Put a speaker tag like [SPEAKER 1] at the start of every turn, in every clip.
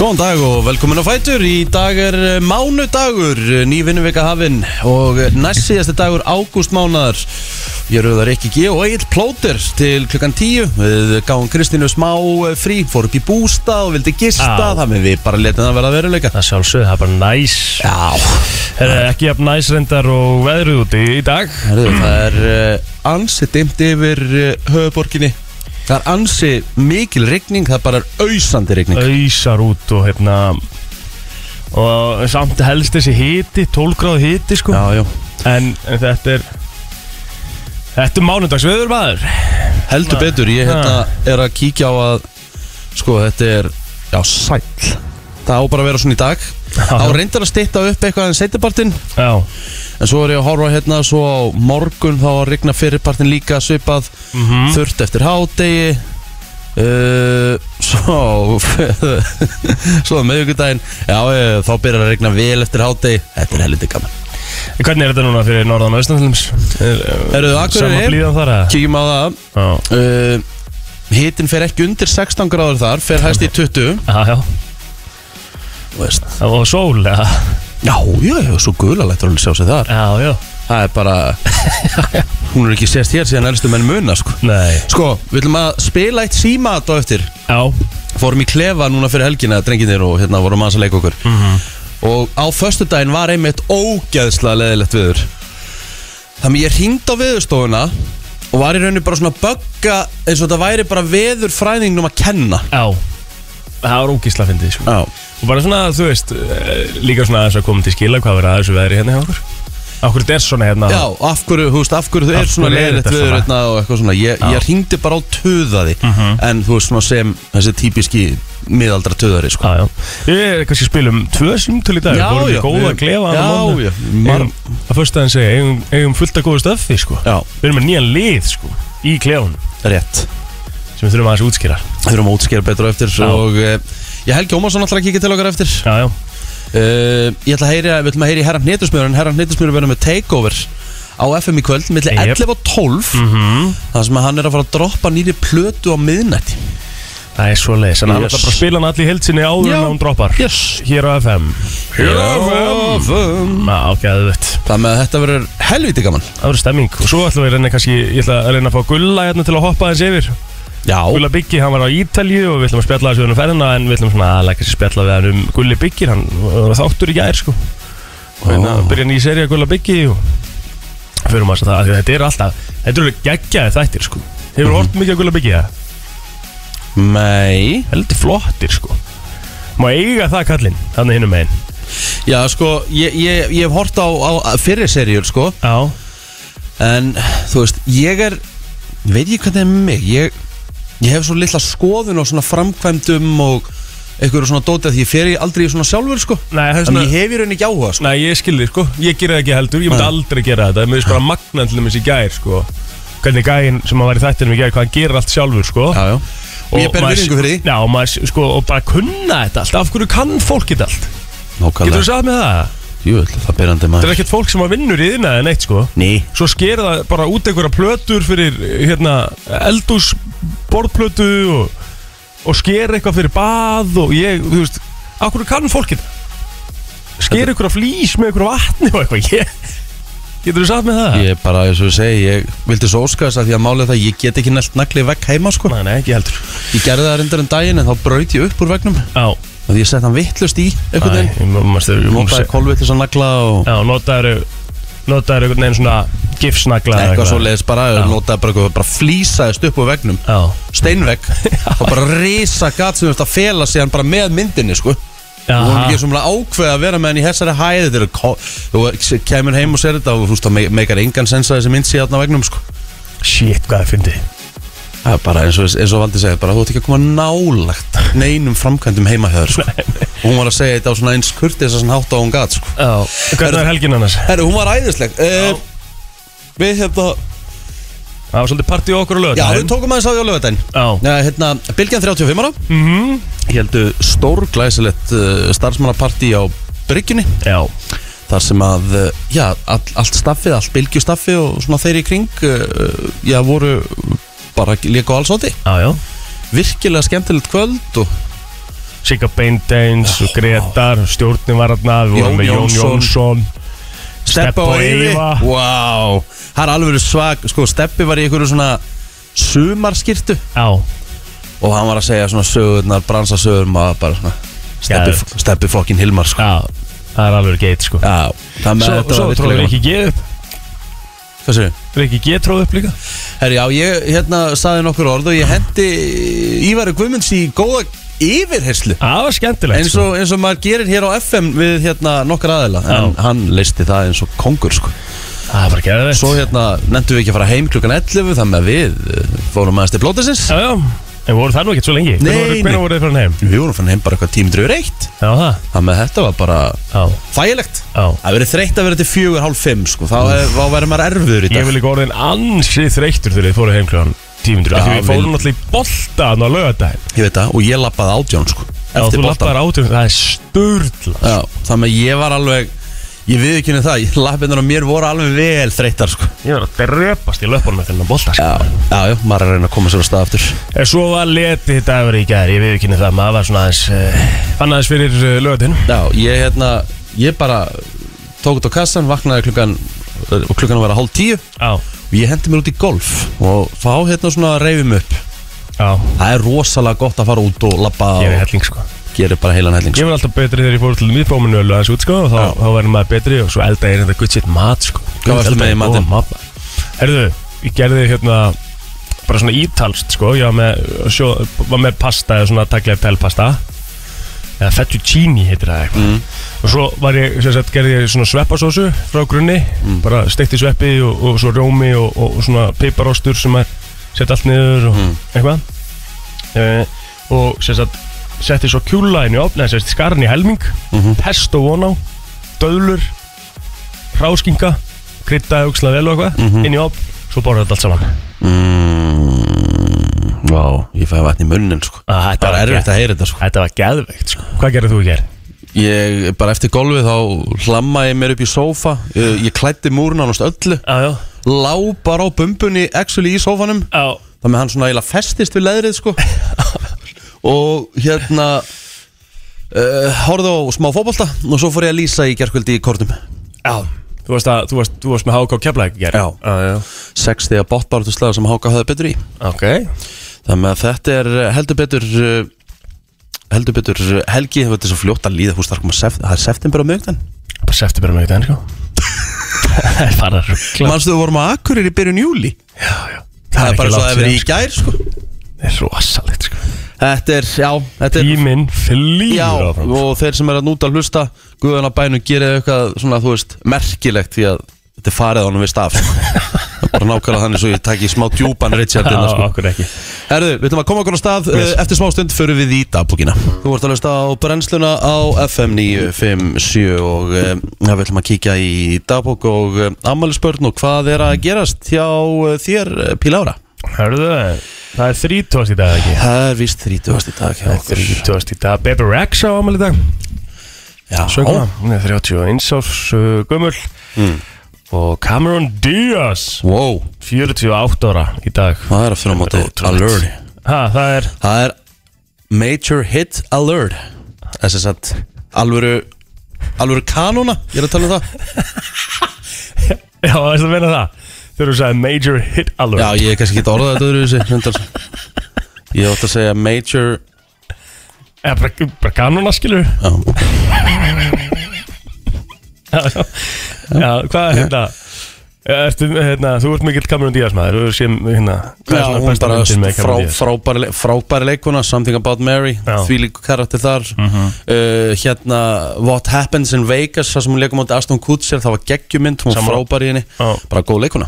[SPEAKER 1] Góðan dag og velkomin á Fætur Í dag er eh, mánudagur eh, Ný vinnuvika hafinn Og eh, næst síðasti dagur ágústmánaðar Ég rauðar ekki G og Egil Plóter Til klukkan 10 Við gáum Kristínu smá eh, frí Fór upp í bústa og vildi gista
[SPEAKER 2] Já.
[SPEAKER 1] Þannig við bara letum það vera veruleika
[SPEAKER 2] Það sjálfsög, það er bara næs
[SPEAKER 1] Já,
[SPEAKER 2] Það er ekki jafn næs reyndar og veðrið úti í dag
[SPEAKER 1] Herðu, það er uh, ansi dimt yfir uh, höfuborginni Það er ansi mikil rigning Það bara er auðsandi rigning
[SPEAKER 2] Öysar út og hérna Og samt helst þessi hiti, 12 gráð hiti sko
[SPEAKER 1] Já, já,
[SPEAKER 2] en, en þetta er Þetta er mánudagsveður maður
[SPEAKER 1] heldur
[SPEAKER 2] Nei. Ah.
[SPEAKER 1] betur Ég hérna, er að kíkja á að Sko, þetta er, já, sæll Það á bara að vera svona í dag Það á
[SPEAKER 2] já.
[SPEAKER 1] reyndar að stytta upp eitthvað en setjabartinn
[SPEAKER 2] Já,
[SPEAKER 1] En svo er ég að horfa hérna Svo á morgun þá að rigna fyrirpartinn líka Svipað
[SPEAKER 2] Mhm.
[SPEAKER 1] þurft eftir hádegi uh, Svo Svo meðjögudaginn Já, eh, þá byrjar að regna vel eftir hádegi Þetta er helviti gaman
[SPEAKER 2] En Hvernig er þetta núna fyrir norðan og austanfilms?
[SPEAKER 1] Herðu, Akureyri-
[SPEAKER 2] eh, Sama blíðan þar að
[SPEAKER 1] Kíkjum á það
[SPEAKER 2] Já,
[SPEAKER 1] uh, Hitin fer ekki undir 16 gráður þar Fer hæst í 20
[SPEAKER 2] já, já
[SPEAKER 1] þú veist.
[SPEAKER 2] Og sól, já,
[SPEAKER 1] Já, já, já, svo gula lættur alveg sjá sig þar
[SPEAKER 2] já, já
[SPEAKER 1] Það er bara Hún er ekki sérst hér síðan elstu menn muna sko.
[SPEAKER 2] Nei,
[SPEAKER 1] sko, við viljum að spila eitt síma á eftir
[SPEAKER 2] já,
[SPEAKER 1] fórum í klefa núna fyrir helgina drenginir og hérna vorum aðeins að leika okkur og á föstudaginn var einmitt ógeðslega leðilegt viður þannig ég hringd á viðurstofuna og var í rauninu bara svona að bögga eins og þetta væri bara veðurfræðingnum að kenna
[SPEAKER 2] já Það var ógísla að fyndið sko
[SPEAKER 1] Já,
[SPEAKER 2] Og bara svona, þú veist, eh, líka svona aðeins að koma til skila hvað verið að þessu veðri hérna hjá okkur Akkur þetta er svona hérna
[SPEAKER 1] Já af hverju, þú veist, af hverju þau er
[SPEAKER 2] Af
[SPEAKER 1] svona
[SPEAKER 2] hverju er
[SPEAKER 1] leðilegt
[SPEAKER 2] þetta
[SPEAKER 1] viður
[SPEAKER 2] svona?
[SPEAKER 1] hérna og eitthvað svona Ég, ég hringdi bara á töðaði
[SPEAKER 2] Mhm.
[SPEAKER 1] en þú veist svona sem þessi típiski miðaldra töðari sko
[SPEAKER 2] Já, já Við erum kannski að spila um tvö símtöl í dag
[SPEAKER 1] Já,
[SPEAKER 2] Vorum
[SPEAKER 1] já,
[SPEAKER 2] við góða
[SPEAKER 1] við-
[SPEAKER 2] að klefa
[SPEAKER 1] já,
[SPEAKER 2] hann
[SPEAKER 1] já, mar-
[SPEAKER 2] Eigum, að fyrst aðeins segja, eigum, eigum fullt að góða stöfi, sko
[SPEAKER 1] Já,
[SPEAKER 2] Við erum með nýjan lið, sko, í klefanum
[SPEAKER 1] rétt
[SPEAKER 2] sem við þurfum aðeins að útskýra
[SPEAKER 1] Við þurfum að útskýra betur á eftir
[SPEAKER 2] Já.
[SPEAKER 1] og eh, ég Helgi Ómarsson ætlar að kíkja til okkar eftir
[SPEAKER 2] Já, já,
[SPEAKER 1] Uh, ég ætla að heyri að við ætlum að heyri herran hnetusmjör en herran hnetusmjör verður með takeover á FM í kvöld millir
[SPEAKER 2] Yep.
[SPEAKER 1] 11 og 12
[SPEAKER 2] Mhm.
[SPEAKER 1] þar sem að hann er að fara að droppa nýri plötu á miðnætti
[SPEAKER 2] það er svo leiðis En hann
[SPEAKER 1] Yes.
[SPEAKER 2] ætla bara að spila hann allir í heldsinni áður
[SPEAKER 1] Já.
[SPEAKER 2] en hann droppar
[SPEAKER 1] yes.
[SPEAKER 2] Hér á FM
[SPEAKER 1] FM
[SPEAKER 2] Já, gæðvett
[SPEAKER 1] Það með að þetta verður helviti gaman
[SPEAKER 2] Það verður stemming Og svo ætlum við að reyna kannski Ég ætla að reyna að fá gulla hérna til að hoppa aðeins yfir
[SPEAKER 1] Já,
[SPEAKER 2] Gulli Byggi, hann var á Ítalju og við ætlum að spjalla þessu um ferðina en við ætlum svona aðlega kannski spjalla við hann um Gulli Byggi hann var þáttur í gær sko og hérna
[SPEAKER 1] Ó.
[SPEAKER 2] byrja ný seri að Gulla Byggi og förum að það, af því að þetta er alltaf þetta eru geggjaði þættir sko hefur mm hort mikið að Gulla Byggi það,
[SPEAKER 1] mei
[SPEAKER 2] heldur flottir sko má eiga það kallinn, þannig hinnum megin
[SPEAKER 1] Já, sko, ég, ég, ég hef hort á, á fyrri seríur, sko
[SPEAKER 2] já,
[SPEAKER 1] En, þú veist, ég er Veit ég hvernig er með mig Ég, ég hef svo litla skoðun og svona framkvæmdum og einhverju svona dótið því ég fer í aldrei í svona sjálfur, sko
[SPEAKER 2] nei, það er
[SPEAKER 1] Þannig
[SPEAKER 2] svona
[SPEAKER 1] ég hef í rauninni ekki áhuga sko.
[SPEAKER 2] Nei, ég skilði, sko, ég gerði það ekki heldur, ég myndi
[SPEAKER 1] Nei.
[SPEAKER 2] aldrei gera þetta Mér finnst bara magna til dæmis í gær, sko Hvernig gæinn sem að var í þættinum í gær, hvað hann gerir allt sjálfur, sko
[SPEAKER 1] já. Og ég ber
[SPEAKER 2] maður-
[SPEAKER 1] virðingu fyrir því
[SPEAKER 2] Já, og maður, sko, og bara kunna þetta allt Af hverju kann fólk þetta allt? Getur þú
[SPEAKER 1] Nákvæmlega
[SPEAKER 2] sagt með það?
[SPEAKER 1] Jú, það berandi
[SPEAKER 2] Það er
[SPEAKER 1] maður
[SPEAKER 2] ekkert fólk sem að vinnur í þina en eitt, sko
[SPEAKER 1] Ný
[SPEAKER 2] Svo sker það bara út einhverja plötur fyrir, hérna, eldús borðplötu og, og sker eitthvað fyrir bað og ég, þú veist Af hverju kann fólk þetta? Sker einhverja flís með einhverja vatni og eitthvað ég, Getur þú sagt með það?
[SPEAKER 1] Ég er bara, eins og ég segi, ég vildi svo óska þess að því að málið það Ég get ekki nælt nagli vekk heima sko
[SPEAKER 2] Nei, nei, ekki heldur
[SPEAKER 1] Ég gerði það reyndar en daginn en þá braut ég upp úr vegnum
[SPEAKER 2] Já,
[SPEAKER 1] Og því ég sett hann vittlust í einhvern
[SPEAKER 2] nei,
[SPEAKER 1] veginn
[SPEAKER 2] ég má- mástu- ég má-
[SPEAKER 1] Nótaði kolvittlust að nagla og
[SPEAKER 2] Já, notaður notaður einhvern veginn svona gifsnagla eða
[SPEAKER 1] eitthvað svo leiðis bara
[SPEAKER 2] Já.
[SPEAKER 1] Nótaði bara eitthvað, bara flýsaðist upp úr vegnum
[SPEAKER 2] Já,
[SPEAKER 1] Steinvegg Og bara risa gat sem þú veist að fela sig hann bara með myndinni sko
[SPEAKER 2] já,
[SPEAKER 1] og hún er ekki svona ákveð að vera með henni í þessari hæði þegar ko- þú er- kemur heim og sér þetta og þú veist það me- meikar engan sens að þessi mynd sé aðna vegnum sko
[SPEAKER 2] shit, hvað það fyndi
[SPEAKER 1] það er bara eins og, eins og Valdi segir bara þú ert ekki að koma nálagt neinum framkvæmdum heima hjá þér sko og hún var að segja þetta á svona eins kurtis að hann hátt á hún gat sko
[SPEAKER 2] Já, hvernig
[SPEAKER 1] Herðu-
[SPEAKER 2] var helgin annars?
[SPEAKER 1] herru hún var æðisleg uh, við hefða
[SPEAKER 2] Það var svolítið partí á okkur og lögð
[SPEAKER 1] já við tókum aðeins á því á lögadaginn
[SPEAKER 2] Já,
[SPEAKER 1] Nei, hérna, Bilgjan 35 ára mm
[SPEAKER 2] Mhm.
[SPEAKER 1] -hmm. Héldu stórglæsilegt uh, starfsmannapartí á Bryggjunni
[SPEAKER 2] já,
[SPEAKER 1] þar sem að, uh, já, all, allt staffið, allt bylgjustaffi og svona þeir í kring, uh, já, voru bara líka á allsóti.
[SPEAKER 2] já, já
[SPEAKER 1] Virkilega skemmtilegt kvöld og
[SPEAKER 2] Sigga Beindeins og Gretar Stjórnin var hérna, við
[SPEAKER 1] Jón
[SPEAKER 2] vorum með Jón
[SPEAKER 1] Jónsson.
[SPEAKER 2] Jónsson
[SPEAKER 1] Steppa og Eyvi Vá, það er alveg svag Sko, Steppi var í einhverju svona sumarskirtu
[SPEAKER 2] Já,
[SPEAKER 1] og hann var að segja svona sögurnar, bransasögur maður bara svona Steppi, steppi fokkin Hilmar sko
[SPEAKER 2] já, það er alveg geit sko
[SPEAKER 1] Já, það með
[SPEAKER 2] Svo,
[SPEAKER 1] þetta
[SPEAKER 2] svo
[SPEAKER 1] var
[SPEAKER 2] tróði
[SPEAKER 1] virkilega
[SPEAKER 2] Rikki G upp
[SPEAKER 1] gaman. Hvað segir
[SPEAKER 2] Rikki G tróði upp líka
[SPEAKER 1] Herri, já, ég hérna saði nokkur orð og ég hendi Ívari Guðmunds í góða yfirherslu
[SPEAKER 2] Það var skemmtilegt sko.
[SPEAKER 1] eins og, eins og maður gerir hér á FM við hérna nokkar aðila en hann leisti það eins og kongur sko
[SPEAKER 2] sko. Það var gerðið
[SPEAKER 1] Svo hérna nefndum við ekki að fara heim klukkan 11 þannig að við eh, fórum aðeins til blótasins
[SPEAKER 2] Já, já, en voru það nú ekkert svo lengi
[SPEAKER 1] Nei, nei.
[SPEAKER 2] Hvernig voru þið fyrir heim?
[SPEAKER 1] Við vorum fann heim bara eitthvað tími drögur eitt
[SPEAKER 2] Já, það
[SPEAKER 1] þannig að þetta var bara
[SPEAKER 2] Já,
[SPEAKER 1] þægilegt
[SPEAKER 2] já
[SPEAKER 1] Það verður þreytt að vera til fjögur, hálf fimm sko. Þá, er- þá verður maður erfiður í
[SPEAKER 2] Ég
[SPEAKER 1] dag
[SPEAKER 2] vil ekki orðin ansið þreyttur þegar þið fóruð heim kljóðan tímundur
[SPEAKER 1] Já,
[SPEAKER 2] Því við
[SPEAKER 1] vil-
[SPEAKER 2] fórum náttúrulega í bolta hann á lögadaginn
[SPEAKER 1] Ég veit það, og ég lappaði átján sko,
[SPEAKER 2] Já,
[SPEAKER 1] Eftir
[SPEAKER 2] þú
[SPEAKER 1] boltan
[SPEAKER 2] lappar átjörn, það er sturla
[SPEAKER 1] Já, Þannig að ég var alveg Ég við ekki henni það, ég- lappirnar á mér voru alveg vel þreyttar sko.
[SPEAKER 2] Ég var að drepast í löpunum eftir hann bolta sko.
[SPEAKER 1] já, já, já, maður er að reyna að koma sér á stað aftur
[SPEAKER 2] En svo var letið dagur í gæri, ég viðkynni það, maður var svona aðeins, uh, fann aðeins fyrir uh, lögadaginn
[SPEAKER 1] Já, ég hérna Ég bara tók þetta á kassan, vaknaði klukkan og klukkan var að hálf tíu
[SPEAKER 2] Já,
[SPEAKER 1] og ég hendi mér út í golf og fá hérna svona að reyfum upp
[SPEAKER 2] já,
[SPEAKER 1] það er rosalega gott að fara út og labba
[SPEAKER 2] ég er
[SPEAKER 1] og
[SPEAKER 2] helling sko
[SPEAKER 1] gerir bara heilan helling sko.
[SPEAKER 2] Ég var alltaf betri þegar ég fór til miðbóminu og aðeins út sko, og þá,
[SPEAKER 1] Já.
[SPEAKER 2] þá verður maður betri og svo elda ég reynda gutt sitt mat sko
[SPEAKER 1] Hvað varstu með í matinn?
[SPEAKER 2] matinn? Herðu, ég gerði hérna bara svona ítalst sko, ég var með, sjó, var með pasta eða svona tagliar telpasta eða fettuccini heitir það
[SPEAKER 1] Mm.
[SPEAKER 2] eitthvað og svo var ég, sem sagt, gerði ég svona sveppasósu frá grunni,
[SPEAKER 1] Mm.
[SPEAKER 2] bara steikti sveppi og, og svo rjómi og, og, og svona piparostur sem er sett allt niður og
[SPEAKER 1] Mm.
[SPEAKER 2] eitthvað e, og sem sagt, setti svo kjúlaðin í ofn, sem sagt, skarn í helming
[SPEAKER 1] Mhm.
[SPEAKER 2] pesto von á, döðlur ráskinga kryddaði auksla vel og eitthvað inn í ofn, svo borða þetta allt saman
[SPEAKER 1] mm, Vá, ég fæði vatn í munnin sko.
[SPEAKER 2] Að þetta
[SPEAKER 1] Bara
[SPEAKER 2] var
[SPEAKER 1] erfitt
[SPEAKER 2] geð-
[SPEAKER 1] að heyra þetta sko.
[SPEAKER 2] Þetta var geðveikt, sko Hvað gerðið þú í gerð?
[SPEAKER 1] Ég, bara eftir golfið þá hlamma ég mér upp í sófa Ég, ég klætti múrun ánast öllu
[SPEAKER 2] Já, já,
[SPEAKER 1] Lá bara á bumbunni actually í sófanum
[SPEAKER 2] já,
[SPEAKER 1] Það með hann svona eiginlega festist við leðrið sko Og hérna uh, Horfði á smá fótbolta Og svo fór ég að lýsa í gerkvöldi í kortum
[SPEAKER 2] já. Þú varst, að, þú, varst, þú varst með HK Keflæk í gerð
[SPEAKER 1] Já.
[SPEAKER 2] já, já
[SPEAKER 1] Sex þegar bóttbártuslega sem háka höfði betur í
[SPEAKER 2] Ok
[SPEAKER 1] Þannig að þetta er eh, heldur betur eh, Heldur betur eh, helgi Það er svo fljótt að líða húst Það er koma sef- það er september á mögdan
[SPEAKER 2] Bara sefti bara með þetta enn, sko Það er bara ruggla
[SPEAKER 1] Manstu þú vorum að akkurir í byrjun júli
[SPEAKER 2] Já, já
[SPEAKER 1] Það er bara
[SPEAKER 2] ekki
[SPEAKER 1] svo að
[SPEAKER 2] langt
[SPEAKER 1] það verið í
[SPEAKER 2] síðan,
[SPEAKER 1] gær sko
[SPEAKER 2] sko. Það er rosalegt, sko
[SPEAKER 1] Þetta er, já, þetta er
[SPEAKER 2] Tíminn
[SPEAKER 1] Já,
[SPEAKER 2] flýður áfram
[SPEAKER 1] og þeir sem er að núta að hlusta Guðan á bænum gerir eitthvað svona, þú veist, merkilegt Því að þetta er farið honum við staf sko. Það er Bara nákvæmlega þannig svo ég takk í smá djúpan Richard
[SPEAKER 2] Já,
[SPEAKER 1] hérna, sko.
[SPEAKER 2] okkur ekki
[SPEAKER 1] Herðu, við ætlum að koma okkur á stað yes. Eftir smá stund förum við í dagbúkina Þú vart að hlusta á brennsluna á FM 957 Og eh, við ætlum að kíkja í dagbúk og eh, afmælisbörn Og hvað er að gerast hjá eh, þér, eh, Pílára?
[SPEAKER 2] Hörðu það Það er þrítóast í dag, ekki
[SPEAKER 1] Það er víst 30. í dag hjá okkur
[SPEAKER 2] Þrítóast í dag Baby Rex á ámæli í dag
[SPEAKER 1] Já,
[SPEAKER 2] Sönguna Hún er 31 árs uh, gömul
[SPEAKER 1] Mm.
[SPEAKER 2] Og Cameron Diaz
[SPEAKER 1] Wow,
[SPEAKER 2] 48 ára í dag
[SPEAKER 1] það er aftur á móti
[SPEAKER 2] Ótrúlegt.
[SPEAKER 1] alert
[SPEAKER 2] Ha, það er
[SPEAKER 1] Það er major hit alert Það er sem sagt alvöru alvöru kanóna, ég er að tala um það
[SPEAKER 2] Já, það er að meina það Þegar þú sagði Major Hit Alert
[SPEAKER 1] Já, ég er kannski ekki orðað þetta öðru þessi hundar Ég átt að segja major
[SPEAKER 2] Eða bara, bara kanona skilur
[SPEAKER 1] Já,
[SPEAKER 2] Já, já, já hvað er hérna Ertu, hérna, þú ert mikill Cameron Diaz maður Þú sem, hérna
[SPEAKER 1] Já
[SPEAKER 2] Hvað er svona
[SPEAKER 1] hún
[SPEAKER 2] besta
[SPEAKER 1] bara
[SPEAKER 2] myndin með
[SPEAKER 1] frá,
[SPEAKER 2] Cameron Diaz?
[SPEAKER 1] frábæri, le- frábæri leikuna Something About Mary,
[SPEAKER 2] Já.
[SPEAKER 1] því líku karakter þar uh, Hérna What Happens in Vegas, það sem hún leikum átti Aston Kutcher, það var geggjumynd, hún var
[SPEAKER 2] Sammála.
[SPEAKER 1] frábæri í henni
[SPEAKER 2] Já.
[SPEAKER 1] Bara góð leikuna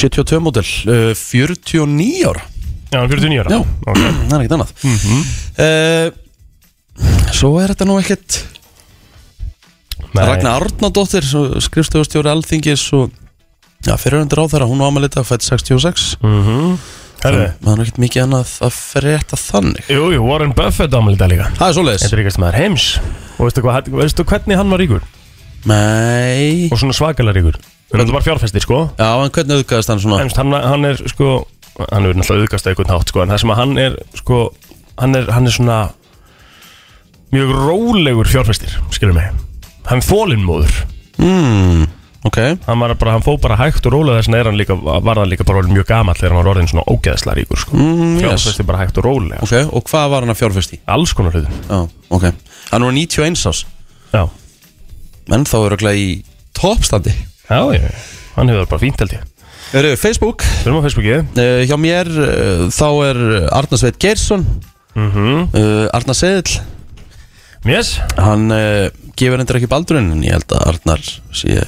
[SPEAKER 1] 72 módel, uh, 49 ára
[SPEAKER 2] Já, hann er 49 ára
[SPEAKER 1] Já.
[SPEAKER 2] Ok.
[SPEAKER 1] það er ekkert annað mm Svo er þetta nú ekkert
[SPEAKER 2] Nei.
[SPEAKER 1] Ragnar Arnardóttir skrifstofustjóri Alþingis og já, fyrirhundur á þeirra, hún á amalita fætt 66
[SPEAKER 2] Mhm. Herðu,
[SPEAKER 1] það er nú ekkert mikið annað að frétta þannig
[SPEAKER 2] Jú, jú, Warren Buffett ámæli dag líka
[SPEAKER 1] Það er svoleiðis
[SPEAKER 2] Þetta er ykkur maður heims Og veistu, hvað, veistu hvernig hann var ríkur?
[SPEAKER 1] Nei
[SPEAKER 2] og svona svakalega ríkur Við erum bara fjárfestir sko
[SPEAKER 1] Já, en hvernig auðgæðast hann svona?
[SPEAKER 2] Emst, hann, hann er sko hann er náttúrulega auðgast að einhvern hátt sko en það sem að hann er sko hann er, hann er svona mjög rólegur fjárfæstir, skilur mig hann þólinnmóður
[SPEAKER 1] mm, Ok
[SPEAKER 2] hann, var bara, hann fó bara hægt og rólega þess vegna er hann líka, var hann líka bara orðinn mjög gamall þegar hann var orðin svona ógeðsla ríkur sko.
[SPEAKER 1] Mm, yes.
[SPEAKER 2] fjárfæstir bara hægt og rólega
[SPEAKER 1] Ok, og hvað var hann að fjárfest í?
[SPEAKER 2] alls konar hlutum
[SPEAKER 1] Já, ok Hann var 91 ás
[SPEAKER 2] já.
[SPEAKER 1] En þá er örugglega í toppstandi
[SPEAKER 2] Já, já, já. hann hefur það bara fínt held ég
[SPEAKER 1] Eru Facebook
[SPEAKER 2] við erum á Facebooki
[SPEAKER 1] uh, Hjá mér uh, þá er Arnar Sveit Geirsson
[SPEAKER 2] mm -hmm.
[SPEAKER 1] uh, Arnar Seðill
[SPEAKER 2] yes.
[SPEAKER 1] Hann uh, gefur hendur ekki baldurinn En ég held að Arnar sé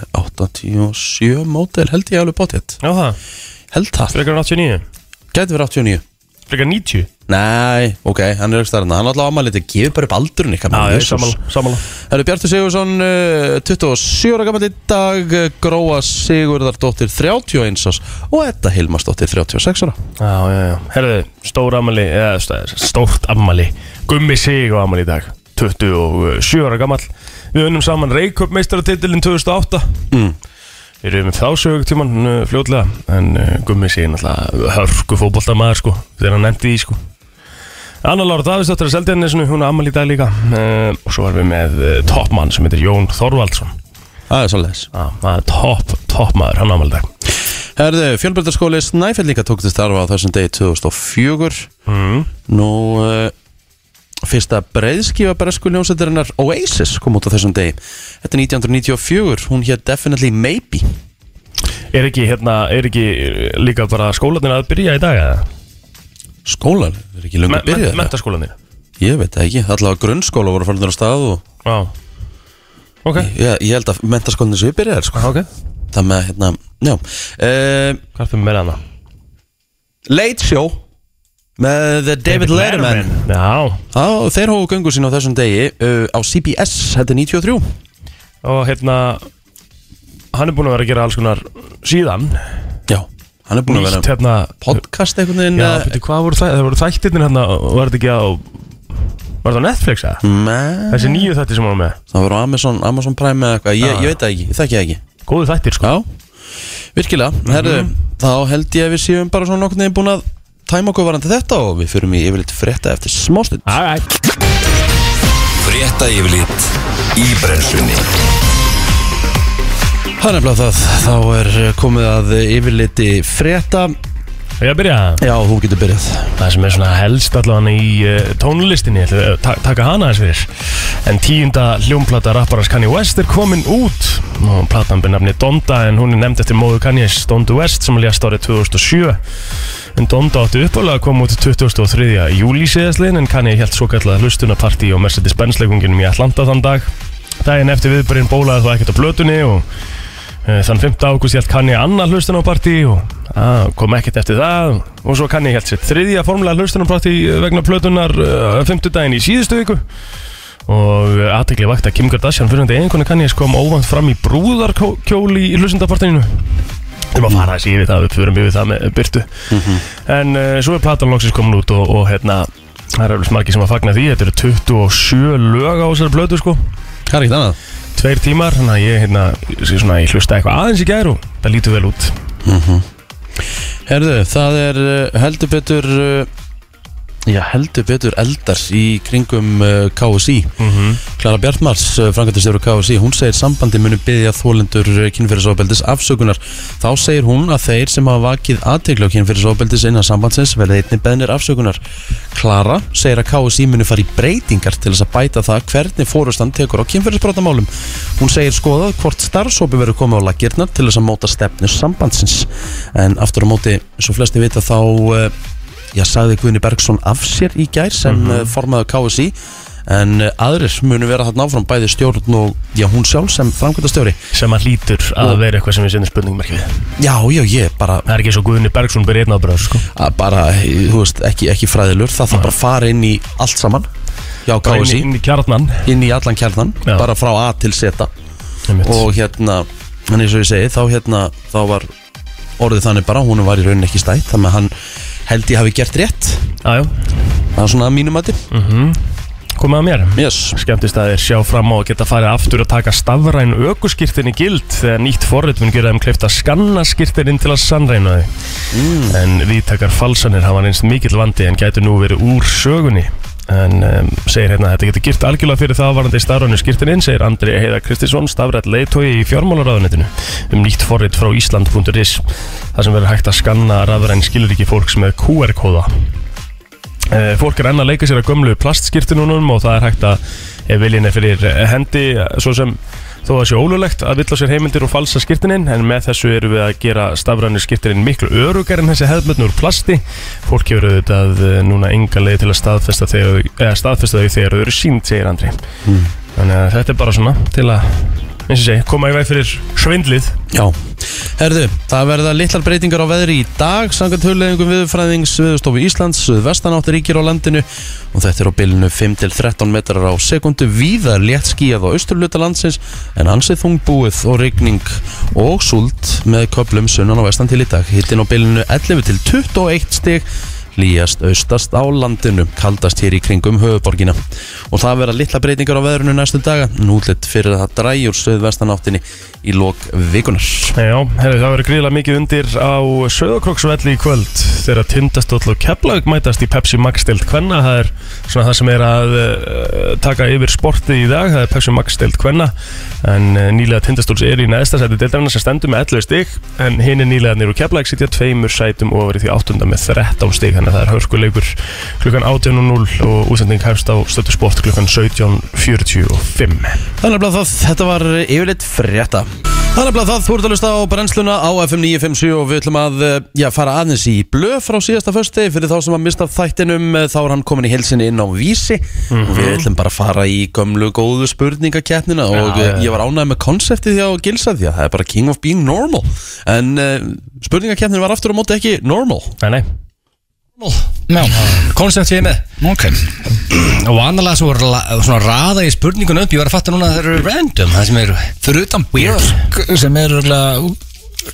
[SPEAKER 1] 87 mótel Held ég alveg bótið
[SPEAKER 2] já það,
[SPEAKER 1] Held það
[SPEAKER 2] frekar en 89
[SPEAKER 1] Gæti verið 89
[SPEAKER 2] frekar 90
[SPEAKER 1] Nei, ok, hann er ekki starna Hann er alltaf ammælið Gefur bara upp aldurinn ykkar maður,
[SPEAKER 2] já,
[SPEAKER 1] Jesus.
[SPEAKER 2] samanlega samanlega
[SPEAKER 1] Það eru Bjartur Sigursson, eh, 27 ára gammal í dag, eh, Gróa Sigurðardóttir, 31 árs og Edda Hilmarsdóttir, 36 ára.
[SPEAKER 2] Já, já, já. Herðu, stór afmæli, eða st- stórt afmæli, gummi sig á afmæli í dag, 27 ára gammal. Við unnum saman Reykjöp meistaratitilinn 2008.
[SPEAKER 1] Mm.
[SPEAKER 2] Við erum þá sögugtíman eh, fljótlega, en uh, gummi sig er náttúrulega hörku fótboltamaður, sko, þegar hann endi í, sko. Anna Lára Davidsdóttir að Seldjarnesinu, hún er afmæli í dag líka. Uh, og svo erum við með uh, toppmann sem heitir Jón Þorvaldsson.
[SPEAKER 1] Það er svolítið.
[SPEAKER 2] Ah, Það er topp, toppmaður, hann á afmæli í dag.
[SPEAKER 1] Herðu, fjölbjöldarskóli Snæfellinga tók til starfa á þessum degi 2004.
[SPEAKER 2] Mm.
[SPEAKER 1] Nú, uh, fyrsta breiðskífa bresku ljónsættarinnar Oasis kom út á þessum degi. Þetta er 1994, hún hér Definitely Maybe.
[SPEAKER 2] Er ekki, hérna, er ekki eh, líka bara skólanir að byrja í dag, eða?
[SPEAKER 1] Skólan er ekki lengur byrjað. Me,
[SPEAKER 2] Mentaskólanir
[SPEAKER 1] ég veit það ekki, allavega grunnskóla voru farinir á stað og
[SPEAKER 2] Já Ok
[SPEAKER 1] ég, ég held að mentaskólinni séu byrjaðir sko.
[SPEAKER 2] Ok
[SPEAKER 1] Það með að, hérna, já uh,
[SPEAKER 2] Hvað er það með hana?
[SPEAKER 1] Late Show með David Letterman
[SPEAKER 2] Já
[SPEAKER 1] Á, Þeir hóðu göngu sín á þessum degi uh, á CBS, þetta er 93
[SPEAKER 2] Og hérna Hann er búinn að vera að gera alls konar síðan
[SPEAKER 1] Já, hann er búin að
[SPEAKER 2] Nýtt
[SPEAKER 1] vera
[SPEAKER 2] hérna
[SPEAKER 1] podcast einhvern veginn eh,
[SPEAKER 2] Já, betur hvað voru það Það voru þættirnir hérna Var þetta ekki á Var þetta á Netflix eða?
[SPEAKER 1] Mm. með,
[SPEAKER 2] Þessi nýju þættir sem hann var með
[SPEAKER 1] Það var á Amazon, Amazon Prime eða eitthvað ég,
[SPEAKER 2] Já.
[SPEAKER 1] ég veit það ekki, ég þekki það ekki Mhm.
[SPEAKER 2] Góðu þættir sko
[SPEAKER 1] Já, virkilega, herðu Þá held ég að við séum bara svona nokkurn veginn búin að tæma okkur varandi þetta og við fyrum í yfirleitt frétta eftir smástund
[SPEAKER 2] Alright
[SPEAKER 3] Frétta yfirlit í brennslunni
[SPEAKER 1] Það er nefnilega það, þá er komið að yfirleiti frétta
[SPEAKER 2] Ég að byrja
[SPEAKER 1] Já, þú getur byrjað
[SPEAKER 2] það sem er svona helst allavega í uh, tónlistinni, ég ætla að ta taka hana aðeins fyrir en tíunda hljómplata rapparans Kanye West er komin út og platan byrði nafni Donda en hún er nefnd eftir móðu Kanye's Donda West sem lést árið 2007 en Donda átti uppálega að koma út 23. júli síðastliðin en Kanye held svo kallega hlustunapartí á Mercedes-Benz leikunginum í Atlanta þann dag daginn eftir viðbyrðin bólaði það ekkert á blötunni og Eh, Þann 5. ágúst held Kanye annað hlustunapartí og að, kom ekkert eftir það og svo Kanye held sér þriðja formulega hlustunapartí eh, vegna plötunar uh, 5. daginn í síðustu viku og aðtekli vakt að Kim Kardashian fyrir hundi einhvernig Kanye kom óvænt fram í brúðarkjóli í hlustunapartínu Þeim að fara þessi yfir það, við fyrir yfir það með byrtu
[SPEAKER 1] Mhm.
[SPEAKER 2] En uh, svo er platan loksins komin út og, og hérna, það er eflust margir sem að fagna því Þetta eru 27 lög á þessari plötu sko
[SPEAKER 1] Það er ekkert annað
[SPEAKER 2] tveir tímar þannig að ég, hérna, sé svona, ég hlusta eitthvað aðeins í gær og það lítur vel út
[SPEAKER 1] Herðu, það er uh, heldur betur uh, Já, heldur betur eldar í kringum uh, KSI
[SPEAKER 2] mm -hmm.
[SPEAKER 1] Klara Bjartmars, uh, frangatistjóru KSI hún segir sambandi muni byggja þólendur kynfyrirsofbeldis afsökunar Þá segir hún að þeir sem hafa vakið aðtegla á kynfyrirsofbeldis innan sambandsins verði einni beðnir afsökunar Klara segir að KSI muni fara í breytingar til þess að bæta það hvernig fórustan tekur á kynfyrirsbrotamálum Hún segir skoðað hvort starfsópi verður komið á laggirnar til þess að móta stefnu sambandsins en aftur á móti, svo flesti vita þá eh, já, sagði Guðni Bergson af sér í gær sem mm formaðu KSI en eh, aðrir munu vera þarna áfram bæði stjórn og já, hún sjálf sem framkvæmtastjóri
[SPEAKER 2] sem að lítur að vera eitthvað sem við sendum spurningum ekki við
[SPEAKER 1] Já, já, ég bara
[SPEAKER 2] það er ekki svo Guðni Bergson byrja einn ábráð sko.
[SPEAKER 1] að bara, eh, þú veist, ekki, ekki fræðilur það þarf bara að fara inn í allt saman já,
[SPEAKER 2] Bara inn,
[SPEAKER 1] KSI,
[SPEAKER 2] í- inn í kjarnan
[SPEAKER 1] inn í allan kjarnan
[SPEAKER 2] Já.
[SPEAKER 1] bara frá A til Z
[SPEAKER 2] og
[SPEAKER 1] og hérna en eins og ég segi þá hérna þá var orðið þannig bara, hún var í rauninni ekki stætt þannig að hann held ég hafi gert rétt
[SPEAKER 2] aðjó
[SPEAKER 1] það er svona að mínum að þér
[SPEAKER 2] komið að mér
[SPEAKER 1] yes.
[SPEAKER 2] skemmtist að þeir sjá fram á að geta farið aftur að taka stafræn aukuskirtin í gild þegar nýtt forrit mun gera þeim kleift að skanna skirtinin til að sannræna þau en viðtakar falsanir hafa reynst mikill vandi en gætu nú verið úr sögunni En um, segir hérna, þetta getur girt algjörlega fyrir það varandi stafrænu skýrtininn, segir Andri Heiðar Kristinsson, stafrætt leiðtói í fjármálaráðunetinu um nýtt forrit frá Ísland.is þar sem verður hægt að skanna rafræn skilriki fólks með QR-kóða. Eh, Fólk er enn að leika sér að gömlu plastskirtinunum og það er hægt að ef viljinn er fyrir hendi svo sem þó að sé ólulegt að vill á sér heimildir og falsa skirtinin en með þessu eru við að gera stafrænu skirtinin miklu örugar en þessi hefðmötnu úr plasti fólk hefur auðvitað eh, núna enga leið til að staðfesta, þegar, eða, staðfesta þau þegar þau eru sínd segir Andri þannig að þetta er bara svona til að eins og segi, koma í veg fyrir svindlið
[SPEAKER 1] Já, herðu, það verða litlar breytingar á veðri í dag samkvæmt hulleðingum viðurfræðings viðurstofu Íslands, vestanátt ríkir á landinu og þetta er á bylunu 5 til 13 metrar á sekundu, víða létt skíjað á austurluta landsins en ansið þungbúið og rigning og súld með köplum sunnan og vestan til í dag hittin á bylunu 11 til 21 stig Líjast austast á landinu, kaldast hér í kringum höfuborgina. Og það verða litla breytingar á veðrunu næstu daga, núlitt fyrir að það dræjur söðvestanáttinni í lok vikunar.
[SPEAKER 2] Já, herri, það verður gríðilega mikið undir á Söðokróksvelli í kvöld þegar tindastóll og keflag mætast í Pepsi Max deild Kvenna, það er svona það sem er að uh, taka yfir sportið í dag, það er Pepsi Max deild Kvenna en uh, nýlega tindastóls er í neðsta sæti deildarinn sem stendur með 11 stig en hinn er nýlega nýru keflag sitja tveimur sætum og verið því áttunda með 13 stig þannig að það er hörkuleikur klukkan 18.00 og útsending hefst á stöttu sport klukkan 17.45
[SPEAKER 1] Þannig að það, þetta var yfirleitt frétta. Þannig að það, þú ert að lusta á brennsluna á FM 957 og við ætlum að eh, já, fara aðeins í blöf frá síðasta fösti fyrir þá sem að mista af þættinum, eh, þá er hann komin í helsinni inn á vísi og
[SPEAKER 4] Mhm.
[SPEAKER 1] við ætlum bara að fara í gömlu góðu spurningakeppnina og
[SPEAKER 2] Já,
[SPEAKER 1] ja,
[SPEAKER 2] já, já.
[SPEAKER 1] ég var ánægð með konseptið hjá Gilsa því að það er bara king of being normal en uh, spurningakeppnin var aftur á móti ekki normal
[SPEAKER 2] Nei, nei
[SPEAKER 4] Já, koncept ég er með Ok Og annarlega svo er la- svona raða í spurningun upp Ég var að fatta núna að það eru random Það sem eru
[SPEAKER 5] Fyrir utan Björk sem er röglega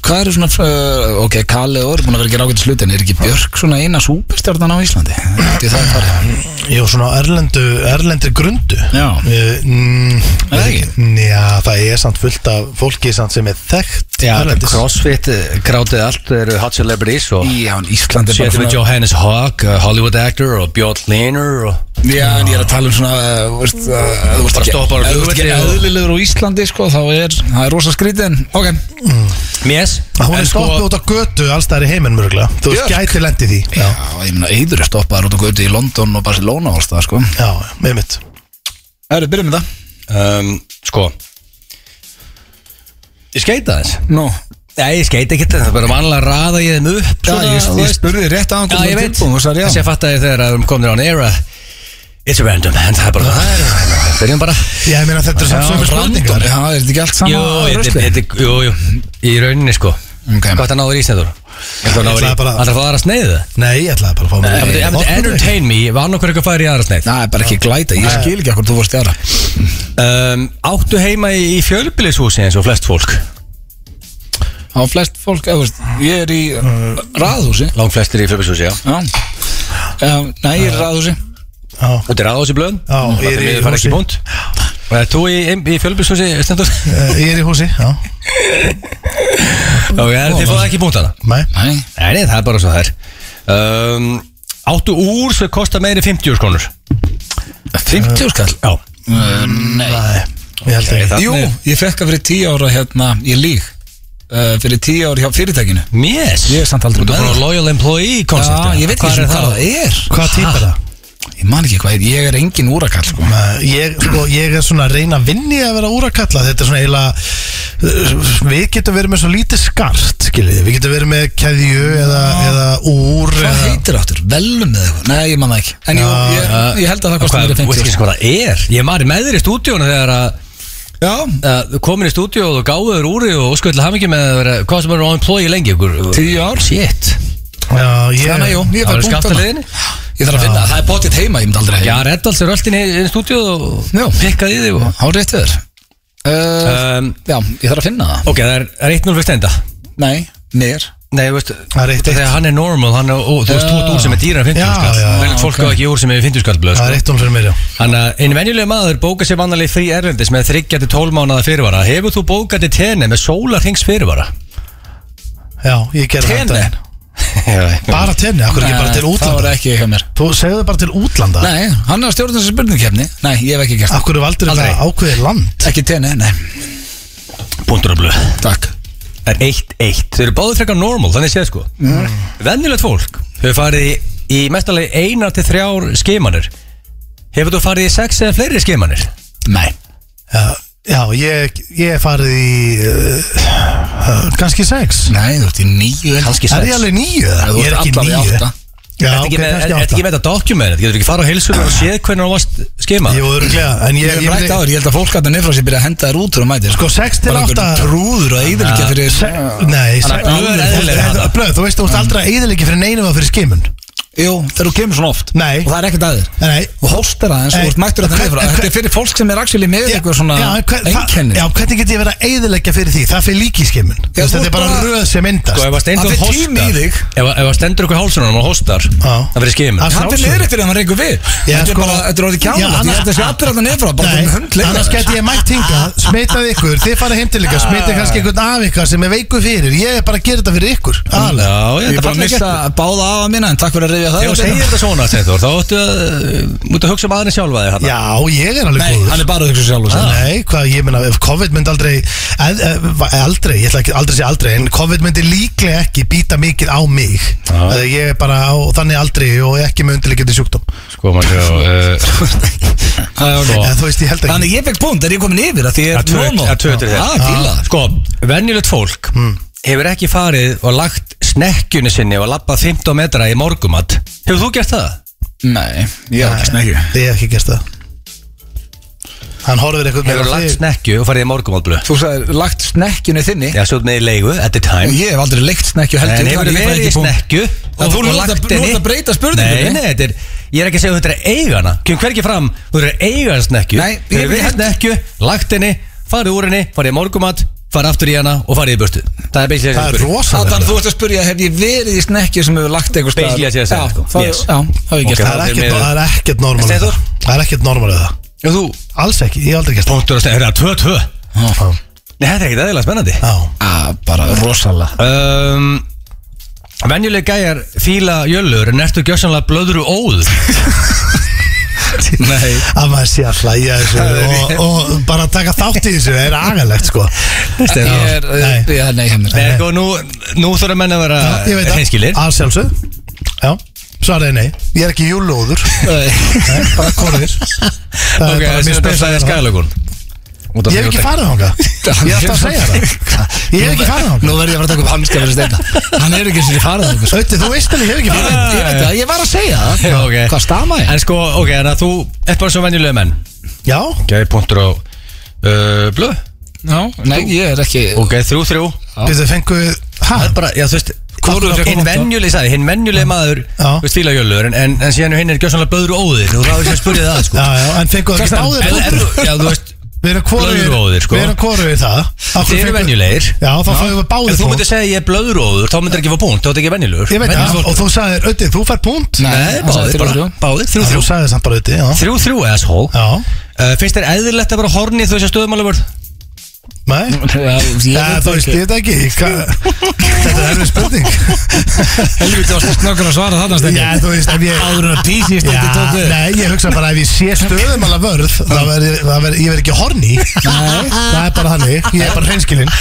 [SPEAKER 5] Hvað eru svona, uh, ok, Kali og Orr búin að vera að gera ágætt slutin, er ekki Björk svona eina súperstjarnan á Íslandi? Þetta er það að fara.
[SPEAKER 6] Ég var svona á erlendu, erlendri grundu
[SPEAKER 5] Já.
[SPEAKER 6] Eh, mm,
[SPEAKER 5] Er það ekki?
[SPEAKER 6] Já, það er samt fullt af fólki samt sem er þekkt
[SPEAKER 4] Já,
[SPEAKER 6] erlendis.
[SPEAKER 4] crossfit, eh, grátið allt eru hot celebrities og
[SPEAKER 5] Í hann, Íslandi
[SPEAKER 4] Sétum við Johannes Hawk, eh, Hollywood actor og Björn Lehner og
[SPEAKER 5] Já, en ég er að tala um svona, uh, veist, uh, þú veist
[SPEAKER 4] Bara
[SPEAKER 5] ekki,
[SPEAKER 4] stoppar á
[SPEAKER 5] ef þú veist ekki
[SPEAKER 4] flugvelli og-
[SPEAKER 5] eðlilegur á Íslandi, sko, þá er, það er rosa skrítið, en, ok,
[SPEAKER 4] Mm. Mies sko,
[SPEAKER 6] Hún er stoppuð út á götu alls þær í heiminn mörgulega Þú veist,
[SPEAKER 5] Björk?
[SPEAKER 6] gæti lendi því
[SPEAKER 5] já, ég meina, eiður er stoppaður út og gauti í London og Barcelona og alls það, sko.
[SPEAKER 6] Já, með mitt
[SPEAKER 5] Það eru, byrjum við það.
[SPEAKER 4] um, Sko Ég skeita þess
[SPEAKER 5] Nú,
[SPEAKER 4] Nei, ég skeita ekki þetta, það er bara vanlega raða ég þeim upp
[SPEAKER 5] já, ég,
[SPEAKER 4] þú
[SPEAKER 5] ég
[SPEAKER 4] veist.
[SPEAKER 5] spurði rétt á hann,
[SPEAKER 4] Já, ég veit
[SPEAKER 5] og það er já.
[SPEAKER 4] Þess að fatta ég þegar að við komum þér án era It's random, en það er bara það er- Byrjum bara
[SPEAKER 6] Já, ég meina þetta er samt sömu
[SPEAKER 5] Random,
[SPEAKER 6] spurningar
[SPEAKER 5] já, er þetta ekki allt
[SPEAKER 4] Jú,
[SPEAKER 5] sama
[SPEAKER 4] ég-
[SPEAKER 5] ruslið?
[SPEAKER 4] ég- ég- jú, jú, í rauninni sko
[SPEAKER 5] Ok.
[SPEAKER 4] Hvað það náður í sneiður? Það náður í,
[SPEAKER 6] ætlaði bara-
[SPEAKER 4] það er að fá aðra sneiðu
[SPEAKER 6] Nei, ég ætlaði bara að fá mér
[SPEAKER 4] Það myndi- það myndi entertain me, var nokkur eitthvað færi í aðra sneið
[SPEAKER 5] Það er bara ekki glæta, ég skil ekki okkur þú vorst í aðra
[SPEAKER 4] um, Áttu heima í, í fjölbýlishúsi eins og flest fólk
[SPEAKER 5] Það var flest fólk, eða, þú veist, ég er í uh,
[SPEAKER 6] Mm.
[SPEAKER 5] raðhúsi
[SPEAKER 4] Lang flestir í fjölbýlishúsi, já
[SPEAKER 5] Já Já, Nei, ég er í raðhúsi
[SPEAKER 4] Út í ráðhúsi blöðum
[SPEAKER 6] Já, ég er í
[SPEAKER 4] Það er
[SPEAKER 6] húsi.
[SPEAKER 4] ekki búnt Og ert Þú í, í fjölbýlishúsi, stendur
[SPEAKER 6] Eh, Ég er í húsi, já
[SPEAKER 4] Ok, en þið fóðu ekki búnt hana
[SPEAKER 6] Nei,
[SPEAKER 5] Nei,
[SPEAKER 4] Nei, nei, það er bara svo það er um, Áttu úr sem kostar meiri 50 skonur
[SPEAKER 5] 50 skall
[SPEAKER 4] Já Eh,
[SPEAKER 5] uh, Nei
[SPEAKER 6] nei, ég held ekki
[SPEAKER 5] Jú, ég fekk að fyrir 10 ára hérna, ég líg uh, Fyrir 10 ára hjá fyrirtækinu
[SPEAKER 4] Yes
[SPEAKER 5] Ég er samt aldrei
[SPEAKER 4] Þú ert
[SPEAKER 5] með
[SPEAKER 4] bara
[SPEAKER 5] það.
[SPEAKER 4] loyal employee concept
[SPEAKER 5] Já, ég veit ekki sem hvað það er
[SPEAKER 6] Hvað týpa það?
[SPEAKER 5] Ég man ekki hvað er, ég er engin úrakall sko.
[SPEAKER 6] Nei, Ég, sko, ég er svona að reyna að vinni að vera úrakalla Þetta er svona eiginlega uh, Við getum verið með svo lítið skart skiljiði. Við getum verið með keðju eða, eða úr
[SPEAKER 5] Hvað
[SPEAKER 6] eða,
[SPEAKER 5] heitir áttur? Velum eða eitthvað? Nei, ég man það ekki En jú, ég, ég held að það kosti
[SPEAKER 4] eh, Hvað,
[SPEAKER 5] mér
[SPEAKER 4] þú veist
[SPEAKER 5] 50
[SPEAKER 4] ekki
[SPEAKER 5] sko.
[SPEAKER 4] hvað það er Ég maður með þér í stúdíónu þegar að
[SPEAKER 5] Já,
[SPEAKER 4] að Þú komin í stúdíó og þú gáðu þér úri og skull hafði ekki með að vera Hvað sem er á employee lengi ykkur
[SPEAKER 5] Tíu ár.
[SPEAKER 4] Shit
[SPEAKER 6] Já, ég
[SPEAKER 5] Þannig að jú,
[SPEAKER 4] Það
[SPEAKER 5] ég fær
[SPEAKER 4] var
[SPEAKER 5] punkt
[SPEAKER 4] skatt að
[SPEAKER 5] þarna.
[SPEAKER 4] leiðinni
[SPEAKER 5] Ég þarf að finna það, það er potið heima, ég myndi aldrei
[SPEAKER 4] Já,
[SPEAKER 5] heima
[SPEAKER 4] Reddals er öll inn í, inn í stúdíó og
[SPEAKER 5] Já.
[SPEAKER 4] pikkaði í þig og
[SPEAKER 5] Há rétt þér uh,
[SPEAKER 4] um,
[SPEAKER 5] Já, ég þarf að finna það
[SPEAKER 4] Ok, það er, það er 1-0 fyrir stenda
[SPEAKER 5] Nei, mér
[SPEAKER 4] Nei, þú veist,
[SPEAKER 6] Það er eitt eitt.
[SPEAKER 4] þegar hann er normal hann er, og, Þú veist, þú ert úr sem er dýra en 50
[SPEAKER 6] Já,
[SPEAKER 1] sko.
[SPEAKER 4] skall
[SPEAKER 6] já,
[SPEAKER 4] Vel, Fólk á ekki úr sem er sko. 50 skall blöð
[SPEAKER 6] Það er eitt hún fyrir mér, já
[SPEAKER 4] Þannig að einu venjulega maður bókar sér vannalegi frí erlendis með 30-12 mánada fyrirvara Hefur þú bókað til tenni með sólarhings fyrirvara?
[SPEAKER 6] Já, ég gerði þetta
[SPEAKER 4] Tene?
[SPEAKER 1] Bara
[SPEAKER 6] Bara tenni, akkur ekki bara til
[SPEAKER 5] Það var
[SPEAKER 6] útlanda
[SPEAKER 5] ekki hjá mér
[SPEAKER 6] Þú segðu bara til útlanda
[SPEAKER 5] Nei, hann er að stjórna þessi spurningkefni Nei, ég hef ekki gert
[SPEAKER 6] Akkur er valdur
[SPEAKER 5] Aldrei.
[SPEAKER 6] þetta ákveðið land
[SPEAKER 5] það Ekki tenni, nei
[SPEAKER 1] Búndur og blöð
[SPEAKER 5] Takk
[SPEAKER 1] Það er eitt eitt Þau eru báðið frekar normal, þannig séð sko
[SPEAKER 6] Mm.
[SPEAKER 1] Venjulegt fólk Hefur farið í, í mestalegi eina til þrjár skimanir Hefur þú farið í sex eða fleiri skimanir?
[SPEAKER 5] Nei
[SPEAKER 6] Já, já ég, ég er farið í uh, uh, Kanski sex
[SPEAKER 5] Nei, þú ert í nýju
[SPEAKER 1] Kannski
[SPEAKER 6] Er ég alveg níu?
[SPEAKER 5] þú
[SPEAKER 6] Ég er
[SPEAKER 5] ert
[SPEAKER 6] ekki
[SPEAKER 5] allavega
[SPEAKER 6] níu
[SPEAKER 5] átta.
[SPEAKER 6] Já,
[SPEAKER 1] Ertu
[SPEAKER 6] ok,
[SPEAKER 1] ekki, með- er-
[SPEAKER 6] kannski
[SPEAKER 1] ertu
[SPEAKER 6] átta
[SPEAKER 1] ekki með þetta dokument? Getur ekki farið á heilsunum og séð hvernig þú varst skimað?
[SPEAKER 6] Jú, örglega En
[SPEAKER 5] Ég
[SPEAKER 6] ég,
[SPEAKER 5] hef
[SPEAKER 6] ég,
[SPEAKER 5] rætt áður, ég held að fólk að það nefnir sér byrja að henda þér út og mæti
[SPEAKER 6] Sko, sex til
[SPEAKER 5] Bara einhver
[SPEAKER 6] átta
[SPEAKER 5] trúður og eðilkja fyrir
[SPEAKER 6] Se- Nei,
[SPEAKER 1] Þannig að blöð er eðlileg þarna.
[SPEAKER 6] blöð, þú veist, þú ert aldrei að eðilegja fyrir neinum að fyrir skimun
[SPEAKER 5] Jú, þegar þú kemur svona oft
[SPEAKER 6] Nei.
[SPEAKER 5] Og það er ekkert aðeins
[SPEAKER 6] Nei,
[SPEAKER 5] Þú hóstar aðeins og
[SPEAKER 6] Nei.
[SPEAKER 5] þú ert mættur að það
[SPEAKER 6] Hver-
[SPEAKER 5] nefnir
[SPEAKER 6] hver-
[SPEAKER 5] Þetta er fyrir fólk sem er actually með
[SPEAKER 6] Já,
[SPEAKER 5] eitthvað svona
[SPEAKER 6] já, en hver- það-
[SPEAKER 5] einkennir
[SPEAKER 6] Já, hvernig get ég verið að eðilegja fyrir því? Það fyrir líki skimun
[SPEAKER 5] Já,
[SPEAKER 6] Þetta
[SPEAKER 5] þú
[SPEAKER 6] er
[SPEAKER 5] ert
[SPEAKER 6] bara
[SPEAKER 5] bara-
[SPEAKER 6] röð sem
[SPEAKER 1] Sko,
[SPEAKER 6] myndast
[SPEAKER 1] ef að
[SPEAKER 5] Það
[SPEAKER 1] Steindór
[SPEAKER 5] fer tími
[SPEAKER 1] hóstar
[SPEAKER 5] í þig.
[SPEAKER 1] Ef að- ef að stendur ykkur hálsunum og hóstar
[SPEAKER 6] Já.
[SPEAKER 1] Það verður skimin
[SPEAKER 6] Að
[SPEAKER 5] Hann er
[SPEAKER 6] sjálfsögðu.
[SPEAKER 5] niður eftir þegar maður reykur við
[SPEAKER 6] Já,
[SPEAKER 5] Þetta er
[SPEAKER 6] sko-
[SPEAKER 5] bara, þetta er orðið
[SPEAKER 6] Já,
[SPEAKER 5] kjála Ég
[SPEAKER 6] annars-
[SPEAKER 5] held að sé allir að það nefra Bara
[SPEAKER 6] Nei,
[SPEAKER 5] með hönd
[SPEAKER 6] annars
[SPEAKER 5] leika
[SPEAKER 6] geti ég mætt hingað, smitað ykkur, þið farið heim til ykkar,
[SPEAKER 5] Ah.
[SPEAKER 6] smitið kannski einhvern af ykkar sem er veiku fyrir, ég er bara að gera þetta fyrir ykkur,
[SPEAKER 5] Mm.
[SPEAKER 6] aðalega.
[SPEAKER 1] Já, ég
[SPEAKER 5] Ég
[SPEAKER 1] þetta
[SPEAKER 5] er bara að
[SPEAKER 1] fannst ekki
[SPEAKER 5] missa báða afa minna En takk fyrir að reyja það
[SPEAKER 1] Þegar þú
[SPEAKER 5] upp
[SPEAKER 1] segir
[SPEAKER 5] hérna.
[SPEAKER 1] þetta svona, Steindór, þá ættu að uh, Mútu að hugsa um aðeins sjálfa þig hann
[SPEAKER 6] Já, ég er alveg
[SPEAKER 5] Nei,
[SPEAKER 6] góður.
[SPEAKER 5] hann er bara Ah. að hugsa sjálf
[SPEAKER 6] Nei, hvað, ég meina, ef COVID myndi aldrei, eð, eð, aldrei, ég ætla ekki aldrei að segja aldrei, en COVID myndi líklega ekki býta mikið á mig.
[SPEAKER 5] Ah.
[SPEAKER 6] Þegar ég er bara á þannig aldrei og ekki með undirleikjandi sjúkdóm.
[SPEAKER 1] Sko, maður eh, sjá
[SPEAKER 6] Eða,
[SPEAKER 1] Sko,
[SPEAKER 6] þú veist, ég held ekki.
[SPEAKER 5] Ah. Þannig ég fekk punkt, er ég komin yfir að því ég
[SPEAKER 1] að
[SPEAKER 5] er normal
[SPEAKER 1] tötur
[SPEAKER 5] Já,
[SPEAKER 1] þér
[SPEAKER 5] að fíla
[SPEAKER 1] Sko, venjulegt fólk
[SPEAKER 5] Hmm.
[SPEAKER 1] Hefur ekki farið og lagt snekkjunni sinni og lappað 15 metra í morgumat Hefur þú gert það?
[SPEAKER 5] Nei, ég er ekki snækju
[SPEAKER 6] Ég hef ekki gert það. Hann horfir eitthvað
[SPEAKER 1] Hefur
[SPEAKER 6] á
[SPEAKER 1] lagt
[SPEAKER 6] þig.
[SPEAKER 1] snekkju og farið í morgumat blöð
[SPEAKER 5] Þú sagði, lagt snekkjunni þinni
[SPEAKER 1] Já, svo með í leigu, at the time
[SPEAKER 5] Ég hef aldrei leikt snekkju heldur
[SPEAKER 1] En hefur
[SPEAKER 5] þannig ég fæ
[SPEAKER 1] verið í
[SPEAKER 5] ekki punkt.
[SPEAKER 1] snekkju
[SPEAKER 5] En þú nú ert að- nú ert að breyta spurningunni.
[SPEAKER 1] Nei, nei, þetta er Ég er ekki að segja að þetta er eigana Kjum hvergi fram, þú eru eigan snekkju
[SPEAKER 5] Nei,
[SPEAKER 1] Þú
[SPEAKER 5] ég
[SPEAKER 1] eru verið
[SPEAKER 5] held-
[SPEAKER 1] snekkju, lagt henni Farið úr henni, farið í morgumat Farið aftur í hana og farið í burtu Það er beinslega
[SPEAKER 6] Það er
[SPEAKER 5] Adam,
[SPEAKER 6] rosalega.
[SPEAKER 5] þú ert að spurja, hef ég verið í snekkju sem hefur lagt eitthvað staðar?
[SPEAKER 1] Basically að segja það,
[SPEAKER 5] Já,
[SPEAKER 1] sko.
[SPEAKER 5] það-
[SPEAKER 1] Yes.
[SPEAKER 5] Já, það hef ég gert
[SPEAKER 1] Ok.
[SPEAKER 6] Það er ekkert- það er ekkert normal við
[SPEAKER 1] Steindór?
[SPEAKER 6] það. Það er ekkert normal við það.
[SPEAKER 5] Já, þú
[SPEAKER 6] Alls ekki, ég hef aldrei gert það.
[SPEAKER 1] Punktur að snekja, það er 2-2 Nei, þetta er ekkit aðeinslega spennandi
[SPEAKER 6] Já.
[SPEAKER 5] Ah, bara rosalega
[SPEAKER 1] um, Venjuleg gæjar fíla jöllur En ertu gjössanlega blöðru óður Nei
[SPEAKER 6] að maður sé að hlæja þessu og, og bara taka þátt í þessu er agalegt sko
[SPEAKER 5] Ég er,
[SPEAKER 6] Nei.
[SPEAKER 5] nei, já, nei, hérna, hefnir
[SPEAKER 1] Nei, sko, nú, nú þurfa menn að vera
[SPEAKER 6] ég veit
[SPEAKER 1] hreinskilnir.
[SPEAKER 6] það, að sjálfsög já, svaraði nei, ég er ekki júlóður Nei, bara korður það
[SPEAKER 1] Ok,
[SPEAKER 6] er bara mjög
[SPEAKER 1] þessi
[SPEAKER 6] spes
[SPEAKER 1] það
[SPEAKER 6] að
[SPEAKER 1] er
[SPEAKER 6] það
[SPEAKER 1] skælökun
[SPEAKER 6] ég hef ekki farið þangað ég er alltaf að segja það ég hef ekki farið þangað
[SPEAKER 5] Nú verð ég að fara að taka upp hanska fyrir steina Hann er ekki sem ég farið þangað, sko.
[SPEAKER 6] Ötti, þú veist alveg, ég hef ekki
[SPEAKER 5] Ég
[SPEAKER 6] farið
[SPEAKER 5] veit- Ég veit það, ég var að segja það sko.
[SPEAKER 1] Já, ok.
[SPEAKER 5] Hvað stama ég?
[SPEAKER 1] En sko, ok, en að þú ert bara svo venjulega menn
[SPEAKER 6] já,
[SPEAKER 1] Gæði punktur á uh, blöð
[SPEAKER 5] Já, nei, ég er ekki
[SPEAKER 1] Ok, þrjú, þrjú
[SPEAKER 6] við þau fengu hæ,
[SPEAKER 1] Það er bara, já þú veist
[SPEAKER 6] Hvorugur fékk
[SPEAKER 1] Hinn
[SPEAKER 6] punkt á?
[SPEAKER 1] venjuleg, sagði, hinn venjuleg maður
[SPEAKER 6] Já.
[SPEAKER 1] Þú veist, fíla jölur En, en, en síðan hinn er gjössanlega blöður óðir Og það er sem spurði það, sko
[SPEAKER 6] já, já, en fengu það ekki báðir
[SPEAKER 1] En- en
[SPEAKER 6] punktur?
[SPEAKER 1] þú- Já, þú veist
[SPEAKER 6] við erum hvorugur
[SPEAKER 1] Blöðróðir, sko.
[SPEAKER 6] við erum hvorugur það Af hverju
[SPEAKER 1] Þið eru
[SPEAKER 6] fengu-
[SPEAKER 1] venjulegir
[SPEAKER 6] já, þá fáum við
[SPEAKER 1] Ef
[SPEAKER 6] báðir
[SPEAKER 1] þú
[SPEAKER 6] punkt.
[SPEAKER 1] myndir segja ég er blöður óður Þá myndir ekki fá punkt, þá er ekki venjulegur
[SPEAKER 6] Ég veit það,
[SPEAKER 1] Venjulegur
[SPEAKER 6] og
[SPEAKER 1] fólk.
[SPEAKER 6] þú sagðir, Ötti, þú fær punkt
[SPEAKER 1] Nei,
[SPEAKER 5] hann sagði
[SPEAKER 1] báðir,
[SPEAKER 5] þrjú,
[SPEAKER 1] bara
[SPEAKER 5] þrjú.
[SPEAKER 1] Báðir,
[SPEAKER 6] Já,
[SPEAKER 1] þrjú,
[SPEAKER 6] Þú
[SPEAKER 1] þrjú
[SPEAKER 6] sagði þess að bara Ötti, já
[SPEAKER 1] Þrjú, þrjú, asshole
[SPEAKER 6] Já,
[SPEAKER 1] Uh, Finnst þér eðlilegt að vera hornið þú þessi stöðumáluvörð?
[SPEAKER 6] nei
[SPEAKER 5] Já, ég
[SPEAKER 6] Nei,
[SPEAKER 5] veit
[SPEAKER 6] þú
[SPEAKER 5] það
[SPEAKER 6] veist,
[SPEAKER 5] ekki
[SPEAKER 6] ég veit ekki Hva- Þetta er erfið spurning
[SPEAKER 5] Helviti var slútt nokkur að svara þarna
[SPEAKER 6] Já,
[SPEAKER 5] steina
[SPEAKER 6] þú veist, ef ég
[SPEAKER 5] Áður en að písi
[SPEAKER 6] Já,
[SPEAKER 5] stendi tóku
[SPEAKER 6] nei, ég hugsa bara ef ég sé stöðum alveg vörð þá verð, það verð, ég verð ekki horni það er bara hannig, ég er bara hreinskilinn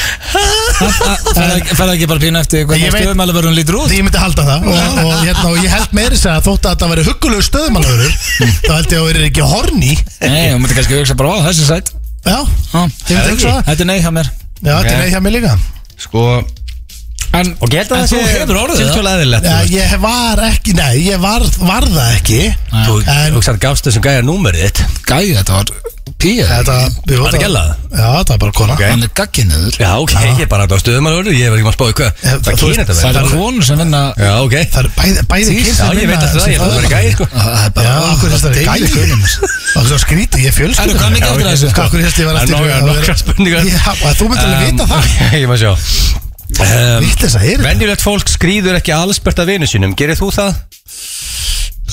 [SPEAKER 5] Færðu ekki bara pínu eftir
[SPEAKER 6] Ég
[SPEAKER 5] hvernig
[SPEAKER 6] veit-
[SPEAKER 5] stöðumælaverðun lítur út?
[SPEAKER 6] því ég myndi halda það og, og, hérna, og ég held meiri sér að þótt að þetta veri huggulegu stöðum alveg vörður þá held ég að það verið ekki horni
[SPEAKER 5] Nei, þú myndir kannski hugsa bara á þessi sætt
[SPEAKER 6] Já,
[SPEAKER 5] Já,
[SPEAKER 6] ég myndi hugsa það
[SPEAKER 5] Þetta er nei hjá mér
[SPEAKER 6] Já, þetta er neitt hjá mig líka
[SPEAKER 1] Sko Og
[SPEAKER 5] En,
[SPEAKER 1] ég held
[SPEAKER 5] en
[SPEAKER 1] að
[SPEAKER 5] þú hefur orðið það
[SPEAKER 1] Tilkvæmlega eðlilegt
[SPEAKER 6] Já, Eh, ég var ekki, nei, ég var, var það ekki
[SPEAKER 1] Þú
[SPEAKER 6] En-
[SPEAKER 1] hugsaðar gafst þessum gæja númerið þitt
[SPEAKER 5] Gæði, þetta var píja
[SPEAKER 6] Þetta, jú,
[SPEAKER 1] Var það ekki
[SPEAKER 6] Já,
[SPEAKER 1] alveg?
[SPEAKER 6] þetta var bara kona Eh,
[SPEAKER 5] Hann er gagginniður
[SPEAKER 1] Já, ok, ég er bara að stöðumáluvörð Ég var ekki maður að spá í hvað
[SPEAKER 6] Eh,
[SPEAKER 1] Það
[SPEAKER 6] þú
[SPEAKER 1] kynir
[SPEAKER 6] veist,
[SPEAKER 1] þetta
[SPEAKER 5] Það
[SPEAKER 1] verið
[SPEAKER 5] eru konur sem vinna
[SPEAKER 1] Já, ok
[SPEAKER 6] Það eru bæði, bæði kyn
[SPEAKER 1] Já, ég veit að það, ég held að það verið gæja sko
[SPEAKER 5] Það er
[SPEAKER 6] Já,
[SPEAKER 5] bara
[SPEAKER 6] okkur þess að það er
[SPEAKER 5] deili.
[SPEAKER 6] gæði Og svo skríti, ég er fjölskyldur
[SPEAKER 5] En hvað mikið eftir af þessu?
[SPEAKER 6] Hvað okkur þess að ég var
[SPEAKER 1] Það er
[SPEAKER 6] eftir
[SPEAKER 1] nokkra-
[SPEAKER 6] að vera-
[SPEAKER 1] nokkra spurningar.
[SPEAKER 6] Já, og þú myndir alveg vita það
[SPEAKER 1] það Ég maður sjá Um,
[SPEAKER 6] Vitt þess að heyri
[SPEAKER 1] Venjulegt fólk skrýður ekki allsbert að vinu sínum Gerir þú það?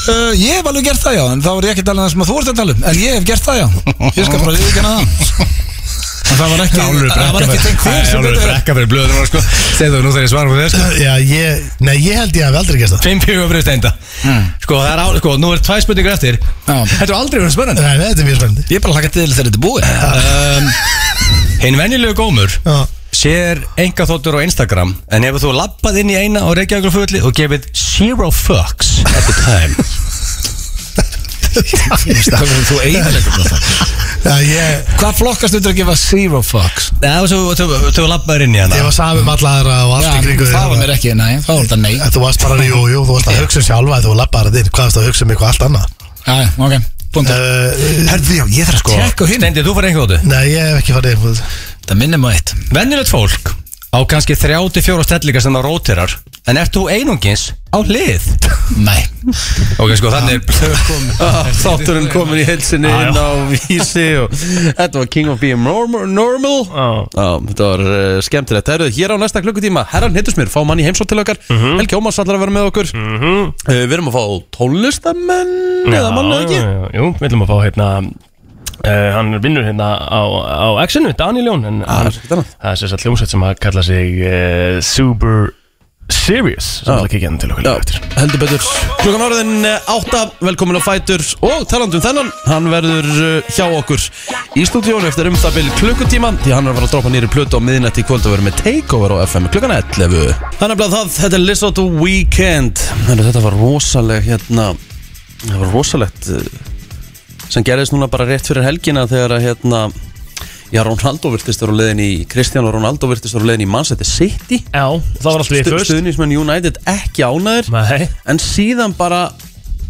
[SPEAKER 5] Uh, ég hef alveg gert það já, en þá er ég ekki að tala um það sem að þú ert að tala um En ég hef gert það já, ég skal bara viðkjanna það En það var ekki Það var ekki tengt þér sem
[SPEAKER 4] Það
[SPEAKER 5] betur
[SPEAKER 4] er
[SPEAKER 5] fer.
[SPEAKER 4] brekka fyrir blöðunar sko Segðu þú nú þegar ég svara með þér sko
[SPEAKER 6] Já, ég, nei, ég held ég hafi aldrei gert það
[SPEAKER 4] Fimm fjögur fyrir steinda
[SPEAKER 1] Hmm.
[SPEAKER 4] Sko, það er á, sko, nú er tvær spurningar eftir
[SPEAKER 5] Já.
[SPEAKER 4] Þetta er aldrei verið spennandi
[SPEAKER 6] Nei, nei, þetta er mjög spennandi
[SPEAKER 5] Ég er bara hlaka til þegar þetta er búið
[SPEAKER 4] um, Hinn venjulegu gómur
[SPEAKER 6] Já,
[SPEAKER 4] Sér enga þóttur á Instagram En hefur þú lappað inn í eina og reykja ykkur fulli Og gefið zero fucks at the time
[SPEAKER 5] Það er þú eiginleikum það
[SPEAKER 6] já ég,
[SPEAKER 5] Hvað flokkast undir að gefa zero fucks?
[SPEAKER 4] Nei, þú, þú, þú, þú lappaður inn í hana
[SPEAKER 6] ég var samum alla aðra og allt í kringu
[SPEAKER 5] það var mér ekki, nei, það var þetta nei
[SPEAKER 6] En Þú varst bara, jú, jú, þú varst að hugsa um sjálfa þegar Þú lappaði þinn, hvað varst að hugsa um eitthvað allt annað
[SPEAKER 5] Já, já, ok,
[SPEAKER 4] Eh,
[SPEAKER 5] punktu
[SPEAKER 6] uh,
[SPEAKER 5] Herðu, já, ég þarf að Tjekk á hinn
[SPEAKER 4] Stendi, þú farið einhver þóttu
[SPEAKER 6] Nei, ég hef ekki farið einhvern
[SPEAKER 5] Það minnum á eitt
[SPEAKER 4] Venjulegt fólk á kannski 34 stellingar sem það róterar En ert þú einungins á hlið?
[SPEAKER 5] Nei
[SPEAKER 4] Ok, sko, þannig er
[SPEAKER 1] Ah, Þátturinn komin í heilsinni inn á vísi og þetta var King of Being Norm- Normal
[SPEAKER 2] Ah.
[SPEAKER 1] Já, þetta var uh, skemmtilegt Það eruð hér á næsta klukkutíma Herran hittust mér, fá mann í heimsótt til okkar Helgi Ómars allar að vera með okkur uh, Við erum að fá tónlistamenn eða mann eða ekki
[SPEAKER 2] já, Jú, við viljum að fá hérna Uh, hann vinnur hérna á, á X-inu, Daniel Jón en
[SPEAKER 1] Ah, það er
[SPEAKER 2] hann-
[SPEAKER 1] ekkert annað.
[SPEAKER 2] það er sérstaklega hljómsveit sem að kalla sig uh, Super Serious
[SPEAKER 1] Já.
[SPEAKER 2] sem það kikið hann hérna til okkur
[SPEAKER 1] Já,
[SPEAKER 2] líka eftir
[SPEAKER 1] heldur betur Klukkan orðin eh, átta, velkomin á Fætur Og talandum þennan, hann verður eh, hjá okkur Í stúdíónu eftir um það byrju klukkutíma Því hann er að fara að droppa nýri plötu á miðnætti í kvöld Og verður með takeover á FM klukkan 11 Þannig að það, þetta er Lizzo to Weekend Þannig þetta var rosaleg hérna Það var rosalegt eh, Sem gerðist núna bara rétt fyrir helgina Þegar að hérna Já, Ronaldo virtist vera á leiðin í Kristján og Ronaldo virtist vera á leiðin í Manchester City
[SPEAKER 2] Já, það var alltaf við
[SPEAKER 1] Stu-
[SPEAKER 2] fyrst
[SPEAKER 1] Stuðningsmenn United ekki ánæður
[SPEAKER 2] Nei,
[SPEAKER 1] en síðan bara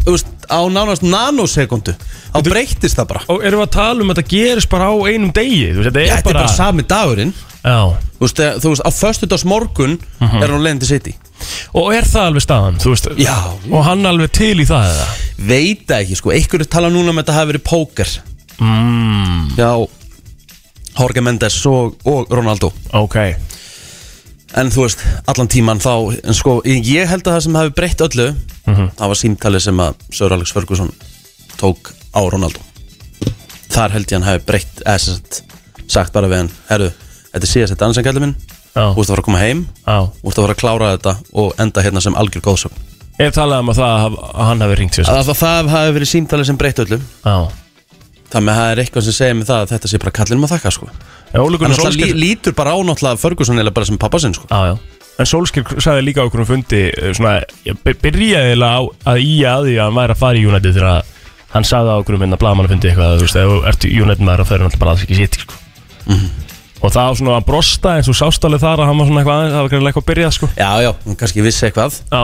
[SPEAKER 1] þú veist, á nánast nanosekundu þá breyttist það bara
[SPEAKER 2] og erum við að tala um að þetta gerist bara á einum degi Þú veist, þetta er
[SPEAKER 1] þetta er
[SPEAKER 2] bara,
[SPEAKER 1] bara sami dagurinn
[SPEAKER 2] Já,
[SPEAKER 1] þú veist, þú veist á föstudags morgun
[SPEAKER 2] Mhm.
[SPEAKER 1] er hann á leiðin til City
[SPEAKER 2] og er það alveg staðan, þú veist
[SPEAKER 1] Já.
[SPEAKER 2] Og hann alveg til í það eða
[SPEAKER 1] veit það ekki sko, einhverju tala núna um að þetta hafi verið póker mm. já Jorge Mendes og, og Ronaldo
[SPEAKER 2] Ok,
[SPEAKER 1] en þú veist, allan tíman þá en sko, ég held að það sem hafi breytt öllu það var símtalið sem að Sir Alex Ferguson tók á Ronaldo þar held ég hann hafi breytt eða sem sagt, sagt bara við hann herru, þetta er síðast þetta ansangallir minn
[SPEAKER 2] Já.
[SPEAKER 1] þú ert að fara að koma heim
[SPEAKER 2] á
[SPEAKER 1] þú ert að fara að klára þetta og enda hérna sem algjör góðsögn
[SPEAKER 2] Ef talað um að það haf- að hann hafi ringt sér
[SPEAKER 1] að það, það hafi verið símtalið sem breytt öllu
[SPEAKER 2] Já
[SPEAKER 1] þannig að það er eitthvað sem segir mig það að þetta sé bara kallinum að þakka sko
[SPEAKER 2] Já, Óli
[SPEAKER 1] hann
[SPEAKER 2] Gunnar
[SPEAKER 1] alltaf lí,
[SPEAKER 2] Solskjær
[SPEAKER 1] lítur bara á náttúrulega Ferguson eða bara sem pappasinn sko
[SPEAKER 2] Já, já En Solskjær sagði líka á okkur um fundi eh, svona, ég by- byrjaði eiginlega á að í að því að hann væri að fara í United þegar að hann sagði á okkur um hérna blagamannafundi eitthvað að þú veist, ef þú ert í United maður þá er hann bara alls ekki sitt sko. og það var svona að brosta eins og sástalið þar að hann var svona eitthvað aðeins, það var greinlega eitthvað að byrja sko.
[SPEAKER 1] já, já, hann kannski vissi eitthvað
[SPEAKER 2] Já,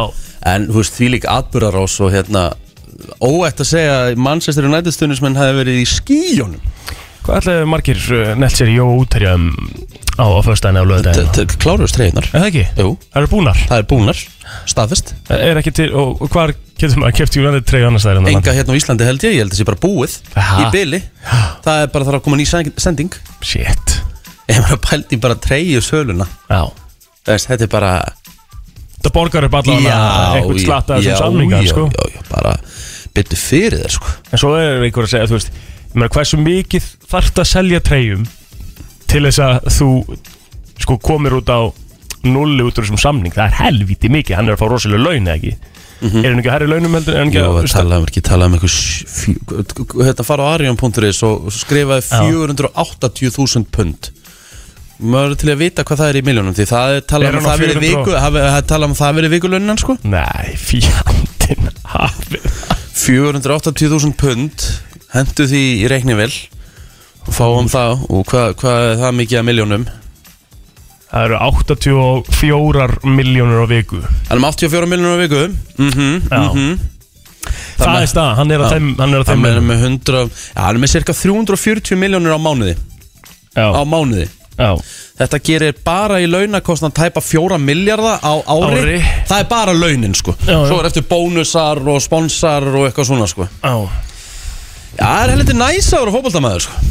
[SPEAKER 1] En þú veist, því líka atbyrðarás og hérna Óætt að segja að Manchester United stundismenn hafi verið í skíjónum
[SPEAKER 2] hvað ætlaði margir eh, nelt sér í Jó útherja um, á, á föstudaginu og lögudaginu?
[SPEAKER 1] Kláruðust reyðunar
[SPEAKER 2] Er það ekki?
[SPEAKER 1] Jú,
[SPEAKER 2] Það eru búnar
[SPEAKER 1] það er búnar, staðfest
[SPEAKER 2] Er ekki til, og, og hvar getur maður keft United treyju annars þær?
[SPEAKER 1] Enga hérna á Íslandi held ég, ég held að sé bara búið
[SPEAKER 2] Aha.
[SPEAKER 1] Í byli, það er bara þarf að koma ný sæng- sending
[SPEAKER 2] Shit
[SPEAKER 1] Ég bara pældi bara treyju söluna
[SPEAKER 2] Já
[SPEAKER 1] Þess, Þetta er bara
[SPEAKER 2] Það borgar upp allan að einhvern slatta þessum samlingar
[SPEAKER 1] já,
[SPEAKER 2] sko.
[SPEAKER 1] já, já, bara byttu fyrir þér sko
[SPEAKER 2] En svo er einhver að segja, þú veist ég meina, Hversu mikið þarft að selja treyjum Til þess að þú Sko komir út á Nulli út úr þessum samning, það er helviti mikið Hann er að fá rosalega laun, eða ekki
[SPEAKER 1] Mhm.
[SPEAKER 2] Er hann ekki hærri launum heldur, er hann ekki
[SPEAKER 1] Jó,
[SPEAKER 2] að
[SPEAKER 1] við talaðum um- ekki, talaðum eitthvað sj- fjö- Þetta fara á Arion.is og svo skrifaði 480.000 pund Maður er til að vita hvað það er í miljónum Því það er
[SPEAKER 2] Er
[SPEAKER 1] talað um
[SPEAKER 2] hann á
[SPEAKER 1] að það verið
[SPEAKER 2] 400?
[SPEAKER 1] viku Það er talað um að það verið vikulunnan sko
[SPEAKER 2] Nei, fjandinn hafi
[SPEAKER 1] 480.000 pund Hentu því í reiknivel og Fáum það og hvað hva er það mikið að miljónum
[SPEAKER 2] Það eru 84 miljónur á viku
[SPEAKER 1] Þannig um 84 miljónum á viku mm
[SPEAKER 2] Já Það er stað, hann er að
[SPEAKER 1] Já.
[SPEAKER 2] þeim Hann er að
[SPEAKER 1] Hann
[SPEAKER 2] þeim
[SPEAKER 1] er með 100 Já, hann er með cirka 340 miljónur á mánuði Á
[SPEAKER 2] Já,
[SPEAKER 1] mánuði
[SPEAKER 2] já
[SPEAKER 1] Þetta gerir bara í launakostna tæpa fjóra miljardar á ári.
[SPEAKER 2] Ári.
[SPEAKER 1] Það er bara launin sko
[SPEAKER 2] Já, já.
[SPEAKER 1] Svo er eftir bónusar og sponsar og eitthvað svona sko Já,
[SPEAKER 2] Já
[SPEAKER 1] það er heldur næs að vera fótboltamaður sko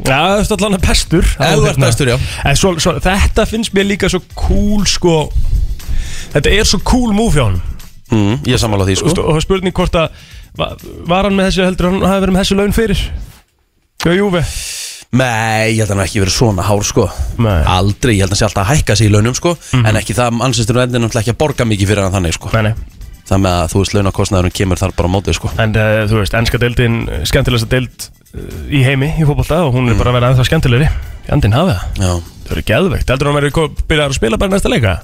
[SPEAKER 2] Já, það er allan að pestur
[SPEAKER 1] Ef
[SPEAKER 2] Hérna.
[SPEAKER 1] þú ert bestur, já.
[SPEAKER 2] En svo, svo, þetta finnst mér líka svo cool sko Þetta er svo cool move hjá hann
[SPEAKER 1] mm, Ég er sammála því sko
[SPEAKER 2] Og það er spurning hvort að va- Var hann með þessi, heldur hann hafi verið með þessi laun fyrir Já, júfi
[SPEAKER 1] Nei, ég held að hann hafi ekki verið svona hár sko
[SPEAKER 2] Nei.
[SPEAKER 1] Aldrei, ég held að hann sé alltaf að hækka sig í launum sko En ekki það, mannsistur og endur náttúrulega ekki að borga mikið fyrir hann þannig sko
[SPEAKER 2] Nei, nei
[SPEAKER 1] Það með að þú veist launakostnaðurinn kemur þar bara á mótið sko
[SPEAKER 2] En uh, þú veist, ennska deildin, skemmtilegsta deild uh, í heimi í fótbolta og hún er bara að vera ennþá skemmtilegri Jandinn hafi það,
[SPEAKER 1] Já,
[SPEAKER 2] það eru geðveikt Heldur hann verið ko- byrjar að spila bara næsta leika?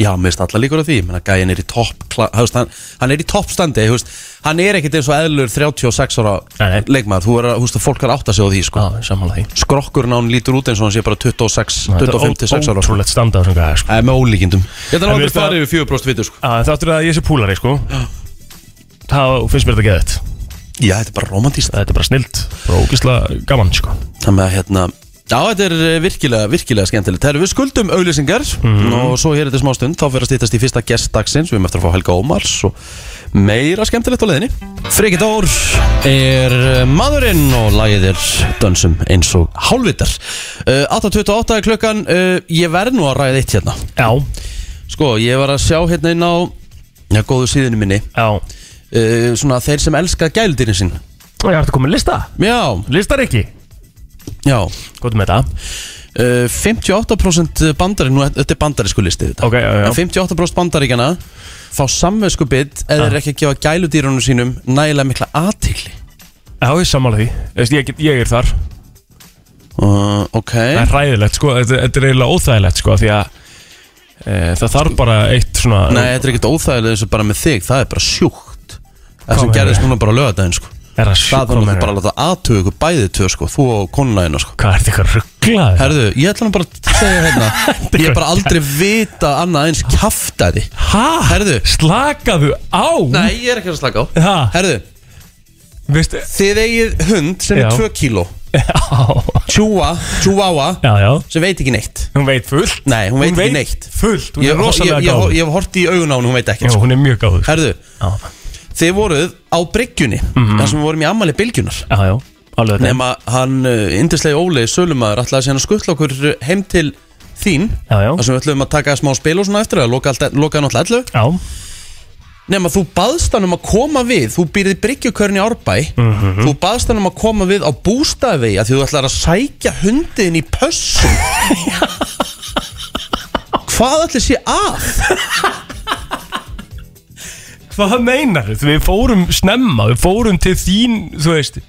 [SPEAKER 1] Já mér finnst allar líkur á því Menna, Gæin er í topp kla- þú veist, hann, hann er í toppstandi þú veist, Hann er ekkit eins og eðlur 36 ára
[SPEAKER 2] Nei, nei.
[SPEAKER 1] leikmaður Þú er að, þú veist, að fólk er að átta sig á því sko
[SPEAKER 2] sammála því
[SPEAKER 1] Skrokkurinn á hann lítur út eins og hann sé bara 26,
[SPEAKER 2] Þetta er
[SPEAKER 1] 25 til 6 ára sko.
[SPEAKER 2] Ótrúlegt standað sem gæði sko.
[SPEAKER 1] Það er með ólíkindum Ég held að
[SPEAKER 2] En
[SPEAKER 1] hann aldrei
[SPEAKER 2] mér finnst
[SPEAKER 1] farið yfir 4% vitur sko
[SPEAKER 2] Að Þáttur að ég sé púlari sko Þá finnst mér þetta geðveikt
[SPEAKER 1] Já, þetta er bara romantíst
[SPEAKER 2] Þetta er bara snilt og ógislega gaman sko
[SPEAKER 1] Þannig að hérna Já, þetta er eh, virkilega, virkilega skemmtilegt Þegar við skuldum auðlýsingar og svo hér þetta smá stund þá fyrir að stýttast í fyrsta gest dagsins við erum eftir að fá Helga Ómars og meira skemmtilegt á leiðinni Friggi Dór er eh, maðurinn og lagið er dönsum eins og hálfvitar uh, 8.28 er klukkan uh, ég verð nú að ræða eitt hérna
[SPEAKER 2] Já,
[SPEAKER 1] Sko, ég var að sjá hérna inn á já, góðu síðinu minni
[SPEAKER 2] já
[SPEAKER 1] uh, svona þeir sem elska gæludýrin sín
[SPEAKER 2] Og ég hætti að koma með lista
[SPEAKER 1] Já,
[SPEAKER 2] Listar ekki
[SPEAKER 1] já
[SPEAKER 2] Góðum með þetta
[SPEAKER 1] Uh, 58% bandari nú, þetta er bandarísku listi þetta
[SPEAKER 2] Ok, já, já.
[SPEAKER 1] En 58% bandaríkjana fá samvegsku bit
[SPEAKER 2] Ah.
[SPEAKER 1] eða er ekki að gefa gæludýrunum sínum nægilega mikla aðtigli
[SPEAKER 2] Já, ég er sammála því Þú veist, ég, get- ég er þar
[SPEAKER 1] uh, ok
[SPEAKER 2] Ah, Það er hræðilegt sko, þetta, þetta er eiginlega óþægilegt sko Því að e, það þarf bara eitt svona
[SPEAKER 1] nei, þetta er ekkert óþægilega eins og bara með þig það er bara sjúkt það sem
[SPEAKER 2] meinar
[SPEAKER 1] gerðist núna bara lögadaginn sko
[SPEAKER 2] er að
[SPEAKER 1] það
[SPEAKER 2] sjúka
[SPEAKER 1] þannig
[SPEAKER 2] mér
[SPEAKER 1] bara að láta aðtöku ykkur bæði tvö sko þú og konunæðina sko
[SPEAKER 2] Hvað er þetta eitthvað rugglaði?
[SPEAKER 1] herðu, ég ætla nú bara að segja hérna ég hef bara aldrei vita annað eins kjaftæði
[SPEAKER 2] Hæ?
[SPEAKER 1] herðu.
[SPEAKER 2] Slakaðu á?
[SPEAKER 1] nei, ég er ekki að slaka á
[SPEAKER 2] Ha?
[SPEAKER 1] herðu,
[SPEAKER 2] Veistu?
[SPEAKER 1] þið eigið hund sem
[SPEAKER 2] Já.
[SPEAKER 1] er 2 kíló
[SPEAKER 2] Já,
[SPEAKER 1] Chihuahua, Chihuahua
[SPEAKER 2] já, já
[SPEAKER 1] sem veit ekki neitt
[SPEAKER 2] Hún veit fullt
[SPEAKER 1] Nei, hún veit ekki neitt.
[SPEAKER 2] fullt, hún
[SPEAKER 1] Ég,
[SPEAKER 2] er
[SPEAKER 1] ég,
[SPEAKER 2] rosalega
[SPEAKER 1] ég,
[SPEAKER 2] gáð
[SPEAKER 1] ég hef hort í augun á hún, hún veit ekki
[SPEAKER 2] Já, hún er mjög gáð
[SPEAKER 1] Herðu,
[SPEAKER 2] Já,
[SPEAKER 1] þið voruð á bryggjunni
[SPEAKER 2] Mhm.
[SPEAKER 1] þar sem við vorum í ammali bylgjunar
[SPEAKER 2] já, já, alveg þetta
[SPEAKER 1] nema hann uh, indislegi Óli Sölumæður ætlaði síðan að skuttla okkur heim til þín
[SPEAKER 2] Já, já,
[SPEAKER 1] þar sem við ætluðum að taka smá spil og svona eftir að loka, allt, loka hann alltaf
[SPEAKER 2] já,
[SPEAKER 1] nema þú baðst hann um að koma við þú býrði bryggjukörn í Árbæ
[SPEAKER 2] Mhm.
[SPEAKER 1] þú baðst hann um að koma við á bústafi að því þú ætlar að sækja hundiðin í pössum hvað ætlir sé að?
[SPEAKER 2] hvað meinar þú? Við fórum snemma, við fórum til þín, þú veist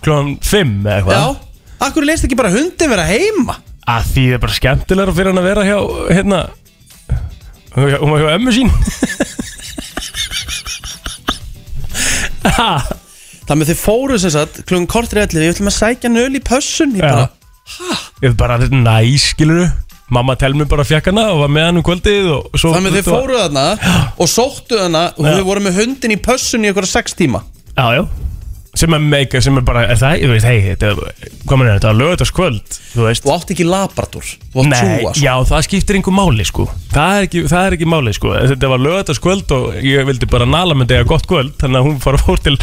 [SPEAKER 2] Klón 5 eða
[SPEAKER 1] já,
[SPEAKER 2] eitthvað
[SPEAKER 1] akkur leist ekki bara hundin vera heima
[SPEAKER 2] að því það er bara skemmtilegra fyrir hann að vera hjá hérna hjá- hún var hjá ömmu sín ha,
[SPEAKER 1] þannig að þið fóruð sem sagt klungum kortri allir, við ætlum að sækja nöl í pössun ég bara,
[SPEAKER 2] já ég er bara næs skilur mamma tel mér bara fjakk hana og var með hann um kvöldið og svo
[SPEAKER 1] þannig að þið fóruð þarna og sóttuð þarna og
[SPEAKER 2] Já.
[SPEAKER 1] þið voru með hundin í pössun í okkur sex tíma
[SPEAKER 2] já, já sem er meika, sem er bara, er það, ég veist, hei þetta, er- hvað mann er þetta, lögðast kvöld þú veist,
[SPEAKER 1] þú átt ekki labrador, þú átt sko.
[SPEAKER 2] Nei,
[SPEAKER 1] túa
[SPEAKER 2] já, það skiptir einhver máli sko Það er ekki, það er ekki máli sko Þetta var lögataskvöld og ég vildi bara nala með degja gott kvöld Þannig að hún fór, fór til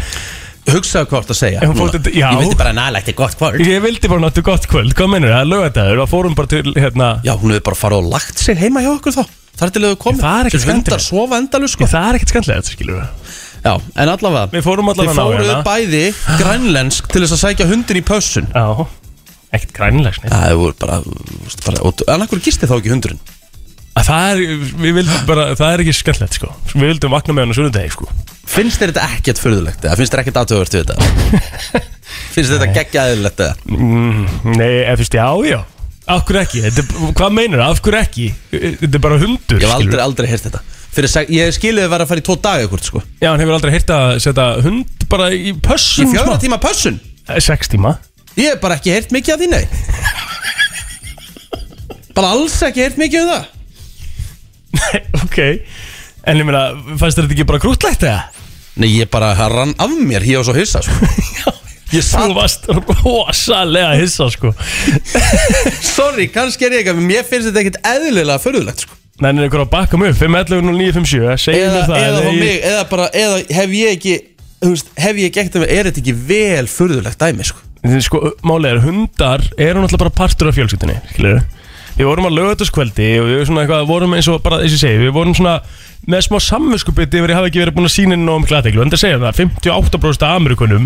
[SPEAKER 1] hugsaðu hvað þú ert að segja
[SPEAKER 2] En hún fór
[SPEAKER 1] núna.
[SPEAKER 2] þetta- já.
[SPEAKER 1] ég vildi bara nælægt í gott kvöld
[SPEAKER 2] Ég vildi bara náttu gott kvöld, hvað mennur það? Lögataður, það fórum bara til hérna
[SPEAKER 1] Já, hún hefur bara farið og lagt sig heima hjá okkur þá Þar til þau komið
[SPEAKER 2] Það er ekkert
[SPEAKER 1] Svo hundar
[SPEAKER 2] skemmtilegt.
[SPEAKER 1] sofa endalus sko
[SPEAKER 2] Það er ekkert skanlega þetta skilur við
[SPEAKER 1] Já, en allavega
[SPEAKER 2] Við fórum allavega hérna.
[SPEAKER 1] Þið fóruð
[SPEAKER 2] nálega.
[SPEAKER 1] bæði grænlensk til þess að sækja hundin í pössun
[SPEAKER 2] Já, ekkert grænilegs neitt
[SPEAKER 1] Það voru bara, þú veist, bara og, En akkur gisti þá ekki hundurinn
[SPEAKER 2] Að Það er, við vildum bara, það er ekki skanlega sko Við vildum vakna með hann á sunnudegi sko
[SPEAKER 1] Finnst þér þetta ekkert furðulegt eða finnst þér ekkert aðtöðvert við þetta Finnst þér þetta geggjaðilegt eða
[SPEAKER 2] mm, Nei, eða fyrst já, já Af hverju ekki, þetta, er- hvað meinar það, af hverju ekki Eh, Þetta er bara hundur
[SPEAKER 1] Ég hef
[SPEAKER 2] skilurðu.
[SPEAKER 1] aldrei, aldrei heyrt þetta Fyrir seg, Ég skilið vera að fara í tvo daga ekkert sko
[SPEAKER 2] Já, hann hefur aldrei heyrt að setja hund bara í pössun sko.
[SPEAKER 1] Í fjóra
[SPEAKER 2] smá.
[SPEAKER 1] tíma pössun
[SPEAKER 2] Eh, Sex tíma
[SPEAKER 1] Ég hef bara ekki heyrt mikið af því, nei Bara alls ekki heyrt mikið um það
[SPEAKER 2] Ok En ég meina, fannst þér þetta ekki bara krútlegt eða?
[SPEAKER 1] Nei, ég bara það rann af mér, ég var svo hissa sko.
[SPEAKER 2] Ég satt Þú varst rosalega hissa sko
[SPEAKER 1] Sorry, kannski er ég ekki, en mér finnst þetta ekkert eðlilega förðulegt sko.
[SPEAKER 2] Nei, en ykkur á að bakka mig upp 511 0957 Segðu
[SPEAKER 1] eða, eða,
[SPEAKER 2] mér það ef
[SPEAKER 1] eða,
[SPEAKER 2] ég-
[SPEAKER 1] mig, eða, bara, eða hef ég ekki þú veist, hef ég ekki ekkert er þetta ekki vel förðulegt dæmi sko.
[SPEAKER 2] Þið, Sko, málið er hundar eru náttúrulega bara partur af fjölskyldinni skilur Við vorum að lögutaskveldi og við svona eitthvað, vorum eins og bara, eins og ég segi, við vorum svona með smá samvinskupið yfir að ég hafi ekki verið búin að sína inn nóg um glateglu en það segja það, 58% af Amerikunum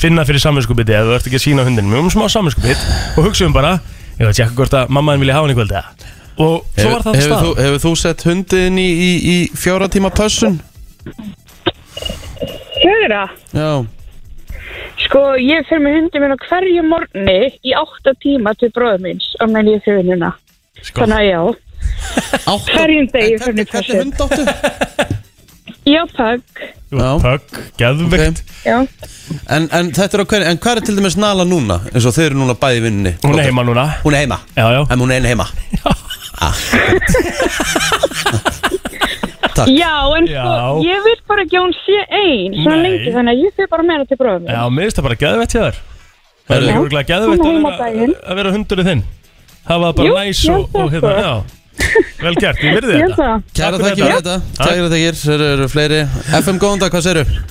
[SPEAKER 2] finna fyrir saminskupiti eða þú ert ekki að sína hundinu mjög um smá saminskupit og hugsaum bara ég veit ekki hvort að mammaðin vilja hafa hann í kvöldi og svo var það
[SPEAKER 1] hefur,
[SPEAKER 2] stað
[SPEAKER 1] þú, hefur þú sett hundin í, í, í fjóra tíma pössun?
[SPEAKER 7] Fjögra?
[SPEAKER 1] Já
[SPEAKER 7] Sko, ég fer með hundi minn á hverju morgni í átta tíma til bróðum minns á menn ég fyrir vinnuna.
[SPEAKER 1] Sko-
[SPEAKER 7] Þannig að já,
[SPEAKER 1] Áttu,
[SPEAKER 7] hverjum degi fer
[SPEAKER 1] hvernig,
[SPEAKER 7] mér
[SPEAKER 1] hvernig
[SPEAKER 7] þessi.
[SPEAKER 1] hund áttu?
[SPEAKER 7] Já, takk.
[SPEAKER 1] Já.
[SPEAKER 2] Pögg, geðvegt
[SPEAKER 7] Já.
[SPEAKER 1] En, en þetta er á hvernig, en hvað er til dæmis Nala núna? En svo þau eru núna bæði í vinninni
[SPEAKER 2] Hún er heima núna
[SPEAKER 1] Hún er heima
[SPEAKER 2] Já, já.
[SPEAKER 1] En hún er einu heima
[SPEAKER 7] já, en
[SPEAKER 2] Já.
[SPEAKER 7] sko, ég vil bara ekki að hún sé einn svona
[SPEAKER 2] Nei.
[SPEAKER 7] lengi, þannig að ég fer bara með hana til bróðum minn.
[SPEAKER 2] Já, mér finnst það bara geðvegt hjá þér
[SPEAKER 1] Já.
[SPEAKER 2] Það er örgulega
[SPEAKER 7] Hún er heima
[SPEAKER 2] geðvegt að
[SPEAKER 7] daginn.
[SPEAKER 2] vera- að vera hundurinn þinn Hafa það bara
[SPEAKER 7] Jú,
[SPEAKER 2] næs
[SPEAKER 7] já,
[SPEAKER 2] og, og
[SPEAKER 7] það
[SPEAKER 2] hérna,
[SPEAKER 7] sko.
[SPEAKER 2] já Vel gert, ég virði
[SPEAKER 7] Ég
[SPEAKER 2] þetta
[SPEAKER 7] held það.
[SPEAKER 1] Kæra
[SPEAKER 2] Takk fyrir
[SPEAKER 1] þakkir fyrir þetta
[SPEAKER 2] þetta.
[SPEAKER 1] Kæra þakkir, þeir eru fleiri FM góðan dag, hvað segirðu?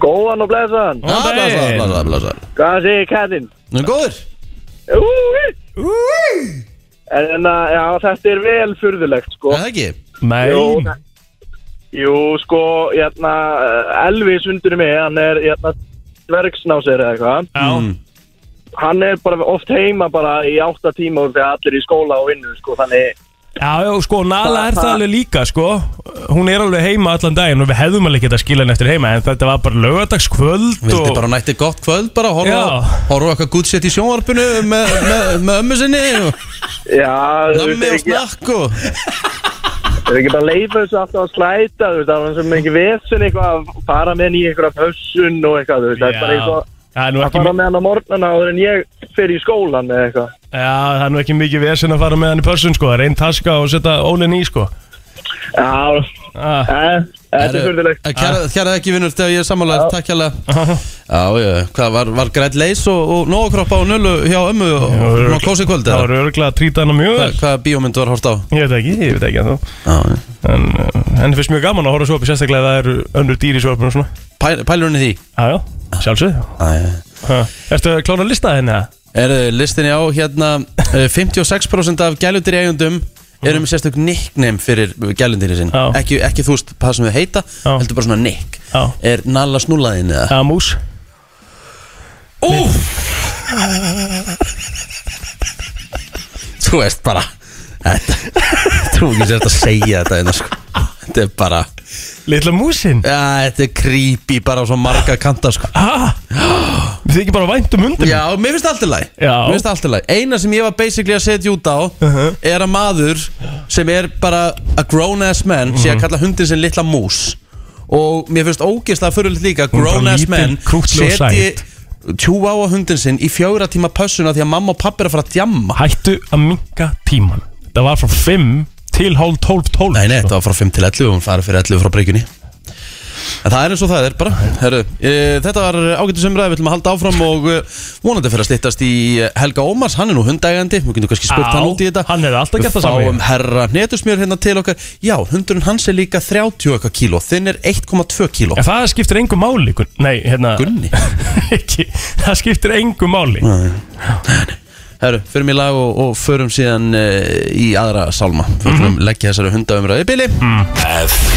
[SPEAKER 8] Góðan og blessaðan.
[SPEAKER 1] Já,
[SPEAKER 2] Góðan
[SPEAKER 1] blasa,
[SPEAKER 2] daginn.
[SPEAKER 1] blasa, blasa
[SPEAKER 8] Hvað segir kallinn?
[SPEAKER 1] Nú, góður
[SPEAKER 8] Úi! En, en að, já, þetta er vel furðulegt, sko.
[SPEAKER 1] Er það ekki?
[SPEAKER 8] Jú,
[SPEAKER 2] Nei,
[SPEAKER 8] jú, sko, hérna, Elvis undur mig, hann er, hérna, dvergsnásir eða eitthvað.
[SPEAKER 2] já,
[SPEAKER 8] Hann er bara oft heima bara í átta tíma úr þegar allir í skóla og vinnu, sko, þannig,
[SPEAKER 2] Já, já, sko, Nala er það alveg líka, sko Hún er alveg heima allan daginn og við hefðum alveg getað skila henni eftir heima En þetta var bara lögadagskvöld
[SPEAKER 1] Vildi
[SPEAKER 2] og...
[SPEAKER 1] bara nætti gott kvöld bara Horfa
[SPEAKER 2] Já.
[SPEAKER 1] horfa á eitthvað gútsett í sjónvarpinu Með me, me ömmu sinni og
[SPEAKER 8] já, þú
[SPEAKER 1] Nammi og
[SPEAKER 8] veist, ekki,
[SPEAKER 1] snakk og
[SPEAKER 8] þú veist, ekki bara leifa þessu alltaf að slæta, þú veist, það var sem ekki vesen eitthvað að fara með hann í einhverja pössun og eitthvað, þú veist, það er bara eitthvað
[SPEAKER 2] Það er nú
[SPEAKER 8] að
[SPEAKER 2] ekki,
[SPEAKER 8] fara með hann á morgnana áður en ég fyrir í skólan eða eitthvað.
[SPEAKER 2] já, það er nú ekki mikið vesen að fara með hann í pössun, sko Það er einn taska og setja ólinn í, sko
[SPEAKER 8] Já,
[SPEAKER 2] ah,
[SPEAKER 8] eh, þetta er
[SPEAKER 1] Herru,
[SPEAKER 8] furðulegt.
[SPEAKER 1] eh, Kæra kæra þakkir vinnur þegar ég er sammálaður Takk hérlega Já, já, hvað var, var grætt leys og, og nógkroppa og nullu hjá ömmu og og kósi kvöld
[SPEAKER 2] Það
[SPEAKER 1] eða?
[SPEAKER 2] var örgulega að trýta hana mjög vel
[SPEAKER 1] Hvað- Hvaða bíómynd var hort á?
[SPEAKER 2] Ég veit ekki, ég veit ekki að þá
[SPEAKER 1] Já, já.
[SPEAKER 2] En uh, henni finnst mjög gaman að horfa svo upp Sérstaklega ef það eru önnur dýr í sjófnum og svona
[SPEAKER 1] Pæl- Pælurinn í því?
[SPEAKER 2] Já, já, sjálfsög
[SPEAKER 1] Já, já
[SPEAKER 2] Ertu að klána að lista henni, eða?
[SPEAKER 1] Erðu, listinni á hérna eh, 56% af gælundir í eigundum eru með sérstök nickname fyrir gælundir í sinn
[SPEAKER 2] Já.
[SPEAKER 1] ekki, ekki þú veist hvað sem þau heita
[SPEAKER 2] Já.
[SPEAKER 1] heldur bara svona nick
[SPEAKER 2] Já.
[SPEAKER 1] er Nalla snúlaðin eða
[SPEAKER 2] Já, mús
[SPEAKER 1] þú veist bara þetta, trú ekki sér þetta að segja þetta einna, sko. þetta er bara ja,
[SPEAKER 2] Litla músin
[SPEAKER 1] þetta er creepy bara á svo marga kanta sko.
[SPEAKER 2] Ah, þið ekki bara vænt um hundum
[SPEAKER 1] já, mér finnst allt í lagi
[SPEAKER 2] Já. Uh-huh.
[SPEAKER 1] Mér finnst allt í lagi eina sem ég var basically að setja út á er að maður sem er bara a grown ass man sé
[SPEAKER 2] Mhm.
[SPEAKER 1] að kalla hundin sinn litla mús og mér finnst ógeðslega fyrirlitt líka að
[SPEAKER 2] Hún er bara
[SPEAKER 1] grown ass
[SPEAKER 2] lítil,
[SPEAKER 1] man
[SPEAKER 2] krúttleg og
[SPEAKER 1] setji tjú á á hundin sinn í fjóra tíma pössuna því að mamma og pappi er að fara að djamma
[SPEAKER 2] Hættu að minka tíman Það var frá 5 til hálf sko. 12, 12
[SPEAKER 1] Nei, nei, þetta var frá 5 til 11 og hún farið fyrir 11 frá breykjunni En það er eins og það er bara Heru, e, Þetta var ágættu semræði, við ætlum að halda áfram og e, vonandi fyrir að styttast í eh, Helga Ómars, hann er nú hundægandi við getum kannski spurt
[SPEAKER 2] Á,
[SPEAKER 1] hann út í þetta
[SPEAKER 2] hann hefði alltaf gert það sama,
[SPEAKER 1] Við fáum herra hnetusmjör hérna til okkar Já, hundurinn hans er líka 30 og eitthvað kíló þinn er 1,2 kíló
[SPEAKER 2] En það skiptir engu máli Gun- Nei, hérna
[SPEAKER 1] Gunni
[SPEAKER 2] ekki, Það skiptir engu máli
[SPEAKER 1] Herru, förum í lag og, og förum síðan e, í aðra sálma Förum mm leggja þessari hundaumræði í bili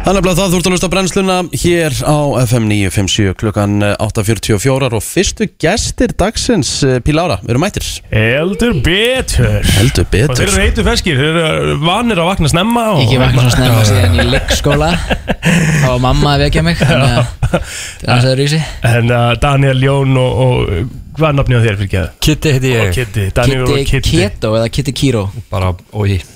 [SPEAKER 1] Þannig að það þú ert að hlusta á brennsluna hér á FM 957 klukkan eh, 8.44 og fyrstu gestir dagsins eh, Pílára, við erum mættir
[SPEAKER 2] Eldur betur
[SPEAKER 1] Heldur
[SPEAKER 2] Og þeir
[SPEAKER 1] betur
[SPEAKER 2] eru heitu feskir, þeir eru vanir að vakna snemma og,
[SPEAKER 5] Ég vakna svona snemma síðan í leikskóla þá var mamma að vekja mig þannig að það er aðeins öðruvísi.
[SPEAKER 2] En uh, Daniel Jón og, og hvað er nafnið á þér fyrir geðu?
[SPEAKER 4] Kitty heiti
[SPEAKER 2] Og
[SPEAKER 4] ég
[SPEAKER 2] Kitty, Daniel og
[SPEAKER 5] Kitty
[SPEAKER 2] Kitty
[SPEAKER 5] Keto eða Kitty Kiro
[SPEAKER 4] Bara, og ég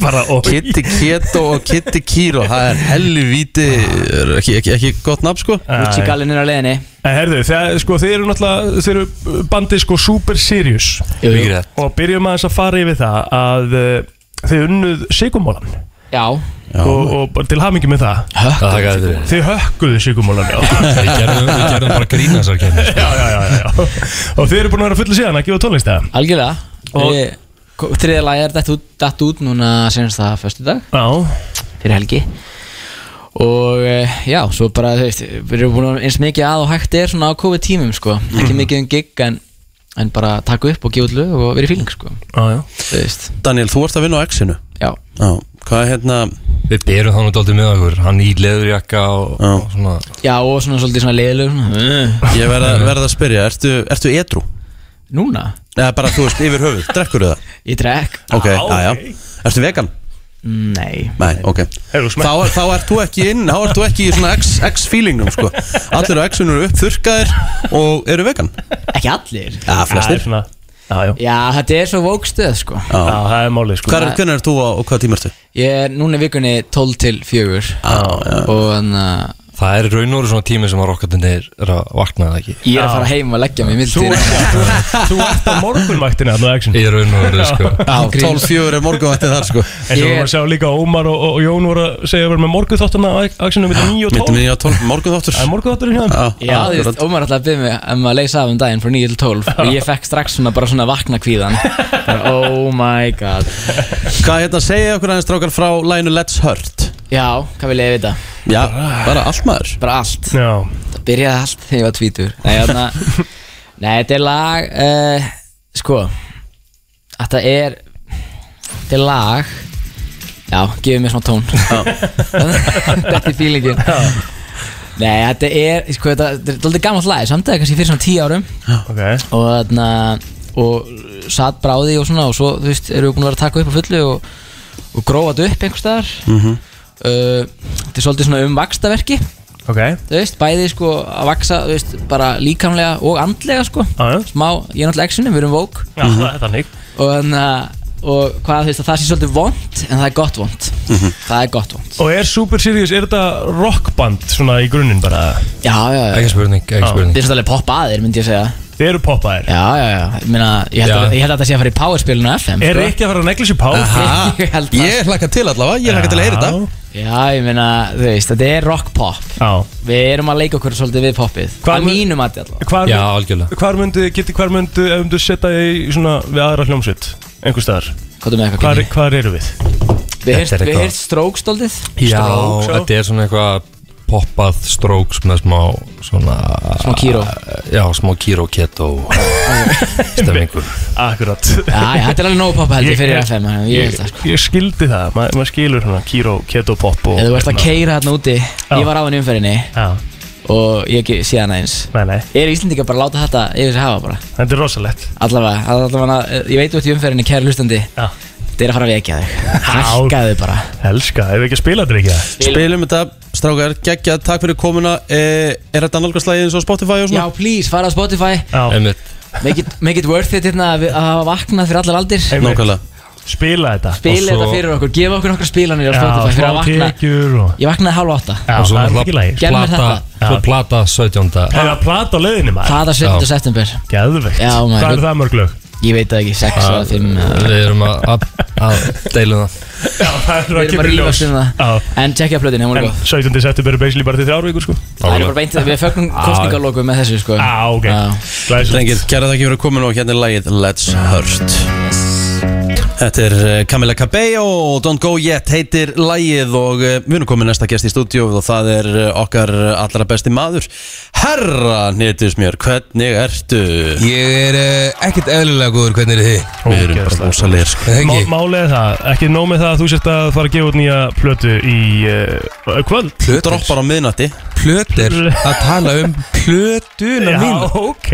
[SPEAKER 2] Bara og
[SPEAKER 1] Kitty Keto og Kitty Kiro það er helvíti er ekki, ekki, ekki gott nafn sko
[SPEAKER 5] Uchi Gallin er á leiðinni
[SPEAKER 2] En herðu, þeir, sko, þeir eru náttúrulega Þeir eru bandið sko Super Serious
[SPEAKER 5] Jú, jú.
[SPEAKER 4] Mikið rétt
[SPEAKER 2] Og byrjum aðeins að fara yfir það Að uh, þeir unnuð sigumólan
[SPEAKER 5] Já,
[SPEAKER 2] og, og bara til hamingi með það
[SPEAKER 4] Það er gæðið
[SPEAKER 2] Þið hökkuðu sigumólan já.
[SPEAKER 4] Við gerðum við gerðum bara grína þessar kemur
[SPEAKER 2] já, já, já, já Og þið eru búin að vera fullu síðan að gefa tónlist eða?
[SPEAKER 5] algjörlega
[SPEAKER 2] Og-
[SPEAKER 5] Við- ko- Þriðja lag er datt út, datt út núna senast það föstu dag
[SPEAKER 2] Já,
[SPEAKER 5] fyrir helgi og eh, já, svo bara þú veist, við erum búin að eins mikið að og hægt er svona á COVID tímum sko, ekki mikið um gig en, en bara taka upp og gefa út lög og verið fíling sko,
[SPEAKER 2] já, já
[SPEAKER 5] þú veist,
[SPEAKER 1] Daniel, þú ert að vinna á X-inu
[SPEAKER 5] já
[SPEAKER 1] Já, Hvað er hérna
[SPEAKER 4] Við berum þannig dálítið með okkur Hann í leðurjakka og,
[SPEAKER 1] Já.
[SPEAKER 4] og svona
[SPEAKER 9] Já, og svona svolítið svona
[SPEAKER 5] "Eh,
[SPEAKER 9] leiðilegur
[SPEAKER 1] Ég verða verð að spyrja, ertu, ertu edru?
[SPEAKER 9] Núna,
[SPEAKER 1] Eða bara, þú veist, yfir höfuð, drekkur það?
[SPEAKER 9] ég drekk
[SPEAKER 1] Ok, aðja Ertu vegan?
[SPEAKER 9] Nei
[SPEAKER 1] Nei, ok
[SPEAKER 2] Hefur þú
[SPEAKER 1] Þá,
[SPEAKER 2] smekk?
[SPEAKER 1] þá ert þú ekki inn, þá ert þú ekki í svona X- X-feelingnum, sko Allir á X-unum eru uppþurkaðir og eru vegan
[SPEAKER 9] Ekki allir
[SPEAKER 1] Já,
[SPEAKER 2] Það er
[SPEAKER 1] flestir
[SPEAKER 2] svona Já, já
[SPEAKER 9] Já, þetta er svo vókstöð sko
[SPEAKER 2] Já,
[SPEAKER 1] Já.
[SPEAKER 2] það er málið sko
[SPEAKER 1] Hvar- Hvenær ert þú á- og hvað tíma ertu?
[SPEAKER 9] Ég er núna í vikunni 12 til 4 Og uh, þannig að
[SPEAKER 4] Það er raun og veru svona tími sem að rokkatindir er að vakna það ekki
[SPEAKER 9] ég er að fara heim og leggja mig í
[SPEAKER 2] Þú
[SPEAKER 9] mildtíð
[SPEAKER 2] ert- þú ert- þú ert á morgunvæktina Þannig að action
[SPEAKER 4] Í raun og veru sko
[SPEAKER 1] Já, 12-4 er morgunvættið þar, sko
[SPEAKER 2] En svo
[SPEAKER 9] Ég-
[SPEAKER 2] vorum við að sjá líka að Ómar og, og, og Jón voru að segja að vera með morgunþóttuna á Axinu við 9 og 12
[SPEAKER 1] Myndum við á 12, morgunþáttur
[SPEAKER 2] Það er morgunþótturinn hjá þeim
[SPEAKER 9] Já, þú veist, Ómar alltaf byrði mig um að leysa af um daginn frá 9 til 12 og ég fekk strax svona bara svona vakna kvíðan Oh my god
[SPEAKER 1] Hvað hérna segja okkur aðeins strákar frá læginu Let's Hurt?
[SPEAKER 9] Já, hvað vil ég vita?
[SPEAKER 1] Já, bara allt maður
[SPEAKER 9] Bara allt
[SPEAKER 2] Já,
[SPEAKER 9] Það byrjaði allt þegar ég var tvítur Nei, þarna Nei, þetta er lag uh, Sko Þetta er Þetta er lag Já, gefið mér smá tón Þetta er feelingin Nei, þetta er Sko, þetta, þetta er dálítið gammalt lag Samt að kannski fyrir svona tíu árum
[SPEAKER 2] ok
[SPEAKER 9] og þarna og satt bráði og svona og svo þú veist erum við búin að vera að taka upp á fullu og, og grófa þetta upp einhvers staðar -hmm. uh, þetta er svolítið svona um vakstaverki
[SPEAKER 2] Ok,
[SPEAKER 9] þú veist, bæði sko að vaksa þú veist, bara líkamlega og andlega sko
[SPEAKER 2] já, já
[SPEAKER 9] smá, ég er náttúrulega exinu, við erum vók
[SPEAKER 2] Já, það er þannig
[SPEAKER 9] og þannig að og hvað þú veist að það sé svolítið vond en það er gott vond það er gott vond
[SPEAKER 2] Og er Super Sirius, er þetta rockband svona í grunninn bara?
[SPEAKER 9] já, já, já
[SPEAKER 4] Ekki spurning, ekki
[SPEAKER 2] Já.
[SPEAKER 9] Þið
[SPEAKER 4] spurning
[SPEAKER 9] er svolítið popp aðir, myndi ég segja
[SPEAKER 2] Þið eru poppaðir
[SPEAKER 9] Já, já, já, ég, meina, ég, held
[SPEAKER 4] Já.
[SPEAKER 9] Að, ég held að þetta sé að fara í powerspilinu á FM
[SPEAKER 2] Er
[SPEAKER 9] sko.
[SPEAKER 2] ekki að fara að negla sér pá? Aha,
[SPEAKER 9] Ég held það,
[SPEAKER 1] Ég hlakka til allavega, ég hlakka til að heyra þetta
[SPEAKER 9] Já, ég meina, þú veist, þetta er rock pop
[SPEAKER 2] Já
[SPEAKER 9] Við erum að leika okkur svolítið við poppið
[SPEAKER 2] Hvað
[SPEAKER 9] Að
[SPEAKER 2] mun-
[SPEAKER 9] mínum að allavega
[SPEAKER 2] Hvar,
[SPEAKER 4] Já, algjörlega
[SPEAKER 2] hvar myndi, geti, hvar myndi, ef myndu setja þig í svona við aðra hljómsveit? Einhver staðar
[SPEAKER 9] Hvað er með eitthvað
[SPEAKER 2] Hvar,
[SPEAKER 9] kynni?
[SPEAKER 2] hvar eru við?
[SPEAKER 9] Við
[SPEAKER 4] Þetta
[SPEAKER 9] heyrst-
[SPEAKER 4] er
[SPEAKER 9] Við
[SPEAKER 4] eitthvað.
[SPEAKER 9] heyrst strókstóltið
[SPEAKER 4] Já,
[SPEAKER 2] Strokes, já.
[SPEAKER 4] þetta er svona eitthvað poppað strokes með smá svona uh,
[SPEAKER 9] Smá kýró.
[SPEAKER 4] Já, smá kýró keto stemmingur
[SPEAKER 2] Akkurat
[SPEAKER 9] Já, já, þetta er alveg nóg poppa held ég fyrir
[SPEAKER 2] Ég-
[SPEAKER 9] FM þannig að Ég held það sko
[SPEAKER 2] Ég skildi það, Ma, maður skilur hana Kiro, keto, pop og
[SPEAKER 9] Eða þú ert að keira hérna úti Ég var á henni umferðinni
[SPEAKER 2] Já,
[SPEAKER 9] Og ég ekki síðan aðeins
[SPEAKER 2] nei, nei,
[SPEAKER 9] Er Íslendinga bara að láta þetta yfir sig hafa bara
[SPEAKER 2] þetta er rosalegt
[SPEAKER 9] Allavega, allavega, eh, ég veit út í umferðinni Kæra hlustandi,
[SPEAKER 2] Já,
[SPEAKER 9] þetta er að fara að vekja þig Hækkaðu bara
[SPEAKER 2] elska, ef við ekki að spila þetta ekki það
[SPEAKER 1] Spilum þetta, strákar, geggjað, takk fyrir komuna Eh, Er þetta annálgast lagið eins og Spotify og
[SPEAKER 9] Já,
[SPEAKER 1] svona?
[SPEAKER 9] please, fara á Spotify
[SPEAKER 2] Já,
[SPEAKER 4] Einmitt
[SPEAKER 9] Make it, make it worth it hérna að við- að hafa vaknað fyrir allar aldir
[SPEAKER 2] einmitt.
[SPEAKER 1] Nákvæmlega
[SPEAKER 2] Spila þetta
[SPEAKER 9] spila
[SPEAKER 4] Og svo-
[SPEAKER 9] þetta fyrir okkur, gefa okkur nokkra spilanir
[SPEAKER 2] Já,
[SPEAKER 9] á Spotify fyrir
[SPEAKER 2] smá
[SPEAKER 9] að vakna
[SPEAKER 2] tekjur og
[SPEAKER 9] Ég vaknaði halv átta
[SPEAKER 2] Já,
[SPEAKER 4] Og svo
[SPEAKER 2] það er
[SPEAKER 4] náttúrulega
[SPEAKER 2] ekki lægir
[SPEAKER 9] Gerðu mér
[SPEAKER 4] Plata,
[SPEAKER 9] þetta.
[SPEAKER 4] svo plata 17.
[SPEAKER 2] Það er að plata á leiðinni maður
[SPEAKER 9] Það er 17. september
[SPEAKER 2] Gæðvegt
[SPEAKER 9] Já, maður.
[SPEAKER 2] Hvað er það mörg lög?
[SPEAKER 9] Ég veit það ekki, 6 eða 5
[SPEAKER 4] Við erum að, að, að deilum það
[SPEAKER 2] Já, það er að
[SPEAKER 9] Við erum að
[SPEAKER 2] kemur í
[SPEAKER 9] rífa
[SPEAKER 2] ljós
[SPEAKER 9] sér um það
[SPEAKER 2] Já,
[SPEAKER 9] En tjekkja plötin, hún er
[SPEAKER 2] en
[SPEAKER 9] góð
[SPEAKER 2] 17. september er basically bara til þrjár vikur sko
[SPEAKER 9] Það er bara beint þetta, við fögnum kostningalóku með þessu sko
[SPEAKER 2] Já, Ah, ok Glæsilegt
[SPEAKER 1] Drengir, kæra þakki fyrir komin og hérna er lagið Let's Hurt Þetta er eh, Camila Cabello og Don't Go Yet heitir lagið og eh, við erum komin næsta gest í stúdíu og það er eh, okkar allra besti maður Herra Nýttis mér, hvernig ertu?
[SPEAKER 4] Ég er uh, ekkert eðlilega góður hvernig er þið
[SPEAKER 1] Við erum bara rosalegir sko.
[SPEAKER 4] Það
[SPEAKER 2] Má- Málið er það, ekki nóg með það að þú sért að fara að gefa út nýja plötu í uh, kvöld
[SPEAKER 1] Þú droppar á miðnatti
[SPEAKER 4] plötur að tala um plötuna mín
[SPEAKER 2] ok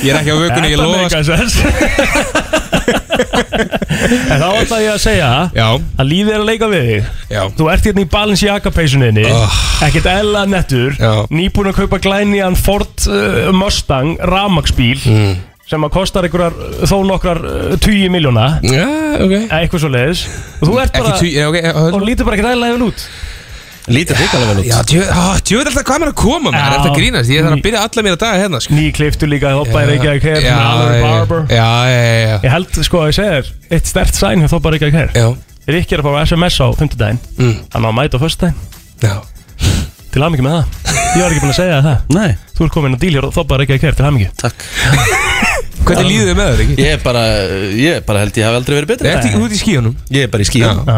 [SPEAKER 4] Ég er ekki á vökunni, ég
[SPEAKER 2] Þetta
[SPEAKER 4] lofa
[SPEAKER 2] meikar sens. En þá ætla ég að segja
[SPEAKER 4] Já,
[SPEAKER 2] að lífið er að leika við þig
[SPEAKER 4] já
[SPEAKER 2] Þú ert hérna í Balenciaga peysuninni
[SPEAKER 4] Ah.
[SPEAKER 2] Ekkert ella nettur
[SPEAKER 4] Já.
[SPEAKER 2] Nýbúin að kaupa glænian Ford uh, Mustang Ramagsbíl
[SPEAKER 4] Mm.
[SPEAKER 2] Sem að kostar einhverjar uh, þó nokkrar uh, 20 miljóna
[SPEAKER 4] Já, ok
[SPEAKER 2] Eitthvað svo leiðis Og þú ert
[SPEAKER 4] Mm. Ekki
[SPEAKER 2] bara
[SPEAKER 4] tví, já, ok
[SPEAKER 2] Og
[SPEAKER 4] höll.
[SPEAKER 2] lítur bara ekkert eðla hefur út
[SPEAKER 1] Lítið hrikalega vel út
[SPEAKER 4] Já, ah, tjóður alltaf hvað maður að koma maður,
[SPEAKER 2] Já.
[SPEAKER 4] þetta grínast Ég þarf að byrja alla mér að daga hérna sko.
[SPEAKER 2] Ný kliftu líka að hoppa í Reykjavík her
[SPEAKER 4] já,
[SPEAKER 2] Alveg barber
[SPEAKER 4] já, já, já, já.
[SPEAKER 2] Ég held sko að ég segja þér Eitt stert sæn hefur hoppa í Reykjavík her
[SPEAKER 4] já,
[SPEAKER 2] Rikki er að fara á SMS á 5. daginn
[SPEAKER 4] Mm.
[SPEAKER 2] Hann á að mæta á 1. daginn
[SPEAKER 4] já.
[SPEAKER 2] Til hamingi með það Ég var ekki búin að segja þér það
[SPEAKER 1] Nei,
[SPEAKER 2] Þú ert komin að díl hér og þoppa Reykjavík her til hamingi
[SPEAKER 1] takk
[SPEAKER 4] Hvernig líður þið með það, ekki?
[SPEAKER 1] Ég er bara, eh, ég er bara held ég hafi aldrei verið
[SPEAKER 4] Nei,
[SPEAKER 1] betri
[SPEAKER 4] ertu út í skíunum
[SPEAKER 1] Ég er bara í skíðum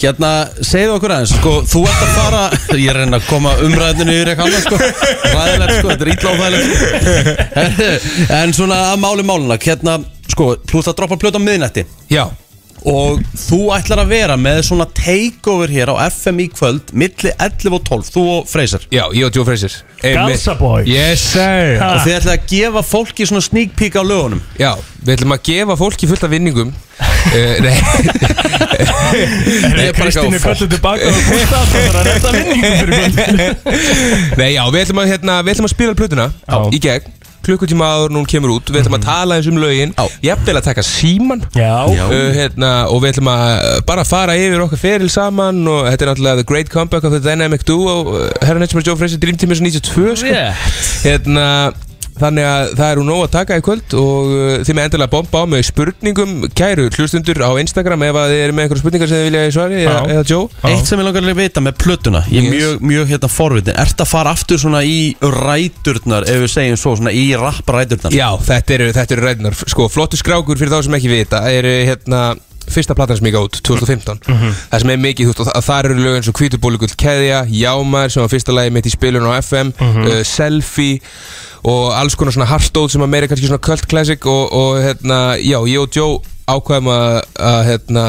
[SPEAKER 1] Hérna, segðu okkur aðeins, sko, þú ert að fara Ég er að reyna að koma umræðinu yfir eitthvað annað, sko Ræðilegt, sko, þetta er ítla óþægilegt sko. En svona að máli máluna, hérna, sko, þú ert að droppa plötu á miðnætti
[SPEAKER 4] Já,
[SPEAKER 1] og þú ætlar að vera með svona takeover hér á FM í kvöld milli 11 og 12, þú og Freyser
[SPEAKER 9] Já, ég og Joe Fraser
[SPEAKER 2] Galsaboy.
[SPEAKER 9] Yes sir
[SPEAKER 1] og þið ætlar að gefa fólki svona sneak peek á lögunum
[SPEAKER 9] Já, við ætlum að gefa fólki fullt af vinningum uh, Nei Nei, bara
[SPEAKER 2] Kristín
[SPEAKER 9] eitthvað
[SPEAKER 2] er
[SPEAKER 9] fólk.
[SPEAKER 2] kallið tilbaka og búst að það var að retta vinningum fyrir kvöld
[SPEAKER 9] Nei, já, við ætlum að, hérna, við ætlum að spila plötuna
[SPEAKER 2] Já.
[SPEAKER 9] í gegn klukkutíma áður en hún kemur út Við ætlum að tala eins um lögin Jafnvel að taka síman
[SPEAKER 2] Já,
[SPEAKER 9] uh, hérna, og við ætlum að uh, bara fara yfir okkar feril saman og þetta er náttúrulega The Great Comeback of the Dynamic Duo uh, Herran Hedgemar Joe Fraser Dream Team er svo 92 sko. hérna, þannig að það eru nóg að taka í kvöld og uh, þið með endilega bomba á með spurningum kæru hlustundur á Instagram ef að þið eru með einhverja spurningar sem þið vilja í svari eða,
[SPEAKER 2] Já.
[SPEAKER 9] eða Joe
[SPEAKER 1] Eitt sem ég langar að vita með plötuna Ég er
[SPEAKER 9] Yes.
[SPEAKER 1] mjög, mjög hérna forvitin Ert að fara aftur svona í ræturnar Ef við segjum svo, svona í rappræturnar
[SPEAKER 9] Já, þetta eru, þetta eru ræðinar sko, flottu skrákur fyrir þá sem ekki vita eru hérna fyrsta platan sem ég gátt 2015 það sem er mikið þú veist, og þa- þar eru lög eins og kvíturbólugull keðja Jámar sem var fyrsta lagi mitt í spilun á FM uh, Selfie og alls konar svona hardóð sem að meira kannski svona cult classic og, og hérna já, ég og Joe ákvæðum að, að hérna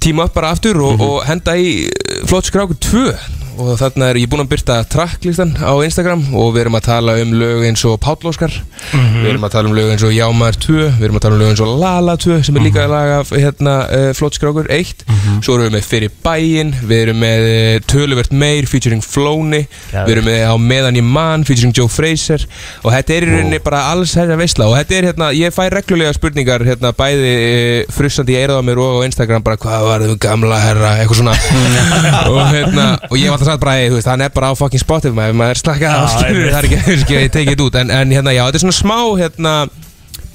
[SPEAKER 9] tíma upp bara aftur og, og henda í eh, flott skráku 2 og þarna er ég búinn að byrta tracklistan á Instagram og við erum að tala um lög eins og Páll Óskar við erum að tala um lög eins og Jámar 2 við erum að tala um lög eins og Lala 2 sem er líka að laga hérna, uh, flott skrákur 1 svo erum við með Fyrir bæinn við erum með eh, Töluvert meir featuring Flóni við erum með Á meðan ég man featuring Joe Fraser og þetta er í rauninni bara alls þetta veistla og þetta er hérna, ég fæ reglulega spurningar hérna bæði e, frussandi ég eirað á mér og á Instagram bara hvað var þau gamla herra, eitthvað svona og hérna, og ég var alltaf satt bara "Hey, þú veist, hann er bara á fucking spotið maður, maður er slakkað á skilur, það er ekki, það er ekki, ég tekið þetta út en, en hérna, já, þetta er svona smá, hérna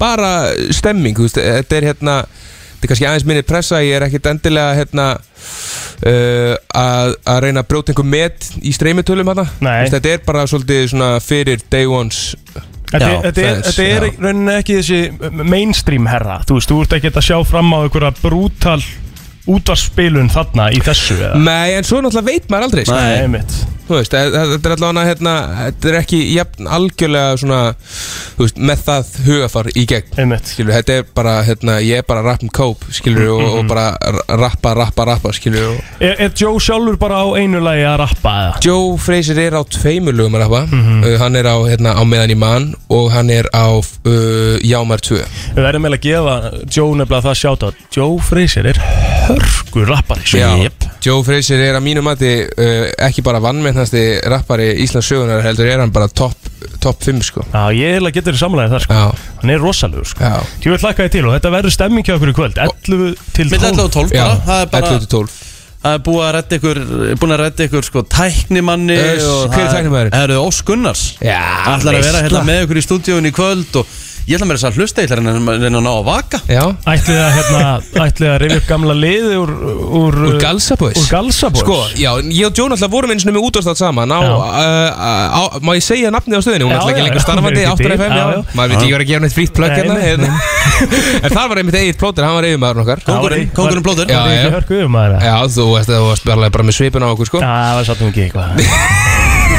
[SPEAKER 9] bara stemming, þú veist, þetta er hérna þetta er kannski aðeins minni pressa ég er ekkit endilega, hérna uh, að, að reyna að brjóta einhver met í streymitölum hérna,
[SPEAKER 2] Nei.
[SPEAKER 9] þetta er bara svolítið svona fyrir day ones
[SPEAKER 2] Þetta
[SPEAKER 9] Já,
[SPEAKER 2] er- þetta er-
[SPEAKER 9] fans,
[SPEAKER 2] þetta er
[SPEAKER 9] já.
[SPEAKER 2] í rauninni ekki þessi mainstream herra Þú veist, þú ert ekki að sjá fram á einhverja brútal útvarspilun þarna í þessu eða?
[SPEAKER 9] Nei, en svo náttúrulega veit maður aldrei sko.
[SPEAKER 2] Nei, mitt
[SPEAKER 9] Þú veist, þa- þa- þetta er allavega hérna, þetta er ekki jafn, algjörlega svona, þú veist, með það hugafar í gegn
[SPEAKER 2] Einmitt.
[SPEAKER 9] skilur, þetta er bara, hérna, ég er bara að rappa um kóp, skilur, og, og bara r- rappa, rappa, rappa, skilur, og
[SPEAKER 2] Mm, Er, er Joe sjálfur bara á einu lagi að rappa eða?
[SPEAKER 9] Joe Fraser er á tveimur lögum að rappa, uh, hann er á, hérna, á meðan í mann og hann er á uh, Jámar 2
[SPEAKER 2] Við verðum eiginlega að gefa Joe nefnilega það sjáta Joe Fraser er hörgur rappari sko.
[SPEAKER 9] Já, Joe Fraser er að mínu mati uh, ekki bara vannmennasti rappari Íslands sögunar heldur er hann bara topp top 5 sko
[SPEAKER 2] Já, ég eiginlega getur þér samlega þar sko.
[SPEAKER 9] Já,
[SPEAKER 2] Hann er rosalegur sko.
[SPEAKER 9] já
[SPEAKER 2] Ég vil hlakka þið til og þetta verður stemming hjá okkur í kvöld 11 til
[SPEAKER 1] Mitt 11 og 12
[SPEAKER 2] 12
[SPEAKER 9] Já,
[SPEAKER 1] bara Það er bara
[SPEAKER 9] 11 til 12
[SPEAKER 1] Það er búið að redda ykkur Búin að redda ykkur sko tæknimanni
[SPEAKER 9] Yes,
[SPEAKER 1] og
[SPEAKER 9] hver er
[SPEAKER 1] það
[SPEAKER 9] tæknimaðurinn?
[SPEAKER 1] Það eru Ós Gunnars
[SPEAKER 9] Já,
[SPEAKER 1] Ætlar að vera
[SPEAKER 9] veisla.
[SPEAKER 1] hérna með ykkur í stúdíóinu í kvöld og ég ætla mér þess að hlusta Ég ætla að reyna- reyna að ná að vaka
[SPEAKER 9] Já,
[SPEAKER 2] Ætlið að, hérna, ætlið að rifja upp gamla liði úr, úr,
[SPEAKER 9] úr Galsabóis
[SPEAKER 2] úr Galsabóis
[SPEAKER 9] Sko, já, ég og Jón alltaf vorum eins og með útastátt saman á,
[SPEAKER 2] Já.
[SPEAKER 9] uh, á, Má ég segja nafnið á stöðinu?
[SPEAKER 2] Já,
[SPEAKER 9] Hún er alltaf
[SPEAKER 2] já,
[SPEAKER 9] ekki
[SPEAKER 2] já,
[SPEAKER 9] lengur
[SPEAKER 2] hún
[SPEAKER 9] starfandi
[SPEAKER 2] er ekki
[SPEAKER 9] áttur
[SPEAKER 2] til,
[SPEAKER 9] FM, já
[SPEAKER 2] já, já.
[SPEAKER 9] Maður veit ekki að vera að gefa neitt frýtt plögg
[SPEAKER 2] Nei,
[SPEAKER 9] hérna
[SPEAKER 2] nei,
[SPEAKER 9] hérna. En það var einmitt eigið plóter, hann var yfirmaðurinn okkar
[SPEAKER 1] Kóngurinn, kóngurinn plótur
[SPEAKER 9] Já,
[SPEAKER 2] Það er
[SPEAKER 9] já.
[SPEAKER 2] ekki hörku um aðra Já,
[SPEAKER 9] Já, þú veist að þú varst bara, bara með svipin á okkur sko
[SPEAKER 2] það var sattum ekki eitthvað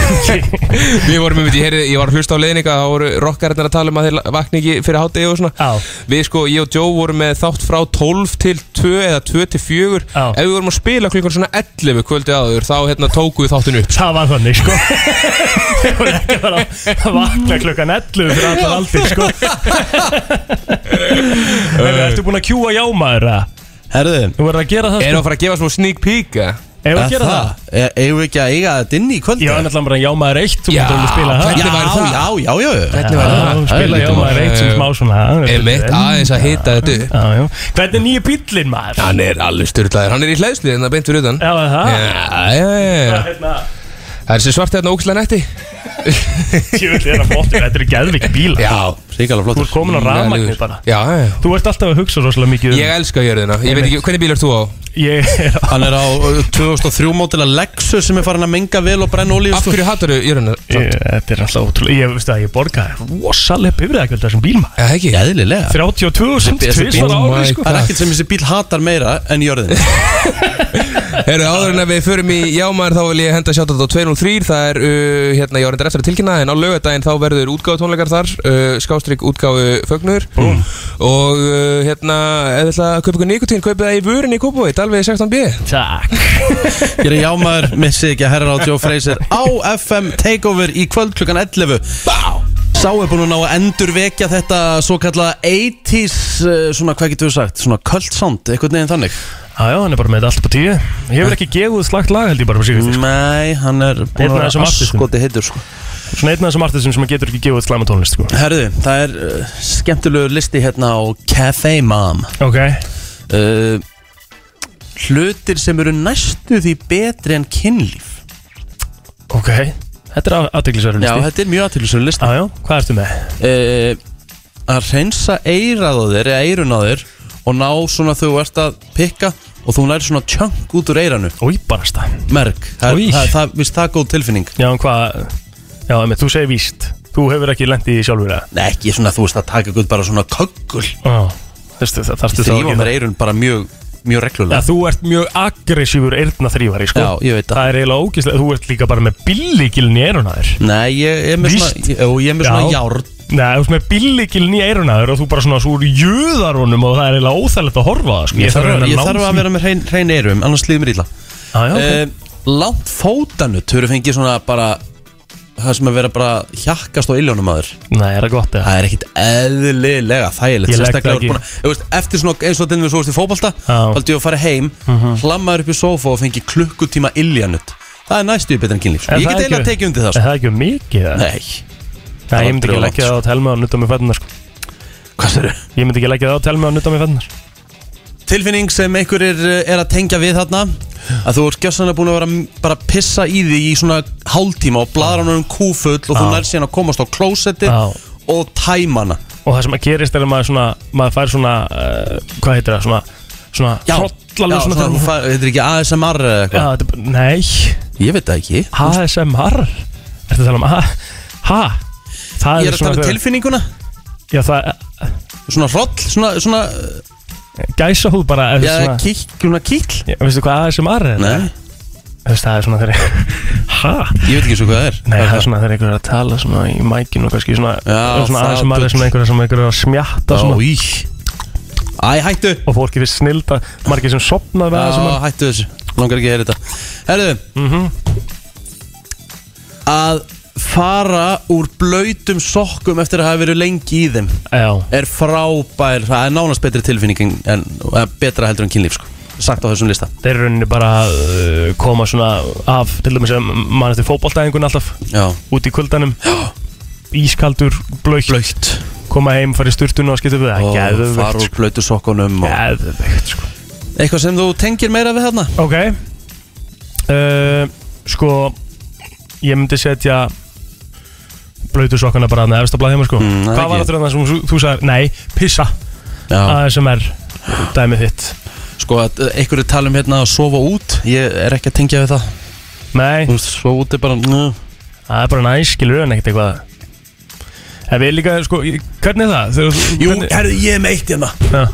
[SPEAKER 9] Við vorum einmitt, ég, heyrði, ég var að hlusta á leiðninga Það voru rockarinn að tala um að þeir vakna ekki fyrir hátegi og svona
[SPEAKER 2] Já,
[SPEAKER 9] Við sko, ég og Joe vorum með þátt frá 12 til 2 eða 2 til 4
[SPEAKER 2] Já.
[SPEAKER 9] Ef við vorum að spila klukkan svona 11 kvöldi áður Þá hérna tóku við þáttin upp
[SPEAKER 2] það var þannig sko Ég voru ekki bara að vakna klukkan 11 fyrir allar aldir sko Hefur, ertu búin að kjúa jámaður að?
[SPEAKER 1] Herðu
[SPEAKER 2] Þú verður að gera það sko
[SPEAKER 9] Erum við að fara að gefa smá sneak peek eða?
[SPEAKER 2] Hefur að gera það?
[SPEAKER 1] E- Eigum við ekki að eiga þetta inn í kvöld
[SPEAKER 2] Já, en allan bara jámaður eitt, þú mútur alveg spila það
[SPEAKER 9] hvernig
[SPEAKER 1] já,
[SPEAKER 9] væri það?
[SPEAKER 1] já, já, já
[SPEAKER 9] Hvernig væri það?
[SPEAKER 2] Já, Spila jámaður eitt sem smá svona já,
[SPEAKER 9] Emitt, aðeins að hita þetta upp
[SPEAKER 2] já, já. Hvernig er nýju bíllinn maður?
[SPEAKER 9] Hann er alveg styrlaður, hann er í hlæðslu en það beint fyrir utan
[SPEAKER 2] Já, er það
[SPEAKER 9] Já, já, já.
[SPEAKER 2] Hérna,
[SPEAKER 9] Það er þessi svart hérna ógislega netti
[SPEAKER 2] Tjöfull er að bóttu, þetta er geðvik bíla
[SPEAKER 9] Já,
[SPEAKER 1] Ríkala
[SPEAKER 2] Þú
[SPEAKER 1] flottur
[SPEAKER 2] ert komin á rafmagnir bara
[SPEAKER 9] Já, já
[SPEAKER 2] Þú ert alltaf að hugsa rosalega mikið um
[SPEAKER 9] Ég elska jörðina, ég veit ekki, hvernig bíl ert þú á?
[SPEAKER 2] Ég er á
[SPEAKER 1] Hann er á uh, 2003 mótila Lexus sem er farin að menga vel og brenna olíu
[SPEAKER 9] Af
[SPEAKER 1] sko.
[SPEAKER 9] hverju hattar þú jörðina?
[SPEAKER 2] Ég- Þetta er alltaf ótrúlega Ég veist að ég borgaði rosalega bifræðakvöld þessum bíl maður
[SPEAKER 9] Já, ekki
[SPEAKER 1] Eðlilega
[SPEAKER 2] 32 sem
[SPEAKER 1] Þessi Ah, bíl-
[SPEAKER 2] tvisvar á
[SPEAKER 9] Oh
[SPEAKER 2] ári
[SPEAKER 9] my
[SPEAKER 2] sko
[SPEAKER 1] Það er ekkert sem þessi bíl hatar meira en jörðin
[SPEAKER 9] Herru, áður en að við förum í jámaður þá vil ég henda sjátt á 203 Það er, uh, hérna, ég var reyndar eftir að tilkynna það, En á lögadaginn þá verður útgáðu tónleikar þar uh, Skást skástrík útgáfu fögnur Búm. og uh, hérna, ef þið ætla að kaupa ykkur nikotín kaupið það í vörunni í Kópaveit, alveg 16B
[SPEAKER 5] Takk
[SPEAKER 1] Ég er jámaður, missið ekki að herra á Joe Fraser á FM Takeover í kvöld klukkan 11 Sá er búin að ná að endur vekja þetta svo kallaða 80s, eh, svona hvað getur við sagt, svona cult sound, eitthvað neginn þannig
[SPEAKER 2] Jájá, hann er bara með þetta alltaf på tíu Ég vil ekki gefa út slagt lag held ég bara með
[SPEAKER 1] Mm.
[SPEAKER 2] sig
[SPEAKER 1] Nei, hann er búin
[SPEAKER 2] Einn af
[SPEAKER 1] að
[SPEAKER 2] þessum
[SPEAKER 1] vera
[SPEAKER 2] artistum.
[SPEAKER 1] askoti hittur sko
[SPEAKER 2] Svona einn af þessum artistum sem getur ekki gefa út slæma tónlist sko.
[SPEAKER 1] Herðu, það er uh, skemmtilegu listi hérna á Cafe Mom
[SPEAKER 2] Ok
[SPEAKER 1] uh, Hlutir sem eru næstu því betri en kynlíf
[SPEAKER 2] Ok Þetta er aðteglisverður
[SPEAKER 1] Já,
[SPEAKER 2] listi
[SPEAKER 1] þetta er mjög aðtýrlisum listi
[SPEAKER 2] Jájá, hvað ertu með?
[SPEAKER 1] uh, að reynsa eirað á þér eða eirun á þér og ná svona þegar þú ert að pikka og þú næri svona tjönk út úr eiranu
[SPEAKER 2] Új, barasta
[SPEAKER 1] merk, það,
[SPEAKER 2] Í.
[SPEAKER 1] er- það, það, víst, það er góð tilfinning
[SPEAKER 2] Já, en hvað Já, emi, þú segir víst Þú hefur ekki lent í því sjálfur eða?
[SPEAKER 1] Nei, ekki svona þú veist að taka gutt bara svona köggul
[SPEAKER 2] Já Þarstu það þarftu þá
[SPEAKER 1] þrýfa
[SPEAKER 2] ekki
[SPEAKER 1] mér
[SPEAKER 2] það-
[SPEAKER 1] eirun bara mjög, mjög reglulega
[SPEAKER 2] Já, þú ert mjög aggressífur eirna þrývari sko.
[SPEAKER 1] Já, ég veit það
[SPEAKER 2] Það er eiginlega ógíslega Þú ert líka bara með billigilin í eirunaður
[SPEAKER 1] Nei, ég er með svona,
[SPEAKER 2] Víst.
[SPEAKER 1] ég, ég er með svona járn
[SPEAKER 2] Nei, þú ert með billigilin í eirunaður og þú bara svona svo úr jöðarunum og það er eiginlega óþægilegt að horfa á það, sko.
[SPEAKER 1] Ég þarf,
[SPEAKER 2] reyna
[SPEAKER 1] að- ég
[SPEAKER 2] ná
[SPEAKER 1] þarf
[SPEAKER 2] því.
[SPEAKER 1] að vera Eh, með hrein, hrein eirum, annars slíður mér illa
[SPEAKER 2] Já, já, ok.
[SPEAKER 1] okay. Langt fótanut, þú eru fengið svona bara Það sem að vera bara hjakkast á illjónum aður
[SPEAKER 2] Nei, er það gott eða?
[SPEAKER 1] Það er ekkit eðlilega þægilegt
[SPEAKER 2] Ég legg
[SPEAKER 1] Sérstaklega
[SPEAKER 2] það ekki.
[SPEAKER 1] úr búin að- Þú veist, Eftir svona eins og þinn við svo veist í fótbalta
[SPEAKER 2] Já. Mhm.
[SPEAKER 1] Haldi ég að fara heim, hlammaður upp í sófa og fengi klukkutíma iljanut Það er næstu í betra en kynlíf
[SPEAKER 2] Er
[SPEAKER 1] Ég
[SPEAKER 2] það
[SPEAKER 1] get eiginlega
[SPEAKER 2] ekki-
[SPEAKER 1] tekið undir það
[SPEAKER 2] Er
[SPEAKER 1] sko.
[SPEAKER 2] það ekki um mikið eða?
[SPEAKER 1] Nei,
[SPEAKER 2] Nei, ég myndi
[SPEAKER 1] aldrei
[SPEAKER 2] ekki
[SPEAKER 1] langt,
[SPEAKER 2] leggja það á telmi og nutta mig fætunar sko.
[SPEAKER 1] hvað sér
[SPEAKER 2] Ég myndi ekki leggja það á telmi og nutta mig fætunar
[SPEAKER 1] Tilfinning sem einhverjir eh, er að tengja við þarna Að þú ert gjössanlega búin að vera m- bara að pissa í því í svona hálftíma og bladra hann um kúfull og þú
[SPEAKER 2] Já.
[SPEAKER 1] nær síðan að komast á klósetti
[SPEAKER 2] Já.
[SPEAKER 1] og tæma hana
[SPEAKER 2] Og það sem að gerist er að maður svona maður fær svona, uh, hvað heitir það, svona svona
[SPEAKER 1] Já, já,
[SPEAKER 2] hrollalega
[SPEAKER 1] svona,
[SPEAKER 2] svona,
[SPEAKER 1] þú fær- þetta er ekki ASMR eða
[SPEAKER 2] Já,
[SPEAKER 1] eitthvað
[SPEAKER 2] þetta er bara- Nei,
[SPEAKER 1] Ég veit það ekki
[SPEAKER 2] ASMR Ertu að tala um A? Ha? Það
[SPEAKER 1] Ég er að tala um
[SPEAKER 2] þegar-
[SPEAKER 1] tilfinninguna
[SPEAKER 2] Já, það
[SPEAKER 1] Svona hroll, svona, svona,
[SPEAKER 2] gæsa húð bara er
[SPEAKER 1] já,
[SPEAKER 2] svona,
[SPEAKER 1] kík, svona kíkl
[SPEAKER 2] já, Veistu hvað ASMR er?
[SPEAKER 1] Nei,
[SPEAKER 2] Þú veist, Það er svona þegar Ha?
[SPEAKER 1] ég veit ekki svo hvað það er
[SPEAKER 2] Nei, það er svona þegar einhver er að tala svona í mækinu og kannski svona,
[SPEAKER 1] Já,
[SPEAKER 2] svona
[SPEAKER 1] það-
[SPEAKER 2] ASMR er svona einhver sem einhver er að smjatta svona
[SPEAKER 1] Á, í Æ, hættu
[SPEAKER 2] og fólki finnst snild að margir sem sopnaði með
[SPEAKER 1] Á,
[SPEAKER 2] þessum að
[SPEAKER 1] hættu þessu, langar ekki að heyra þetta Herðu
[SPEAKER 2] Mhm.
[SPEAKER 1] Að fara úr blöytum sokkum eftir að hafa verið lengi í þeim
[SPEAKER 2] Já,
[SPEAKER 1] er frábær, það er nánast betri tilfinning en, en eh, betra heldur en kynlíf sko. sagt á þessum lista
[SPEAKER 2] þeir eru rauninni bara að uh, koma svona af til dæmis að mann eftir fótboltæðingun alltaf
[SPEAKER 1] Já,
[SPEAKER 2] út í kuldanum ískaldur, blöitt,
[SPEAKER 1] blöytt
[SPEAKER 2] koma heim, fara í sturtun og skipta við það,
[SPEAKER 1] og fara úr
[SPEAKER 2] geðvögt sko.
[SPEAKER 1] blöytu sokkunum og...
[SPEAKER 2] geðvögt sko
[SPEAKER 1] Eitthvað sem þú tengir meira við þarna?
[SPEAKER 2] ok uh, sko ég myndi setja blöytu sokkana bara aðna efst á blaðhjóma sko
[SPEAKER 1] Mm, það
[SPEAKER 2] hvað
[SPEAKER 1] ekki.
[SPEAKER 2] var þetta sem þú- þú sagði, nei, pissa
[SPEAKER 1] Já,
[SPEAKER 2] ASMR, dæmið þitt
[SPEAKER 1] sko að eh, einhverju tala um hérna að sofa út Ég er ekki að tengja við það
[SPEAKER 2] nei,
[SPEAKER 1] Þú veist, sofa út er bara njö.
[SPEAKER 2] Það er bara næs, skilur en ekkert eitthvað En við líka, sko, í- hvernig er það? Þegar, þú-
[SPEAKER 1] Jú,
[SPEAKER 2] hvernig,
[SPEAKER 1] herðu, ég er með eitt hérna
[SPEAKER 2] ja,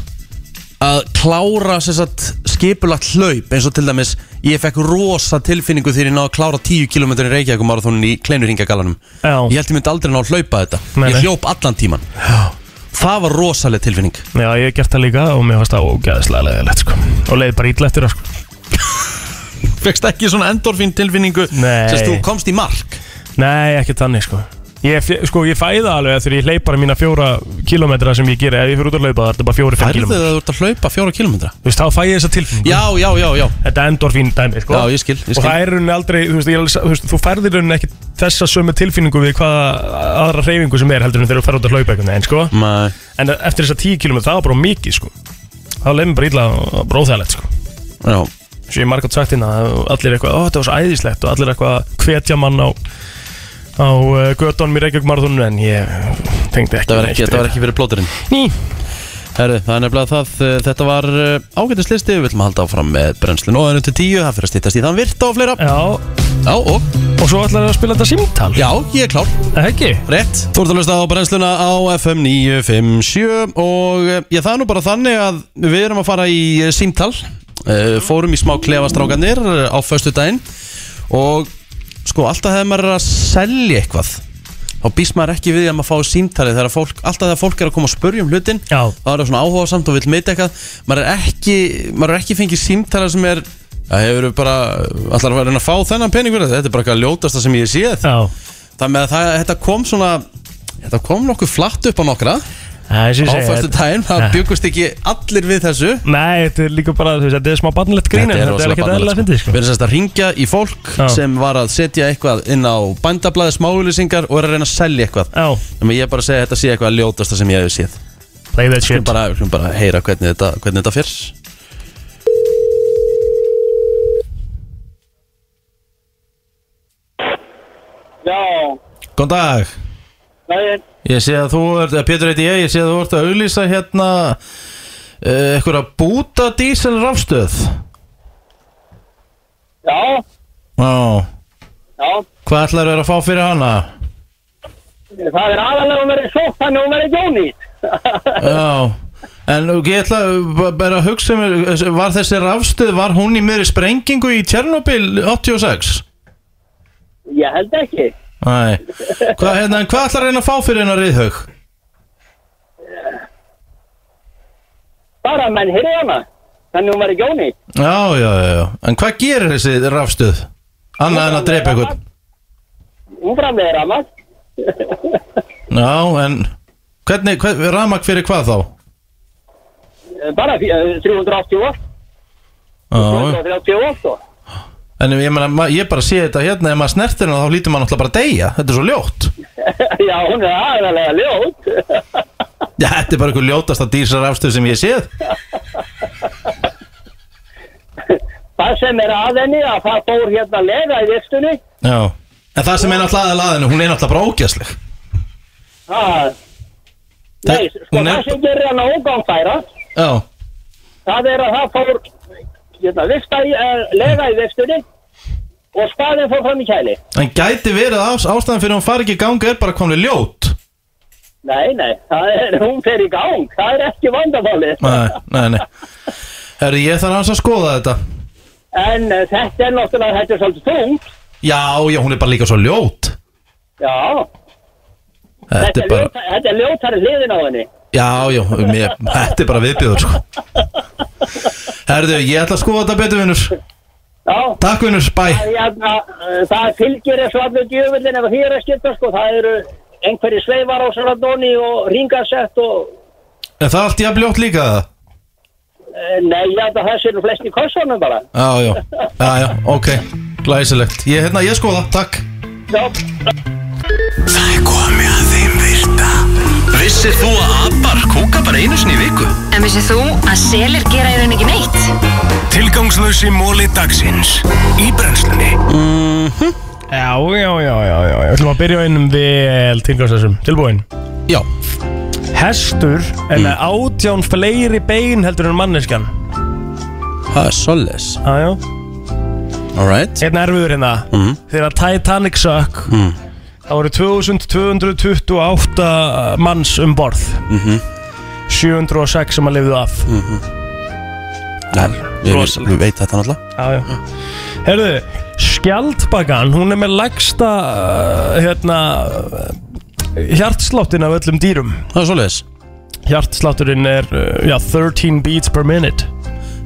[SPEAKER 1] Að klára sem sagt skipulagt hlaup Eins og til dæmis, ég fekk rosa tilfinningu þegar ég náði að klára 10 km í Reykjavík og marathónin í kleinurhingagallanum
[SPEAKER 2] já,
[SPEAKER 1] Ég held ég myndi aldrei ná að hlaupa þetta
[SPEAKER 2] Nei,
[SPEAKER 1] Ég
[SPEAKER 2] nei.
[SPEAKER 1] hljóp allan tíman Það var rosaleg tilfinning
[SPEAKER 2] já, ég hef gert það líka og mér fannst það ógæðislega leðilegt, sko Og leiði bara ítla eftir það, sko
[SPEAKER 1] Fekst ekki svona endorfín tilfinningu
[SPEAKER 2] Nei.
[SPEAKER 1] Sérst, þú komst í mark
[SPEAKER 2] Nei, ekki þannig, sko Ég, fe- sko, ég fæða alveg þegar ég hleyp bara mína fjóra kilometra sem ég geri Ef ég fyrir út að hlaupa, það er þetta bara fjóri, fimm
[SPEAKER 1] Færðu
[SPEAKER 2] kilometra
[SPEAKER 1] þegar þú ert að hlaupa 4 km
[SPEAKER 2] Þú veist, þá fæ ég þessa tilfinningu
[SPEAKER 1] Já, já, já, já
[SPEAKER 2] Þetta endorfín dæmi, sko
[SPEAKER 1] Já, ég skil, ég
[SPEAKER 2] Og
[SPEAKER 1] skil.
[SPEAKER 2] það er í rauninni aldrei, þú veist, ég, er alveg sa- þú, veist þú færðir rauninni ekki þessa sömu tilfinningu við hvaða aðra hreyfingu sem er heldur en þegar þú ferð út að hlaupa einhvern veginn, sko
[SPEAKER 1] Nei
[SPEAKER 2] En eftir þess að 10 km það var bara mikið sko Það var leið mér bara illa og bróðæðalegt sko
[SPEAKER 1] Já,
[SPEAKER 2] Svo ég hef margátt sagt hérna að allir eitthvað Ó þetta var svo æðislegt og allir eitthvað að hvetja mann á Á uh, göttunum í Reykjavík marðunum En ég tengdi ekki
[SPEAKER 1] það var ekki, það var ekki fyrir blóturinn
[SPEAKER 2] Ný
[SPEAKER 1] Herðu, það er nefnilega það, eh, þetta var ágættislisti, við viljum halda áfram með brennslun og ennum til tíu, það fyrir að stýttast í þann virt og fleira.
[SPEAKER 2] Já
[SPEAKER 1] Já, og,
[SPEAKER 2] og svo ætlar það að spila þetta símtal
[SPEAKER 1] já, ég er klár,
[SPEAKER 2] Það ekki
[SPEAKER 1] rétt. Þú ert að hlusta á brennsluna á FM 957 og eh, já, það er nú bara þannig að við erum að fara í eh, símtal, Eh, fórum í smá klefastrákanir eh, á föstu daginn og sko, alltaf hefði maður er að selja eitthvað. þá býst maður ekki við því að maður fái símtalið þegar fólk, alltaf þegar fólk er að koma að spurja um hlutin
[SPEAKER 2] Já.
[SPEAKER 1] þá er það svona áhugasamt og vil meita eitthvað maður er ekki, maður er ekki fengið símtalið sem er Það hefur bara, allar að reyna að fá þennan pening fyrir þetta, þetta er bara eitthvað ljótasta sem ég sé
[SPEAKER 2] Já,
[SPEAKER 1] Þannig að það, þetta kom svona, þetta kom nokkuð flatt upp á nokkra á
[SPEAKER 2] það er sem ég
[SPEAKER 1] fyrstu
[SPEAKER 2] segi
[SPEAKER 1] daginn, það byggust ekki allir við þessu
[SPEAKER 2] Nei, þetta er líka bara, þú veist, þetta er smá barnilegt grín en Þetta er
[SPEAKER 1] rosalega
[SPEAKER 2] ekkert eðlilega
[SPEAKER 1] barnalegt,
[SPEAKER 2] að fyndið, sko
[SPEAKER 1] Við erum semst að ringja í fólk
[SPEAKER 2] Já.
[SPEAKER 1] sem var að setja eitthvað inn á bændablaði smáulýsingar og er að reyna að selja eitthvað
[SPEAKER 2] Já,
[SPEAKER 1] Þannig að ég er bara að segja að þetta sé eitthvað ljótasta sem ég hef séð Við
[SPEAKER 2] play that shit
[SPEAKER 1] erum bara, við skulum bara að heyra hvernig þetta, hvernig þetta fyrr
[SPEAKER 8] Já,
[SPEAKER 1] Góðan dag
[SPEAKER 8] daginn.
[SPEAKER 1] Ég sé að þú ert, eða Pétur heiti ég, ég sé að þú ert að auglýsa hérna uh, eitthvað að búta dísel rafstöð
[SPEAKER 8] Já,
[SPEAKER 1] Já,
[SPEAKER 8] já.
[SPEAKER 1] hvað ætlar þú að fá fyrir hana?
[SPEAKER 8] Það er aðalega að vera sótt þannig að hún vera ekki ónýtt.
[SPEAKER 1] Já, en ég ætla b- bara að hugsa mér, var þessi rafstöð, var hún í meiri sprengingu í Tjernobyl 86?
[SPEAKER 8] Ég held ekki.
[SPEAKER 1] Nei, hvað, hérna, en hvað ætlar að reyna að fá fyrir hennar reyðhaug?
[SPEAKER 8] Bara að menn hyrði hana. Þannig að hún vera ekki ónýtt.
[SPEAKER 1] Já, já, já, já, en hvað gerir þessi rafstöð? Annað en að dreipa einhvern
[SPEAKER 8] Hún framlega ramað.
[SPEAKER 1] Já, en hvernig, hvern, ramak fyrir hvað þá?
[SPEAKER 8] Bara fí- eh, 380 volt.
[SPEAKER 1] Já,
[SPEAKER 8] 330 volt sko. og.
[SPEAKER 1] en ég, meina, ma- ég bara sé þetta hérna, ef maður snertir hennar þá lítur maður náttúrulega bara að deyja, þetta er svo ljótt
[SPEAKER 8] Já, hún er aðalega ljót.
[SPEAKER 1] Já, þetta er bara eitthvað ljótasta dísarafstöð sem ég séð
[SPEAKER 8] Það sem er að henni að það fór hérna lega í vistunni.
[SPEAKER 1] Já, en það sem er náttúrulega aðeins laðinu, hún er náttúrulega bara ógæsleg
[SPEAKER 8] Það... Nei, sko
[SPEAKER 1] hún er-
[SPEAKER 8] það sem gerir hana ógangfæra,
[SPEAKER 1] Já,
[SPEAKER 8] það er að það fór hérna, vista í, uh, lega í vistunni og spaðin fór fram í kæli.
[SPEAKER 1] en gæti verið að ástæðan fyrir að hún fari ekki í ganga er bara komið ljót
[SPEAKER 8] Nei, nei, það er, hún fer í gang, það er ekki vandamálið.
[SPEAKER 1] Nei, nei, nei Herri, ég þarf hans að skoða þetta
[SPEAKER 8] En uh, þetta er náttúrulega, þetta er svolítið tungt.
[SPEAKER 1] Já, já, hún er bara líka svo ljót
[SPEAKER 8] Já,
[SPEAKER 1] Þetta er bara,
[SPEAKER 8] ljóta, þetta er ljótari hliðin á henni.
[SPEAKER 1] já, já, mér, þetta er bara viðbjöður sko Herðu, ég ætla að skoða þetta betur vinnur
[SPEAKER 8] Já,
[SPEAKER 1] Takk vinnur, bæ
[SPEAKER 8] hérna, uh, það fylgir þessu allir djöfullin ef því er að skipta, sko, það eru einhverju sveifar á Saradóni og ringasett og
[SPEAKER 1] Er það allt jafn ljótt líka það?
[SPEAKER 8] Eh, Nei, ég held að það séu nú flest í kossunum bara.
[SPEAKER 1] Já, já, já, já, ok Glæsilegt, ég, hérna, ég skoða, takk
[SPEAKER 8] Já,
[SPEAKER 3] Það er komið að þeim virta Vissir þú að abar kúka bara einu sinni í viku?
[SPEAKER 10] En vissið þú að selir gera í raun ekki neitt?
[SPEAKER 3] Tilgangslösi móli dagsins Í brennslunni
[SPEAKER 2] Já, já, já, já, já Við ætlum að byrja á einum vel tilgangslösum Tilbúin
[SPEAKER 1] Já,
[SPEAKER 2] Hestur er
[SPEAKER 1] Mm.
[SPEAKER 2] með átján fleiri bein heldur en manneskan
[SPEAKER 1] það er solis
[SPEAKER 2] Jájá
[SPEAKER 1] Alright
[SPEAKER 2] Einn erfiður hérna Þegar Titanic sökk Það voru 2228 manns um borð 706 sem að lifðu af
[SPEAKER 1] Nei, ég ég veit þetta náttúrulega
[SPEAKER 2] Já, já. Herðu, skjaldbakan, hún er með lægsta uh, hérna, uh, hjartsláttin af öllum dýrum.
[SPEAKER 1] Það er solis
[SPEAKER 2] Hjartslátturinn er uh, já, 13 beats per minute.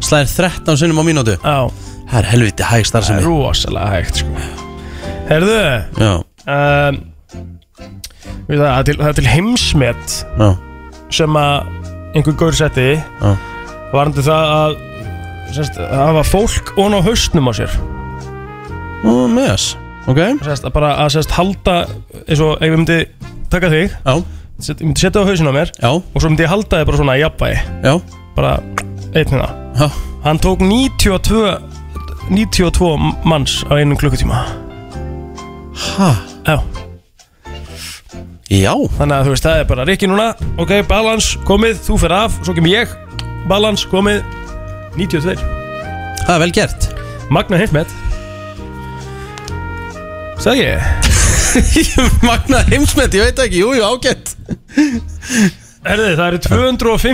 [SPEAKER 1] Slæðir 13 sinnum á mínútu
[SPEAKER 2] Já,
[SPEAKER 1] Það er helviti hæg
[SPEAKER 2] það er
[SPEAKER 1] starfsemi
[SPEAKER 2] rosalega hægt, sko. Herðu,
[SPEAKER 1] Já,
[SPEAKER 2] um, við það, það, er til, það er til heimsmet
[SPEAKER 1] já,
[SPEAKER 2] sem að einhver gaur setti
[SPEAKER 1] Já.
[SPEAKER 2] varandi það að sérst, hafa fólk ón á hausnum á sér.
[SPEAKER 1] og meðas Ok,
[SPEAKER 2] Sérst, að bara að sérst, halda, eins og ef ég myndi taka þig,
[SPEAKER 1] já,
[SPEAKER 2] set, ég myndi setja það á hausinu á mér
[SPEAKER 1] já,
[SPEAKER 2] og svo myndi ég halda þið bara svona í jafnvægi
[SPEAKER 1] já,
[SPEAKER 2] bara einn hérna
[SPEAKER 1] já
[SPEAKER 2] hann tók 92 92 manns á einum klukkutíma
[SPEAKER 1] Ha,
[SPEAKER 2] já,
[SPEAKER 1] já,
[SPEAKER 2] þannig að þú veist það er bara Rikki núna, ok, balance, komið þú fer af, svo kem ég, balance, komið 92,
[SPEAKER 1] það er vel gert
[SPEAKER 2] magna heimsmet sagði ég
[SPEAKER 1] Magnað heimsmet, ég veit ekki, jú, jú, ágætt
[SPEAKER 2] herði það eru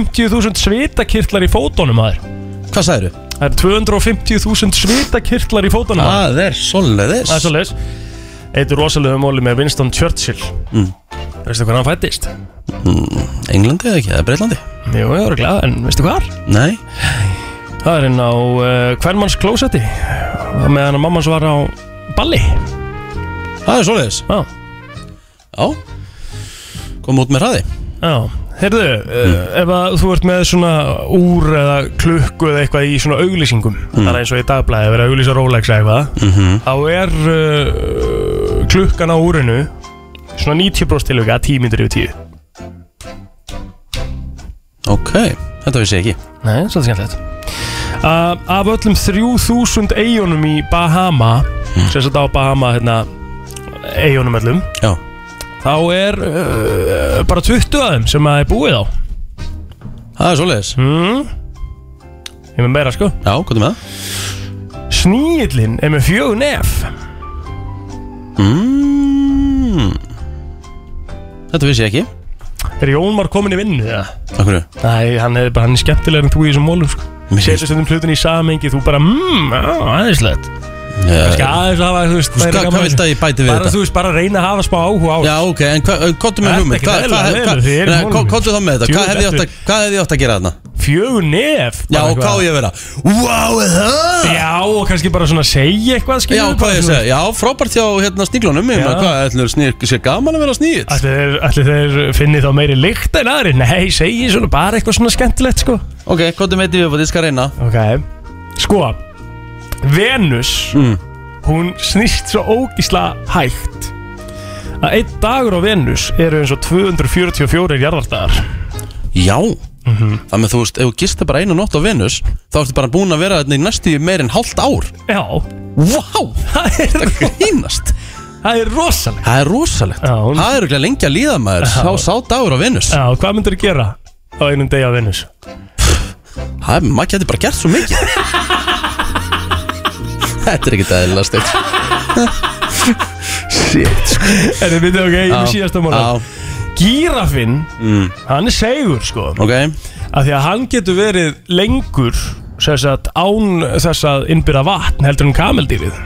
[SPEAKER 2] 250.000 svitakirtlar í fótunum maður
[SPEAKER 1] Hvað sagðirðu?
[SPEAKER 2] það eru 250.000 svitakirtlar í fótunum maður
[SPEAKER 1] Það er solis
[SPEAKER 2] Það er svolítið eitt rosalega móli með Winston Churchill Veistu hvað hann fættist?
[SPEAKER 1] Englandi eða ekki, eða Breitlandi
[SPEAKER 2] Jú, ég voru glæð, en veistu hvað?
[SPEAKER 1] Nei
[SPEAKER 2] Það er inn á uh, Hvermanns klósetti á meðan að mamma var á balli Ah.
[SPEAKER 1] Það er svoleiðis
[SPEAKER 2] Já,
[SPEAKER 1] Já Kom út með hraði
[SPEAKER 2] já Heyrðu, uh, ef að þú ert með svona úr eða klukku eða eitthvað í svona auglýsingum Það er eins og í dagblæði að vera að auglýsa Rolex eða eitthvað Þá er uh, klukkan á úrinu svona 90 bróstilvika 10 myndir yfir 10
[SPEAKER 1] Ok, þetta vissi ég ekki
[SPEAKER 2] Nei, svolítið skemmtilegt uh, Af öllum 3000 eigunum í Bahama sem sagt á Bahama hérna, eigunum öllum
[SPEAKER 1] Já.
[SPEAKER 2] þá er uh, bara 20 af þeim sem að er búið á
[SPEAKER 1] Það er svoleiðis
[SPEAKER 2] mm. Ég er með meira sko
[SPEAKER 1] Já, hvað er með það?
[SPEAKER 2] Sníillinn er með fjögur nef
[SPEAKER 1] Mm. Þetta vissi ég ekki
[SPEAKER 2] Er Jónmar komin í vinnu það?
[SPEAKER 1] Akkur
[SPEAKER 2] Nei, hann er, bara, hann er skemmtilegur en þú í þessum mólum sko
[SPEAKER 1] Mér
[SPEAKER 2] Setur stundum hlutin í samengi, þú bara mmm, aðeinslegt Ska
[SPEAKER 1] Eh, Ska,
[SPEAKER 2] aðeins hafa, þú veist, meira
[SPEAKER 1] Hvað
[SPEAKER 2] gaman að þessu.
[SPEAKER 1] vilt að ég bæti við
[SPEAKER 2] Bara,
[SPEAKER 1] þetta?
[SPEAKER 2] þú veist, bara reyna að hafa smá áhuga á þessu.
[SPEAKER 1] Já, ok, en kottu
[SPEAKER 2] Þetta
[SPEAKER 1] með
[SPEAKER 2] er
[SPEAKER 1] hugmynd
[SPEAKER 2] ekki
[SPEAKER 1] Hvað-
[SPEAKER 2] eðlilega
[SPEAKER 1] hvað-
[SPEAKER 2] leiðilegt,
[SPEAKER 1] hvað-
[SPEAKER 2] þið eruð
[SPEAKER 1] Nei,
[SPEAKER 2] honum.
[SPEAKER 1] ko- Kottu þá með þetta
[SPEAKER 2] Jú,
[SPEAKER 1] Hvað hefði ég átt að- Hvað hefði ég átt að gera þarna?
[SPEAKER 2] Fjögur nef
[SPEAKER 1] Já,
[SPEAKER 2] bara
[SPEAKER 1] og hvað á
[SPEAKER 2] eitthvað.
[SPEAKER 1] ég að vera? Wow, er það?
[SPEAKER 2] Já, og kannski bara svona segja eitthvað skilur
[SPEAKER 1] Já,
[SPEAKER 2] við,
[SPEAKER 1] hvað
[SPEAKER 2] bara
[SPEAKER 1] ég
[SPEAKER 2] svona-
[SPEAKER 1] segi, já, frábært hjá hérna sníglunum Ég meina,
[SPEAKER 2] Já.
[SPEAKER 1] hvað, ætlum snýr, sé gaman að vera snýð?
[SPEAKER 2] Ætli þeir, ætli þeir finni þá meiri lykt en aðri Nei, segi svona bara eitthvað svona skemmtilegt sko
[SPEAKER 1] Ok, hvað er með því að ég skal reyna?
[SPEAKER 2] Ok Sko Venus
[SPEAKER 1] Mm.
[SPEAKER 2] Hún snýst svo ógísla hægt Að einn dagur á Venus eru eins og 244 jarðardagar
[SPEAKER 1] Já
[SPEAKER 2] Mhm.
[SPEAKER 1] Þannig að þú veist, ef þú gistir bara einu nótt á Venus Þá ertu bara búin að vera þarna í næstu meir en hálft ár
[SPEAKER 2] Já
[SPEAKER 1] Vá,
[SPEAKER 2] Það er,
[SPEAKER 1] það grínast
[SPEAKER 2] það er rosalega
[SPEAKER 1] Það er rosalegt
[SPEAKER 2] Já, hún-
[SPEAKER 1] Það er ekki lengi að líða maður Sá sá dagur á Venus
[SPEAKER 2] Já, hvað myndir þú gera á einum degi á Venus?
[SPEAKER 1] Það er, maður getur bara gert svo mikið Þetta er ekki dæðilega stegt
[SPEAKER 2] Er þið myndið ok, ég er síðasta mánu
[SPEAKER 1] Já, Mm.
[SPEAKER 2] Gírafinn, hann er segur sko
[SPEAKER 1] ok
[SPEAKER 2] af því að hann getur verið lengur sem sagt, án þess að innbyrða vatn heldur en kameldýrið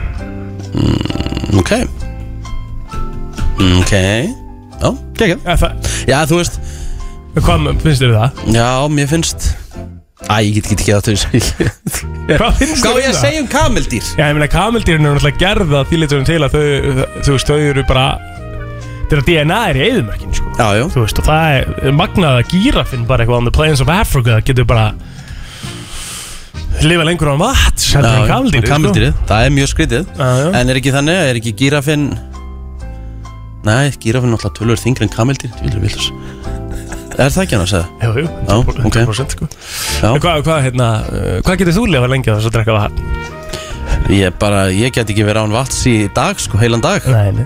[SPEAKER 1] Ok Ok Já, geggjum
[SPEAKER 2] Eða það-
[SPEAKER 1] Já, þú veist
[SPEAKER 2] Hvað m- finnst þér um það?
[SPEAKER 1] Já, mér finnst Æ, ég get ekki að þau
[SPEAKER 2] Hvað finnst
[SPEAKER 1] Hvað á
[SPEAKER 2] þér
[SPEAKER 1] ég
[SPEAKER 2] um
[SPEAKER 1] að
[SPEAKER 2] það?
[SPEAKER 1] segja um kameldýr?
[SPEAKER 2] Já, ég meina kameldýrin eru náttúrulega gerða því litunum til að þau, þú veist, þau eru bara þeirra DNA er í eðumörkin sko.
[SPEAKER 1] Já, já
[SPEAKER 2] þú veist, og það er- er magnað að gírafinn bara eitthvað on the plains of Africa getur bara lifa lengur á mat heldur en kameldýrið sko.
[SPEAKER 1] Kameldýrið, það er mjög skrítið
[SPEAKER 2] Já, já.
[SPEAKER 1] En er ekki þannig, er ekki gírafinn Nei, gírafinn er alltaf tölur þingri en kameldýr Vildur, vildur Er það ekki hann að segja?
[SPEAKER 2] Jú, jú,
[SPEAKER 1] Já,
[SPEAKER 2] 100%,
[SPEAKER 1] ok.
[SPEAKER 2] 100% sko.
[SPEAKER 1] Já.
[SPEAKER 2] En hvað, hvað, hérna, uh, hvað getur þú lifað lengi á þess að drekka vatn?
[SPEAKER 1] Ég bara, ég get ekki verið án vats í dag, sko, heilan dag
[SPEAKER 2] Nei, nei.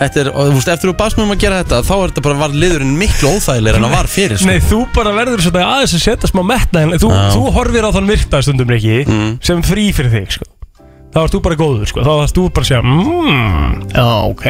[SPEAKER 1] Þetta er, og þú veist, eftir þú baðst mér um að gera þetta Þá er þetta bara var liðurinn miklu óþægilegur en það var fyrir, sko
[SPEAKER 2] Nei, þú bara verður svona aðeins að setja smá metna en þú,
[SPEAKER 1] Já.
[SPEAKER 2] þú horfir á þann virta stundum ekki
[SPEAKER 1] Mm.
[SPEAKER 2] sem frí fyrir þig, sko Þá ert þú bara góður, sko, þá ert þú bara að segja Mmm, já, ok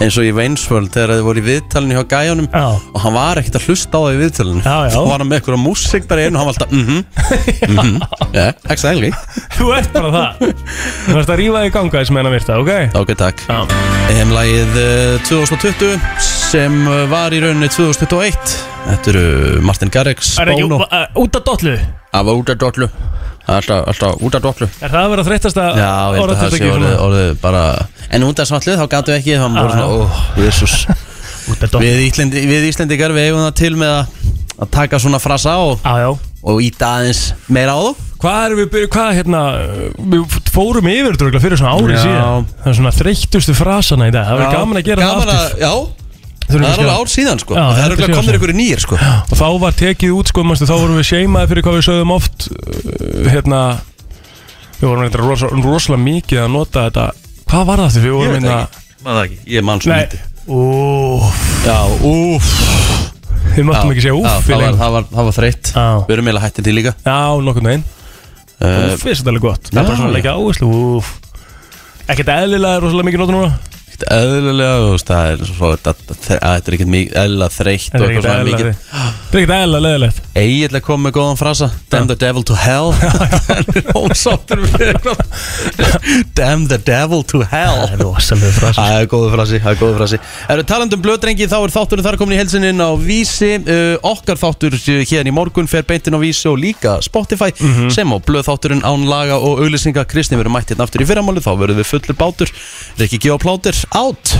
[SPEAKER 1] Eins og í Veinsvöld þegar þið voru í viðtalinu hjá gæjanum
[SPEAKER 2] Já,
[SPEAKER 1] Og hann var ekkert að hlusta á það í viðtalinu
[SPEAKER 2] Já, já.
[SPEAKER 1] Þá var hann með eitthvað músík bara í einu og hann var alltaf Mhm, mhm, ja, exactly
[SPEAKER 2] þú ert bara það Þú ert að rífa þig í ganga þess með hennar virta, ok?
[SPEAKER 1] Ok, takk
[SPEAKER 2] Já,
[SPEAKER 1] Emlægið 2020 sem eh, var í rauninni 2021 Þetta eru Martin Garrix,
[SPEAKER 2] er ekki
[SPEAKER 1] Bono
[SPEAKER 2] uh, út að dollu Er
[SPEAKER 1] Það var út af dollu Það er alltaf, alltaf út af dollu
[SPEAKER 2] það að vera þreyttast að
[SPEAKER 1] Já, ég held að það sé orðið, orðið bara En út af smallu þá gætu ekki Það voru
[SPEAKER 2] Já, já.
[SPEAKER 1] svona, óh, jésús
[SPEAKER 2] Út að dollu
[SPEAKER 1] við, Íslendi, við Íslendingar við eigum það til með að, að taka svona frasa og,
[SPEAKER 2] Já, já
[SPEAKER 1] og íta aðeins meira á þú
[SPEAKER 2] Hvað erum við byrjuð, hvað hérna Við fórum yfir þetta örugglega fyrir svona ári
[SPEAKER 1] Já.
[SPEAKER 2] síðan Það er svona þreyttustu frasana í dag Það verður gaman að gera
[SPEAKER 1] Gaman
[SPEAKER 2] það
[SPEAKER 1] að-
[SPEAKER 2] aftur
[SPEAKER 1] Já,
[SPEAKER 2] Þurfum
[SPEAKER 1] það er
[SPEAKER 2] við að
[SPEAKER 1] alveg
[SPEAKER 2] gera-
[SPEAKER 1] ár síðan sko
[SPEAKER 2] Já,
[SPEAKER 1] Það er
[SPEAKER 2] þetta sé
[SPEAKER 1] alveg
[SPEAKER 2] svona.
[SPEAKER 1] komnir ykkur nýjir sko
[SPEAKER 2] Og þá var tekið út sko manstu, Þá vorum við seimaði fyrir hvað við sögðum oft uh, Hérna Við vorum hérna ros, rosalega mikið að nota þetta Hvað var það því við
[SPEAKER 1] Ég
[SPEAKER 2] vorum
[SPEAKER 1] veit
[SPEAKER 2] hérna
[SPEAKER 1] Man það ekki, ég mann svo
[SPEAKER 2] Nei
[SPEAKER 1] lítið
[SPEAKER 2] Úf
[SPEAKER 1] Já, úff
[SPEAKER 2] Við
[SPEAKER 1] Já,
[SPEAKER 2] máttum ekki
[SPEAKER 1] já,
[SPEAKER 2] segja úf
[SPEAKER 1] það var, það var, það var þreytt
[SPEAKER 2] Já.
[SPEAKER 1] Við erum eiginlega hættið til líka
[SPEAKER 2] Já, nokkurn veginn
[SPEAKER 1] uh,
[SPEAKER 2] Úf, finnst þetta alveg gott Það er
[SPEAKER 1] já,
[SPEAKER 2] bara svona
[SPEAKER 1] já.
[SPEAKER 2] að leika áherslu Úf Ekkert eðlilega rosalega mikið nota núna
[SPEAKER 1] Eðlilega, þú veist, það er svo að, að, að þetta er ekkert mikið eðlilega þreytt
[SPEAKER 2] Þetta
[SPEAKER 1] og
[SPEAKER 2] er
[SPEAKER 1] eitthvað
[SPEAKER 2] ekkert
[SPEAKER 1] svona
[SPEAKER 2] eðlilega
[SPEAKER 1] mikið
[SPEAKER 2] þreytt. Það er ekkert eðla leðilegt
[SPEAKER 1] Egil er komið með góðan frasa Damn the devil to hell Hann er ósáttur við eitthvað. Damn the devil to hell Það er rosalega frasi Það er góðu frasi Það er góðu frasi Erum talandum blöðdrengi þá er þátturinn þar komin í helsinin á Vísi uh, Okkar þáttur uh, hérna í morgun fer beintinn á Vísi og líka Spotify
[SPEAKER 2] Mhm.
[SPEAKER 1] sem á blöðþátturinn án laga og auglýsinga Kristi verður mætt hérna aftur í fyrramáli þá verður við fullur bátur Rikki G. Plátur out